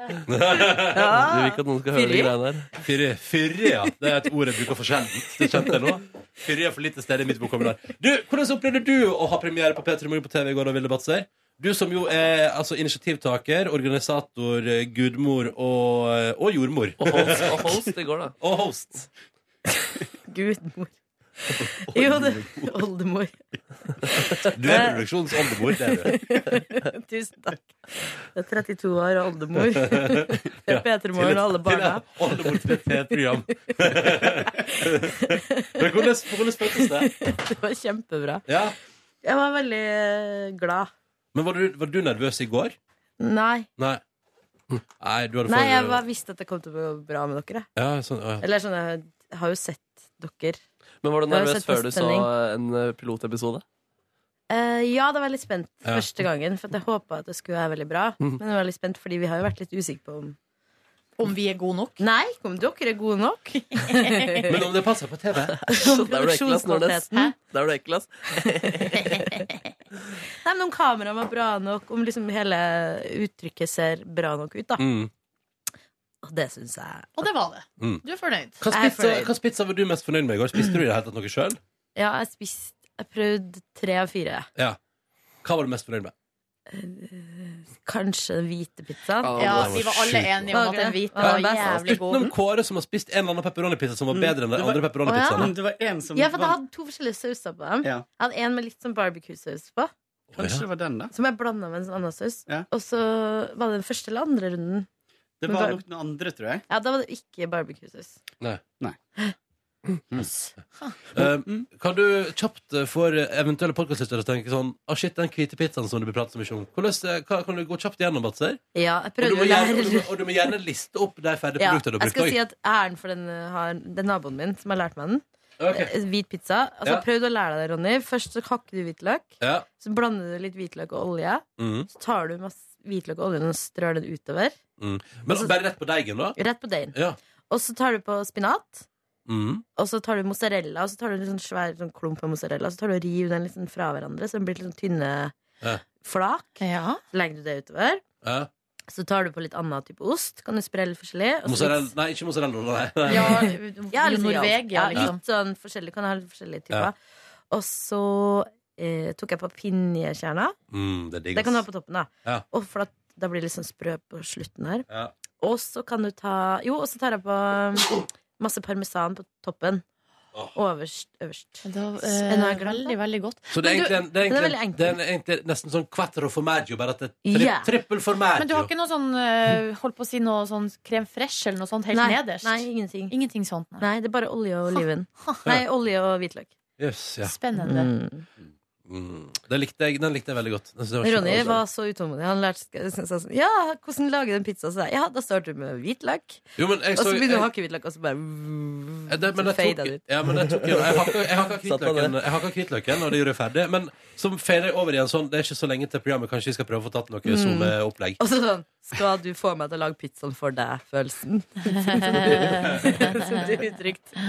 Speaker 3: Du vil ikke at noen skal høre de
Speaker 1: Fyri?
Speaker 3: greiene her?
Speaker 1: Fyri, fyri, ja. Det er et ord jeg bruker for sjelden. Det kjente jeg nå. Fyri er for lite sted i mitt vokabular. Du, hvordan opplevde du å ha premiere på P3 Morgen på TV i går, da, Vilde Batser? Du som jo er altså, initiativtaker, organisator, eh, gudmor og, og jordmor.
Speaker 3: Og host, og host i går, da.
Speaker 1: Og host.
Speaker 13: Gudmor. Jo, det Oldemor.
Speaker 1: Du er produksjonens oldemor, det er du.
Speaker 13: Tusen takk. Jeg er 32 år og oldemor. Det er
Speaker 1: Ja,
Speaker 13: Peter Moren og alle
Speaker 1: til et-
Speaker 13: barna.
Speaker 1: til et Oldemor til et P3-program. Men hvordan, hvordan føltes det?
Speaker 13: Det var kjempebra.
Speaker 1: Ja.
Speaker 13: Jeg var veldig eh, glad.
Speaker 1: Men var du, var du nervøs i går?
Speaker 13: Nei.
Speaker 1: Nei. Nei, du hadde
Speaker 13: Nei,
Speaker 1: for-
Speaker 13: jeg var, visste at det kom til å gå bra med dere.
Speaker 1: Ja, sånn, ja.
Speaker 13: Eller sånn, jeg har jo sett dere.
Speaker 3: Men var du
Speaker 13: Jeg har jo
Speaker 3: nervøs
Speaker 13: sett
Speaker 3: før du så
Speaker 13: presentasjonen.
Speaker 3: en eh, pilotepisode?
Speaker 13: Eh, ja, da var jeg litt spent
Speaker 3: Ja.
Speaker 13: første gangen, for at jeg håpa at det skulle være veldig bra.
Speaker 3: Mhm.
Speaker 13: Men jeg var litt spent, fordi vi har jo vært litt usikre på om
Speaker 2: Om vi er gode nok?
Speaker 13: Nei, om dere er gode nok.
Speaker 1: Men om det passer på TV?
Speaker 3: Sånn, Der er du ekkel, ass, Nordnes.
Speaker 13: Hæ?
Speaker 3: Der er du ekkel, ass.
Speaker 13: Nei, men om kameraet var bra nok, om liksom hele uttrykket ser bra nok ut, da.
Speaker 1: Mm.
Speaker 13: Og det syns jeg
Speaker 2: Og det var det.
Speaker 1: Mm.
Speaker 2: Du er fornøyd.
Speaker 1: Hva spizza, hva spizza var du mest fornøyd med i går? Spiste du i det hele tatt noe sjøl?
Speaker 13: Ja, jeg spiste Jeg prøvde tre av fire.
Speaker 1: Ja. Hva var du mest fornøyd med?
Speaker 13: Kanskje den hvite pizzaen.
Speaker 1: Ja, Ja, den var vi var alle sjukt god. enige
Speaker 2: om at den hvite var jævlig god.
Speaker 1: Utenom Kåre, som har spist en eller annen pepperoni-pizza som var bedre enn de andre
Speaker 13: Mm. Å, ja.
Speaker 1: pepperoni-pizzaene.
Speaker 13: Ja, for jeg hadde to forskjellige sauser på dem.
Speaker 1: Ja.
Speaker 13: Jeg hadde en med litt sånn barbecue-saus på.
Speaker 4: Kanskje det var den, da.
Speaker 10: Som jeg blanda med en ananasaus. Og så var det den første eller andre runden.
Speaker 4: Det
Speaker 10: med
Speaker 4: var
Speaker 10: bar-
Speaker 4: nok den andre, tror jeg.
Speaker 10: Ja, da var det ikke barbecue-saus.
Speaker 1: Nei.
Speaker 4: Nei.
Speaker 1: Eh, kan du kjapt eh, for eventuelle podkastlyttere tenke sånn ah, shit, den hvite pizzaen som det blir pratet så mye om, hvordan, eh, hva, kan du gå kjapt gjennom, Batser?
Speaker 10: Ja, jeg
Speaker 1: Og du,
Speaker 10: prøvde
Speaker 1: må
Speaker 10: å
Speaker 1: gjerne, og, du,
Speaker 10: lære
Speaker 1: må- og du må gjerne liste opp de ferdige
Speaker 10: Ja,
Speaker 1: produktene du har
Speaker 10: jeg
Speaker 1: brukt.
Speaker 10: skal si
Speaker 1: også.
Speaker 10: at æren for den eh, har Det er naboen min som har lært meg den.
Speaker 1: Ok.
Speaker 10: Eh, Hvit pizza. Altså,
Speaker 1: Ja.
Speaker 10: Prøv å lære deg det, Ronny. Først så hakker du hvitløk.
Speaker 1: Ja.
Speaker 10: Så blander du litt hvitløk og olje.
Speaker 1: Mhm.
Speaker 10: Så tar du masse hvitløk og olje og strør den utover.
Speaker 1: Mm.
Speaker 10: altså-
Speaker 1: Men bare rett på deigen, da?
Speaker 10: Rett på deigen.
Speaker 1: Ja.
Speaker 10: Og så tar du på spinat.
Speaker 1: Mm.
Speaker 10: Og så tar du mozzarella, og så tar du en litt sånn svær sånn klump med mozzarella, og så tar du og river den litt sånn fra hverandre, så den blir litt sånn tynne
Speaker 1: Ja.
Speaker 10: flak. Så legger du det utover.
Speaker 1: Ja.
Speaker 10: Så tar du på litt annen type ost. Kan du spre litt forskjellig. og så
Speaker 1: Mozzarella
Speaker 10: litt-
Speaker 1: Nei, ikke mozzarella. Nei. nei.
Speaker 10: Ja, litt sånn
Speaker 2: Norvegia,
Speaker 10: ja,
Speaker 2: liksom.
Speaker 10: Litt sånn forskjellig. Kan ha litt forskjellige
Speaker 1: Ja.
Speaker 10: typer. Og så eh, tok jeg på pinjekjerna.
Speaker 1: Mm, det er digg.
Speaker 10: Det kan du ha
Speaker 1: ass.
Speaker 10: på toppen, da.
Speaker 1: Ja.
Speaker 10: Og for at da blir det litt sånn sprø på slutten her.
Speaker 1: Ja.
Speaker 10: Og så kan du ta Jo, og så tar jeg på um, masse parmesan på toppen. Øverst. øverst.
Speaker 2: eh,
Speaker 10: Nå har jeg glemt
Speaker 2: veldig, veldig godt.
Speaker 1: Så det er
Speaker 2: Men
Speaker 1: egentlig,
Speaker 2: du-
Speaker 1: en, det er
Speaker 10: Den er
Speaker 1: egentlig,
Speaker 10: veldig enkel.
Speaker 1: det er egentlig nesten sånn quattro formaggio, bare at det er tri,
Speaker 2: Ja.
Speaker 1: trippel formaggio.
Speaker 2: Men du har ikke noe sånn eh, Holdt på å si noe sånn krem fresh eller noe sånt helt
Speaker 10: Nei,
Speaker 2: nederst?
Speaker 10: nei, ingenting.
Speaker 2: sånt, nei.
Speaker 10: Nei, det er bare olje og oliven. Nei, olje og hvitløk.
Speaker 1: Yes, ja.
Speaker 10: Spennende.
Speaker 1: Mm. Den, likte jeg, den likte jeg veldig godt. Den synes jeg var
Speaker 10: Ronny
Speaker 1: kjempe-
Speaker 10: var så utålmodig. Han lærte seg sånn Ja, hvordan lager du en pizza? Så jeg, ja, da starter du med hvitløk.
Speaker 1: Jo, men jeg
Speaker 10: og så
Speaker 1: så-
Speaker 10: begynner du å
Speaker 1: jeg-
Speaker 10: hakke hvitløk, og så bare
Speaker 1: Ja, det, men jeg
Speaker 10: så
Speaker 1: tok,
Speaker 10: fader det ut.
Speaker 1: ja, men jeg tok jo Jeg hakka- jeg hakka
Speaker 3: Satt på det.
Speaker 1: hvitløken- jeg hakka hvitløken, og det gjorde jeg ferdig. Men så fader jeg over i en sånn Det er ikke så lenge til programmet. Kanskje vi skal prøve å få tatt noe
Speaker 10: Mm.
Speaker 1: SoMe-opplegg.
Speaker 10: Og så sånn Skal du få meg til å lage pizzaen for deg-følelsen? Som du uttrykte.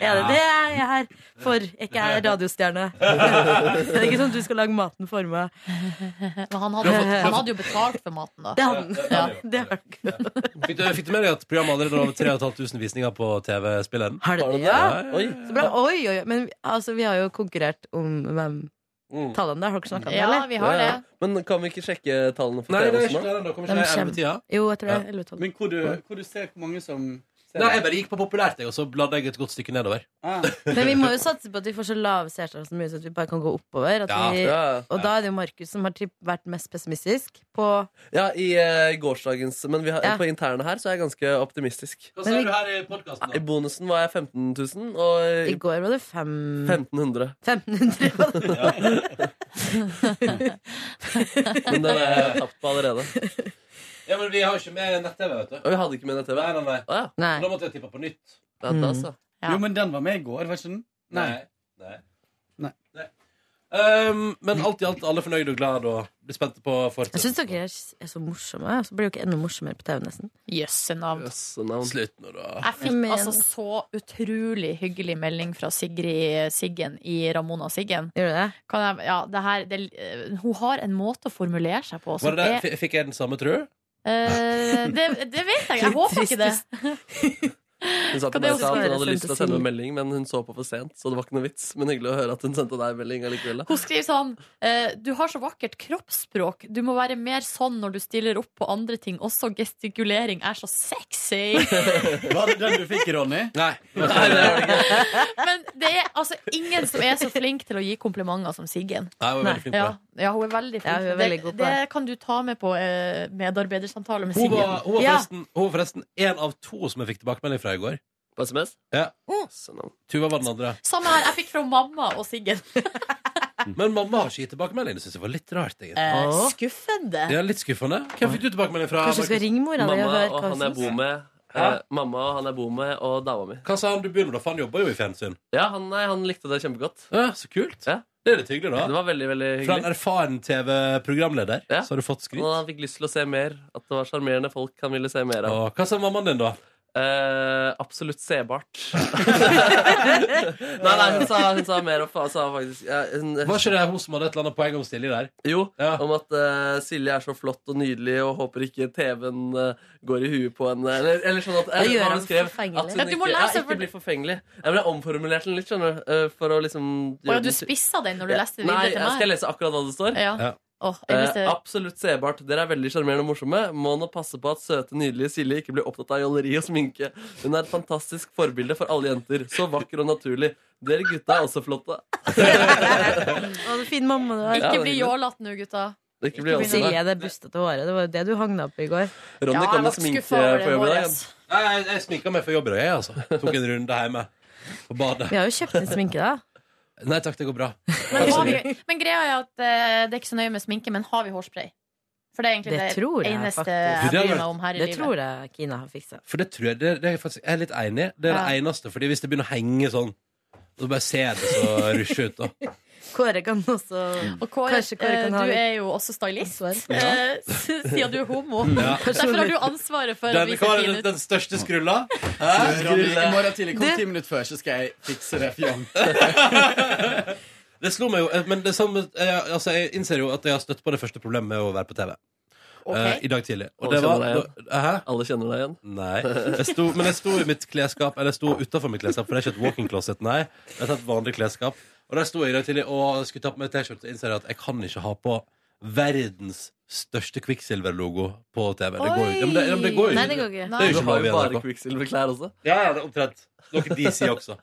Speaker 10: Er det det jeg er her for? Er Ikke jeg radiostjerne. Det er ikke sånn at du skal lage maten for meg.
Speaker 2: Men han hadde, han hadde jo betalt for maten, da.
Speaker 10: Det
Speaker 1: Eh,
Speaker 10: hadde han.
Speaker 2: Ja.
Speaker 10: Det har han.
Speaker 1: Fikk du, fikk du med deg at programmet allerede har over 3500 visninger på TV-spilleren?
Speaker 10: Har det det?
Speaker 1: Ja, ja, ja.
Speaker 10: Så bra. Oi, oi, oi. Men altså, vi har jo konkurrert om hvem tallene der. Har dere sånn- snakka om det, eller?
Speaker 3: Mm. Men kan vi ikke sjekke tallene for
Speaker 4: Nei, det er
Speaker 3: TV-en
Speaker 4: ikke
Speaker 3: også
Speaker 4: det, da kommer
Speaker 10: De
Speaker 4: ikke det
Speaker 10: kommer.
Speaker 4: elvetida?
Speaker 10: Jo, jeg tror det
Speaker 1: Ja.
Speaker 10: er 11-12.
Speaker 4: Men hvor du, hvor du ser hvor mange som ser
Speaker 1: Nei, jeg bare gikk på populært, jeg, og så bladde jeg et godt stykke nedover.
Speaker 10: Men vi må jo satse på at vi får så lave seertall som mulig, så at vi bare kan gå oppover. At
Speaker 1: Ja.
Speaker 10: vi,
Speaker 1: Ja.
Speaker 10: og da er det jo Markus som har tripp- vært mest pessimistisk på
Speaker 3: Ja, i eh, gårsdagens Men vi har,
Speaker 10: Ja.
Speaker 3: på interne her så er jeg ganske optimistisk.
Speaker 1: Hva sa du her i podkasten?
Speaker 3: I bonusen var jeg 15 000, og
Speaker 10: I går var det fem
Speaker 3: 1500.
Speaker 10: 1500. var det.
Speaker 3: Men den er jeg tapt på allerede.
Speaker 1: Ja, men vi har jo ikke med nett-TV, vet du.
Speaker 3: Og vi hadde ikke med nett-TV.
Speaker 1: Nei, nei, nei.
Speaker 10: Nei. Mm.
Speaker 1: Da måtte jeg tippe på nytt.
Speaker 3: Ja, da, altså. så.
Speaker 4: Jo, men den var med i går, var ikke den?
Speaker 1: Nei. Nei. Um, men alt i alt, alle fornøyde og glad og blir spente på
Speaker 10: Jeg syns
Speaker 1: fortsettelsen.
Speaker 10: dere er s- er så morsomme, og så blir det jo ikke enda morsommere på TV, nesten.
Speaker 2: Jøsse navn.
Speaker 1: Slutt nå, da.
Speaker 2: Jeg fikk
Speaker 10: Men-
Speaker 2: altså så utrolig hyggelig melding fra Sigrid Siggen i Ramona Siggen.
Speaker 10: Gjør du det?
Speaker 2: Kan jeg, ja, det her, det, eh, hun har en måte å formulere seg på som
Speaker 1: Var det der,
Speaker 2: er
Speaker 1: f- fikk jeg den samme, tror du?
Speaker 2: eh, det, det vet jeg. Jeg håper ikke det.
Speaker 3: Hun sa
Speaker 2: Kan det
Speaker 3: til meg i
Speaker 2: også
Speaker 3: stad at hun
Speaker 2: være
Speaker 3: hadde lyst til å
Speaker 2: fantasi?
Speaker 3: sende en melding, men hun så på for sent, så det var ikke noe vits. Men hyggelig å høre at hun sendte deg melding allikevel.
Speaker 2: Hun skriver sånn eh, Du har så vakkert kroppsspråk. Du må være mer sånn når du stiller opp på andre ting. Også gestikulering er så sexy.
Speaker 4: Var det den du fikk, Ronny?
Speaker 1: Nei.
Speaker 2: Men det er altså ingen som er så flink til å gi komplimenter som Siggen.
Speaker 1: Nei, hun er veldig flink på
Speaker 2: ja,
Speaker 1: det.
Speaker 2: ja, hun er veldig flink.
Speaker 10: Ja, hun er veldig god på
Speaker 2: det, det kan du ta med på eh, medarbeidersamtale med
Speaker 1: Hun
Speaker 2: Siggen.
Speaker 1: var, hun var
Speaker 2: Ja.
Speaker 1: forresten, hun var forresten en av to som jeg fikk tilbakemelding fra i går.
Speaker 3: På SMS?
Speaker 1: Ja.
Speaker 3: Sånn, da.
Speaker 1: Tuva var den andre.
Speaker 2: Samme her. Jeg fikk fra mamma og Siggen.
Speaker 1: Men mamma har ikke gitt tilbakemelding. Det syns jeg var litt rart. egentlig.
Speaker 2: Eh, skuffende.
Speaker 1: Det er litt skuffende. Hvem fikk du tilbakemelding fra?
Speaker 10: Kanskje jeg skal
Speaker 1: Markus?
Speaker 10: ringe mora di og
Speaker 3: Mamma
Speaker 10: høre
Speaker 3: og
Speaker 10: hva
Speaker 3: han jeg
Speaker 10: hun
Speaker 3: bor
Speaker 10: syns?
Speaker 3: med.
Speaker 1: Hæ?
Speaker 3: Eh, mamma og han jeg bor med, og dama mi.
Speaker 1: Hva sa han du begynner med, da? For han jobber jo i fjernsyn.
Speaker 3: Ja, han, nei, han likte det kjempegodt.
Speaker 1: Ja, Så kult.
Speaker 3: Ja.
Speaker 1: Det er litt hyggelig,
Speaker 3: Det
Speaker 1: da.
Speaker 3: var veldig, veldig
Speaker 1: Fra en
Speaker 3: hyggelig.
Speaker 1: erfaren TV-programleder
Speaker 3: Ja.
Speaker 1: så har du fått skryt.
Speaker 3: Og han fikk lyst til å se mer. At det var sjarmerende folk han ville se mer av.
Speaker 1: Og hva sa mammaen din, da?
Speaker 3: Eh, absolutt sebart. nei, nei, hun sa, hun sa mer og fa- sa faktisk ja, hun,
Speaker 1: Var ikke det hun som hadde et eller annet poeng om Silje der?
Speaker 3: Jo,
Speaker 1: Ja.
Speaker 3: om at eh, Silje er så flott og nydelig og håper ikke TV-en eh, går i huet på henne. Eller, eller sånn at,
Speaker 10: Det gjør
Speaker 3: hva
Speaker 10: han
Speaker 3: hun skrev,
Speaker 10: forfengelig.
Speaker 3: at
Speaker 2: Ja,
Speaker 3: hun
Speaker 2: du må
Speaker 3: ikke, ja,
Speaker 2: lese, for-
Speaker 3: ikke blir forfengelig. Ja, men jeg omformulerte den litt, skjønner du. eh, for å liksom
Speaker 2: Å ja,
Speaker 3: gjøre
Speaker 2: du
Speaker 3: den-
Speaker 2: spissa den når du leste det
Speaker 3: Nei,
Speaker 2: videre
Speaker 3: jeg skal
Speaker 2: til meg.
Speaker 3: lese akkurat hva det står.
Speaker 2: Ja.
Speaker 1: Ja.
Speaker 2: Åh, jeg
Speaker 3: Eh,
Speaker 2: visste-
Speaker 3: absolutt sebart. Dere er veldig sjarmerende og morsomme. Må nå passe på at søte, nydelige Silje ikke blir opptatt av jåleri og sminke. Hun er et fantastisk forbilde for alle jenter. Så vakker og naturlig. Dere gutta er også flotte.
Speaker 13: Å, det er fin mamma du har.
Speaker 3: Ikke Ja, det er bli hyggelig.
Speaker 2: jålete nå, gutta.
Speaker 3: Det ikke blir jålete.
Speaker 13: Silje, det bustete håret. Det var jo det du hang deg opp i går.
Speaker 3: Ronny kan jo sminke på jobb i dag.
Speaker 13: ass.
Speaker 1: Nei, jeg, jeg sminka meg for jobb i dag, jeg, altså. Tok en runde hjemme. På badet.
Speaker 13: Vi har jo kjøpt inn sminke, da.
Speaker 1: Nei takk, det går bra.
Speaker 2: Men, har vi, men greia er at eh, det er ikke så nøye med sminke, men har vi hårspray? For det er egentlig
Speaker 13: Det
Speaker 2: det,
Speaker 13: tror jeg
Speaker 2: eneste
Speaker 13: faktisk.
Speaker 2: jeg bryr meg om her i
Speaker 13: Det
Speaker 2: livet.
Speaker 13: tror jeg Kina har fiksa.
Speaker 1: For det tror jeg det, det er jeg faktisk, Jeg er litt enig. Det er det eneste. Fordi hvis det begynner å henge sånn, og du bare ser det så rusje ut, da.
Speaker 13: Kåre kan også
Speaker 2: Og Kåre,
Speaker 13: Kanskje Kåre kan
Speaker 2: eh,
Speaker 13: ha
Speaker 2: du
Speaker 13: litt
Speaker 2: er jo også stylist,
Speaker 13: ansvar.
Speaker 2: eh, s- siden du er homo.
Speaker 1: Mm, Ja.
Speaker 2: Derfor har du ansvaret for å
Speaker 1: Den,
Speaker 2: vise
Speaker 1: hva er
Speaker 2: fin
Speaker 1: den,
Speaker 2: ut.
Speaker 1: den største skrulla?
Speaker 11: Skrulle. I morgen tidlig, kom
Speaker 1: Det-
Speaker 11: ti minutter før, så skal jeg fikse det. fjong.
Speaker 1: Det slo meg jo, eh, men det samme jeg, altså, jeg innser jo at jeg har støtt på det første problemet med å være på TV.
Speaker 3: Ok.
Speaker 1: Eh, I dag tidlig. Og
Speaker 3: Alle
Speaker 1: det var,
Speaker 3: kjenner deg
Speaker 1: Hæ?
Speaker 3: Alle kjenner deg igjen?
Speaker 1: Nei. Jeg sto, men jeg sto i mitt klesskap, eller jeg sto utenfor mitt klesskap, for det er ikke et walk-in closet, nei. Det er et vanlig klesskap. Og der sto jeg i dag tidlig og skulle ta på meg T-skjorte og innser jeg at jeg kan ikke ha på verdens største Quicksilver-logo på TV. Det går jo ikke. Ja, men det, ja, men det går jo
Speaker 3: Nei, det går ikke.
Speaker 1: Det er jo ikke
Speaker 3: Du har
Speaker 1: lov i
Speaker 3: jo bare
Speaker 1: NRK.
Speaker 3: Quicksilver-klær også.
Speaker 1: Ja, ja, det er omtrent. Noe DC også.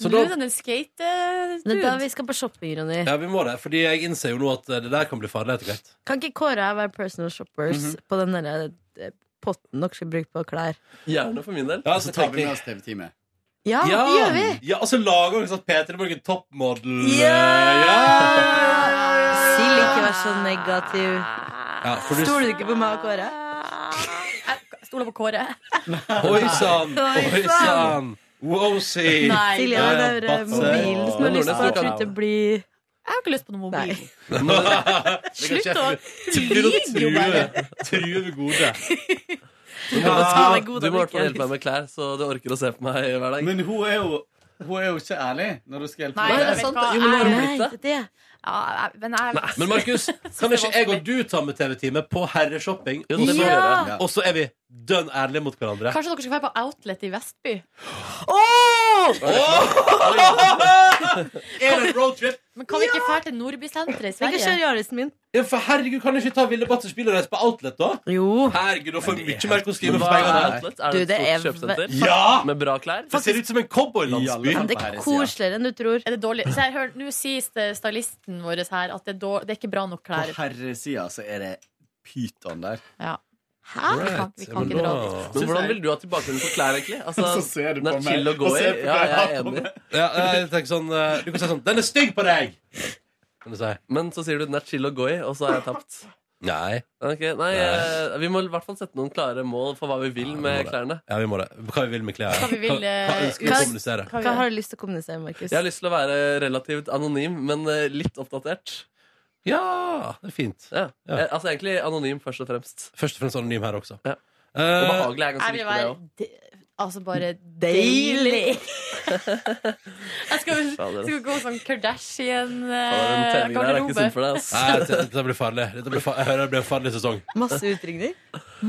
Speaker 1: Så
Speaker 2: Du
Speaker 1: da
Speaker 2: er den skate... eh,
Speaker 13: Det er da vi skal på shopping, Ronny.
Speaker 1: Ja, vi må det. Fordi jeg innser jo nå at eh, det der kan bli farlig etter hvert.
Speaker 13: Kan ikke Kåre og jeg være personal shoppers
Speaker 1: Mhm.
Speaker 13: på den derre eh, potten dere skal bruke på klær?
Speaker 3: Gjerne for min del.
Speaker 1: Ja, så
Speaker 11: Så tar
Speaker 1: tenker
Speaker 11: vi med
Speaker 1: jeg-
Speaker 11: oss TV-teamet.
Speaker 13: Ja, det gjør vi!
Speaker 1: Ja, og så lager vi sånn Peter Morgan toppmodell.
Speaker 13: Sild, ikke vær så negativ.
Speaker 1: Ja, for du-
Speaker 13: Stoler du ikke på meg og Kåre?
Speaker 2: Jeg stoler på Kåre.
Speaker 1: Oi sann!
Speaker 13: Oi,
Speaker 1: Oi
Speaker 13: sann.
Speaker 1: sann! Wowsi!
Speaker 13: Nei. Silje,
Speaker 1: Eh,
Speaker 13: det er eh,
Speaker 1: Batse.
Speaker 13: mobilen som har lyst til å slutte å bli
Speaker 2: Jeg har ikke lyst på noe mobil.
Speaker 1: Det
Speaker 2: Slutt å lyge,
Speaker 1: kan ikke- Du begynner å true- True med gode.
Speaker 3: Du må
Speaker 11: Ja,
Speaker 3: i hvert fall hjelpe meg med klær, så du orker å se på meg hver dag.
Speaker 11: Men hun er jo, hun er jo ikke ærlig når hun skal hjelpe
Speaker 2: Nei, altså.
Speaker 11: meg.
Speaker 2: det er sant. Jo, men nå har hun blitt det. Ja, jeg- men jeg
Speaker 1: Men Markus, kan ikke jeg og du ta med TV-teamet på herreshopping?
Speaker 2: det må vi Ja. gjøre.
Speaker 1: Og så er vi dønn ærlige mot hverandre.
Speaker 2: Kanskje dere skal være på Outlet i Vestby?
Speaker 1: Er det en roadtrip?
Speaker 2: Men kan vi ikke dra til Nordbysenteret i
Speaker 1: Vi kan
Speaker 2: Sverige?
Speaker 1: kjøre Ja, for herregud, kan ikke ta Ville Batters bil og reise på Outlet, da? Herregud, da får vi mye mer kostyme for pengene.
Speaker 3: Outlet? Er det et stort kjøpesenter?
Speaker 1: Ja!
Speaker 3: Med bra klær?
Speaker 1: Det ser ut som en cowboylandsby.
Speaker 13: Det er koseligere enn du tror.
Speaker 2: Er det dårlig? Så jeg hører, Nå sier st- stylisten vår her at det er, dår- det er ikke bra nok
Speaker 11: På
Speaker 2: klær.
Speaker 11: herresida så er det pyton der.
Speaker 2: Ja. Hæ? Vi kan, vi kan ikke dra dit.
Speaker 3: Men hvordan vil du ha tilbakemelding på klær, egentlig? Altså,
Speaker 11: Så ser du
Speaker 3: den
Speaker 11: på
Speaker 3: er
Speaker 11: meg,
Speaker 3: chill å gå
Speaker 11: og
Speaker 3: i.
Speaker 11: ser på
Speaker 3: Ja,
Speaker 11: hva jeg
Speaker 3: jeg
Speaker 11: har
Speaker 3: er
Speaker 11: på
Speaker 3: enig.
Speaker 1: Ja, jeg tenker sånn eh, Du kan si sånn Den er stygg på deg!
Speaker 3: Men så sier du den er chill å gå i, og så har jeg tapt.
Speaker 1: Nei.
Speaker 3: Ok, nei, eh, Vi må i hvert fall sette noen klare mål for hva vi vil med klærne.
Speaker 1: Ja, vi må det. Hva vi vil med klær.
Speaker 3: Hva vi vil,
Speaker 1: hva, hva
Speaker 3: eh,
Speaker 1: ønsker vi å
Speaker 3: hva-
Speaker 1: kommunisere?
Speaker 3: hva-
Speaker 13: Hva har du lyst til å kommunisere med, Markus?
Speaker 3: Jeg har lyst til å være relativt anonym, men eh, litt oppdatert.
Speaker 1: Ja, det er fint.
Speaker 3: Ja.
Speaker 1: Ja.
Speaker 3: Eh, Altså egentlig anonym, først og fremst.
Speaker 1: Først og fremst anonym her også. Eh,
Speaker 3: Og behagelig er ganske
Speaker 2: Jeg vil
Speaker 3: viktig, det
Speaker 2: være
Speaker 3: òg.
Speaker 2: de- Altså bare
Speaker 13: Deilig!
Speaker 2: deilig! Jeg skal,
Speaker 1: Fader.
Speaker 3: altså.
Speaker 2: skal gå eh, sånn
Speaker 1: Fader, den tellingen her er ikke sunn
Speaker 2: Kardashian-garderobe.
Speaker 1: for deg, ass. Nei, dette, dette blir farlig. Dette blir fa jeg hører det blir en farlig sesong.
Speaker 13: Masse utringning?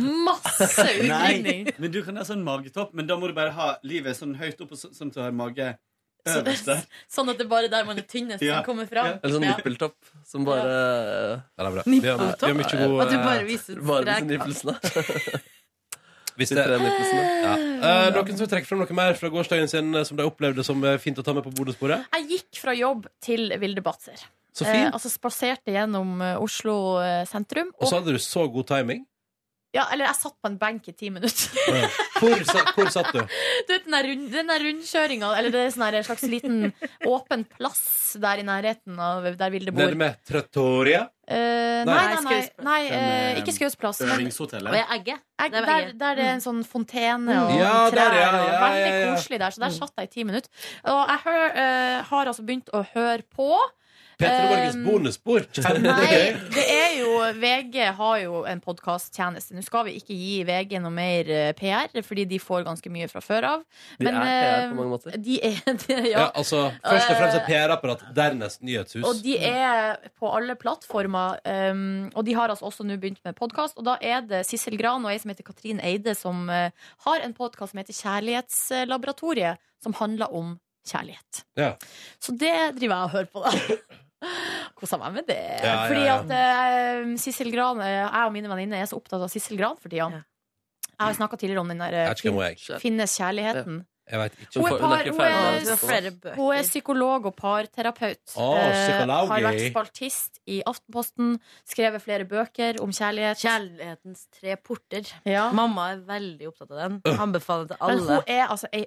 Speaker 2: Masse
Speaker 11: Nei, men du kan ha sånn magetopp, men da må du bare ha livet sånn høyt opp, og så, sånn at du har mage øverst der.
Speaker 2: Sånn at det er bare der man er tynnest,
Speaker 11: Ja.
Speaker 2: som kommer fram.
Speaker 3: Eller sånn
Speaker 2: Ja.
Speaker 3: nippeltopp som bare eh,
Speaker 1: Ja, det er bra. Vi har- vi har mye god, At du bare eh,
Speaker 13: viser
Speaker 3: Bare
Speaker 1: strek.
Speaker 3: viser nippelsene.
Speaker 1: Hvis det,
Speaker 3: tre nippelsene.
Speaker 1: ja. Eh, noen som vil trekke frem noe mer fra gårsdagen sin eh, som de opplevde som eh, fint å ta med på bonusbordet?
Speaker 2: Jeg gikk fra jobb til Vilde Batzer.
Speaker 1: Så fint.
Speaker 2: altså spaserte gjennom eh, Oslo eh, sentrum.
Speaker 1: Og så hadde du så god timing. Eh,
Speaker 2: Ja, eller jeg satt på en benk i ti minutter.
Speaker 1: Hvor, sa, hvor satt du?
Speaker 2: Du vet den der, rund, den der rundkjøringa, eller det er sånn her en slags liten åpen plass der i nærheten av der Vilde bor.
Speaker 1: Nede med Trattoria?
Speaker 2: Eh, nei, nei, nei, nei eh,
Speaker 1: Den, eh,
Speaker 2: ikke Skausplass. men-
Speaker 11: Øvingshotellet.
Speaker 2: Og jeg- Egge.
Speaker 13: Det er
Speaker 2: der,
Speaker 13: Egge.
Speaker 2: der det er en sånn fontene og
Speaker 13: Mm. Ja,
Speaker 2: trær.
Speaker 13: der, ja,
Speaker 2: og
Speaker 13: ja,
Speaker 2: veldig
Speaker 13: ja, ja.
Speaker 2: koselig der. Så der satt jeg i ti minutter. Og jeg hør, eh, har altså begynt å høre på.
Speaker 1: Petter Morgens
Speaker 2: Eh,
Speaker 1: bonusbord.
Speaker 2: Nei, det er jo VG har jo en podkasttjeneste. Nå skal vi ikke gi VG noe mer eh, PR, fordi de får ganske mye fra før av.
Speaker 1: De er
Speaker 2: eh,
Speaker 1: PR på mange måter.
Speaker 2: De er, de, ja. Eh,
Speaker 1: Ja, altså, først og fremst et PR-apparat, dernest nyhetshus.
Speaker 2: Og de er på alle plattformer. Um, og de har altså også nå begynt med podkast. Og da er det Sissel Gran og ei som heter Katrin Eide, som eh, har en podkast som heter Kjærlighetslaboratoriet, som handler om kjærlighet.
Speaker 1: Ja.
Speaker 2: Så det driver jeg og hører på, da. kosa meg med det.
Speaker 9: Ja, ja,
Speaker 2: Fordi
Speaker 9: ja.
Speaker 2: at eh, Sissel Gran, eh, jeg og mine venninner er så opptatt av Sissel Gran for tida. Jeg har snakka tidligere om den der eh,
Speaker 1: Jeg vet ikke hvem hun er.
Speaker 2: fin- Finnes kjærligheten.
Speaker 1: Jeg vet ikke.
Speaker 2: Hun er, par, hun,
Speaker 1: ferdig.
Speaker 3: altså.
Speaker 2: er, hun er psykolog og parterapeut.
Speaker 1: Å,
Speaker 2: Eh,
Speaker 1: psykolog.
Speaker 2: har vært spaltist i Aftenposten, skrevet flere bøker om kjærlighet.
Speaker 13: Kjærlighetens tre porter.
Speaker 2: Ja.
Speaker 13: Mamma er veldig opptatt av den. Anbefaler den til
Speaker 2: Men
Speaker 13: alle.
Speaker 2: hun er altså ei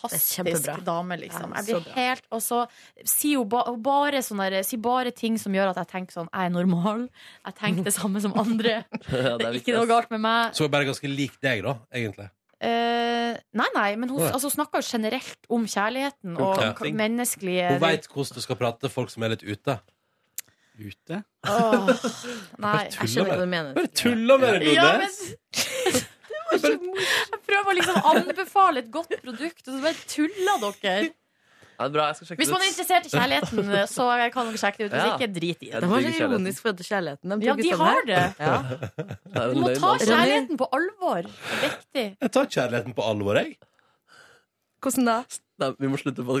Speaker 2: fantastisk
Speaker 13: kjempebra.
Speaker 2: dame, liksom.
Speaker 13: Ja,
Speaker 2: Jeg blir
Speaker 13: så bra.
Speaker 2: helt Og så sier hun, ba, hun bare sånne der, sier bare ting som gjør at jeg tenker sånn Jeg er normal. Jeg tenker det samme som andre. Det er ikke noe galt med meg.
Speaker 1: Så hun er bare ganske lik deg, da, egentlig.
Speaker 2: Eh, nei, nei, men hun,
Speaker 1: Nei.
Speaker 2: altså, hun snakker jo generelt om kjærligheten og
Speaker 1: Ja.
Speaker 2: k- menneskelige
Speaker 1: Hun veit hvordan du skal prate til folk som er litt ute. Ute?
Speaker 2: Åh, Nei,
Speaker 1: Jeg skjønner hva du
Speaker 13: mener.
Speaker 1: Bare tulla med deg,
Speaker 2: Ja,
Speaker 1: Nordnes!
Speaker 2: Jeg prøver å liksom anbefale et godt produkt, og så bare tuller dere.
Speaker 3: Ja, det er bra, jeg skal sjekke
Speaker 2: Hvis
Speaker 3: det ut.
Speaker 2: man er interessert i kjærligheten, så kan dere sjekke det ut. Hvis
Speaker 3: Ja.
Speaker 2: ikke, drit i det.
Speaker 3: Ja, det var så digger kjærligheten. ironisk
Speaker 13: for kjærligheten.
Speaker 2: ja, de har det.
Speaker 3: Det er
Speaker 2: Du
Speaker 3: en
Speaker 2: må
Speaker 3: løgn,
Speaker 2: ta
Speaker 3: altså.
Speaker 2: kjærligheten på alvor. Viktig.
Speaker 1: Jeg tar kjærligheten på alvor, jeg.
Speaker 13: Hvordan da?
Speaker 3: Nei, vi må slutte på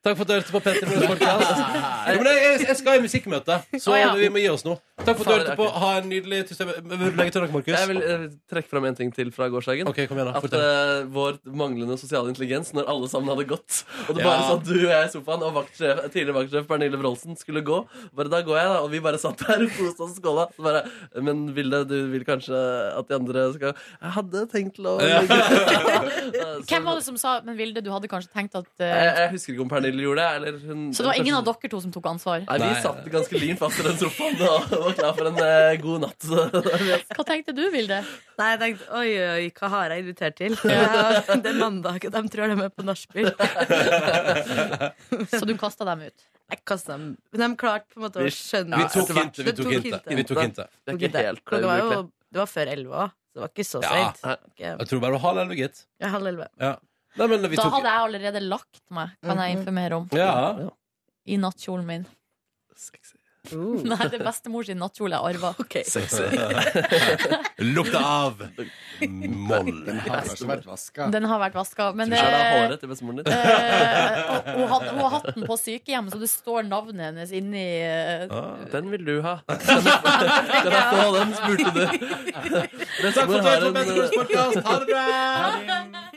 Speaker 1: Takk for at du hørte på Petter Morgens podcast. Jo, men jeg, jeg skal i musikkmøte, så
Speaker 3: Å, ja.
Speaker 1: vi må gi oss nå. Takk for at du hørte på. Ha en nydelig tirsdag. Vil du legge til noe, Markus?
Speaker 3: Jeg vil eh, trekke fram en ting til fra gårsdagen. at eh, vår manglende sosiale intelligens når alle sammen hadde gått. Og det bare
Speaker 1: Ja.
Speaker 3: satt du og jeg i sofaen, og vaktsjef, tidligere vaktsjef Pernille Wroldsen skulle gå. Bare da går jeg, da. Og vi bare satt der og koste oss og skåla. Så bare, Men Vilde, du vil kanskje at de andre skal Jeg hadde tenkt til å
Speaker 2: Hvem var det som sa Men Vilde, du hadde kanskje tenkt at
Speaker 3: jeg,
Speaker 2: eh,
Speaker 3: jeg husker ikke om Pernille gjorde det. Eller hun,
Speaker 2: Så det var
Speaker 3: kanskje-
Speaker 2: ingen av dere to som tok ansvar?
Speaker 3: Nei, vi satt ganske lint fast i den sofaen og var klar for en eh, god natt.
Speaker 2: Hva tenkte du, Vilde?
Speaker 13: Nei, jeg tenkte, oi, oi, oi, hva har jeg invitert til? Det er mandag, og de tror de er på nachspiel.
Speaker 2: Så du kasta dem ut?
Speaker 13: Jeg kastet dem. Men de klarte på en måte å
Speaker 3: Vi-
Speaker 13: skjønne
Speaker 3: vi tok hintet, vi
Speaker 13: Det
Speaker 3: tok hintet.
Speaker 1: Vi tok hintet.
Speaker 3: Det er ikke helt,
Speaker 13: Klokka var jo,
Speaker 1: ubrukelig.
Speaker 13: det var før elleve òg, så det var ikke så
Speaker 1: Ja.
Speaker 13: seint. Ja.
Speaker 1: Jeg tror bare det var halv elleve, gitt.
Speaker 13: Halv elleve.
Speaker 1: Ja. Nei, men vi
Speaker 2: Da
Speaker 1: tok
Speaker 2: hadde jeg allerede lagt meg, kan jeg informere om.
Speaker 1: Ja.
Speaker 2: I nattkjolen min. Nei, det er bestemor sin nattkjole jeg arva.
Speaker 1: Sexy. Lukta av moll. Den
Speaker 11: har kanskje vært vaska.
Speaker 2: Den har vært vaska. Men
Speaker 3: Tror ikke det er
Speaker 2: eh,
Speaker 3: håret til bestemoren din.
Speaker 2: eh, hun, hadde, hun har hatt den på sykehjem, så det står navnet hennes inni eh,
Speaker 3: Den vil du ha. Den er på, den spurte du.
Speaker 1: Takk for at du hørte på Bestemoren.
Speaker 14: Ha det bra!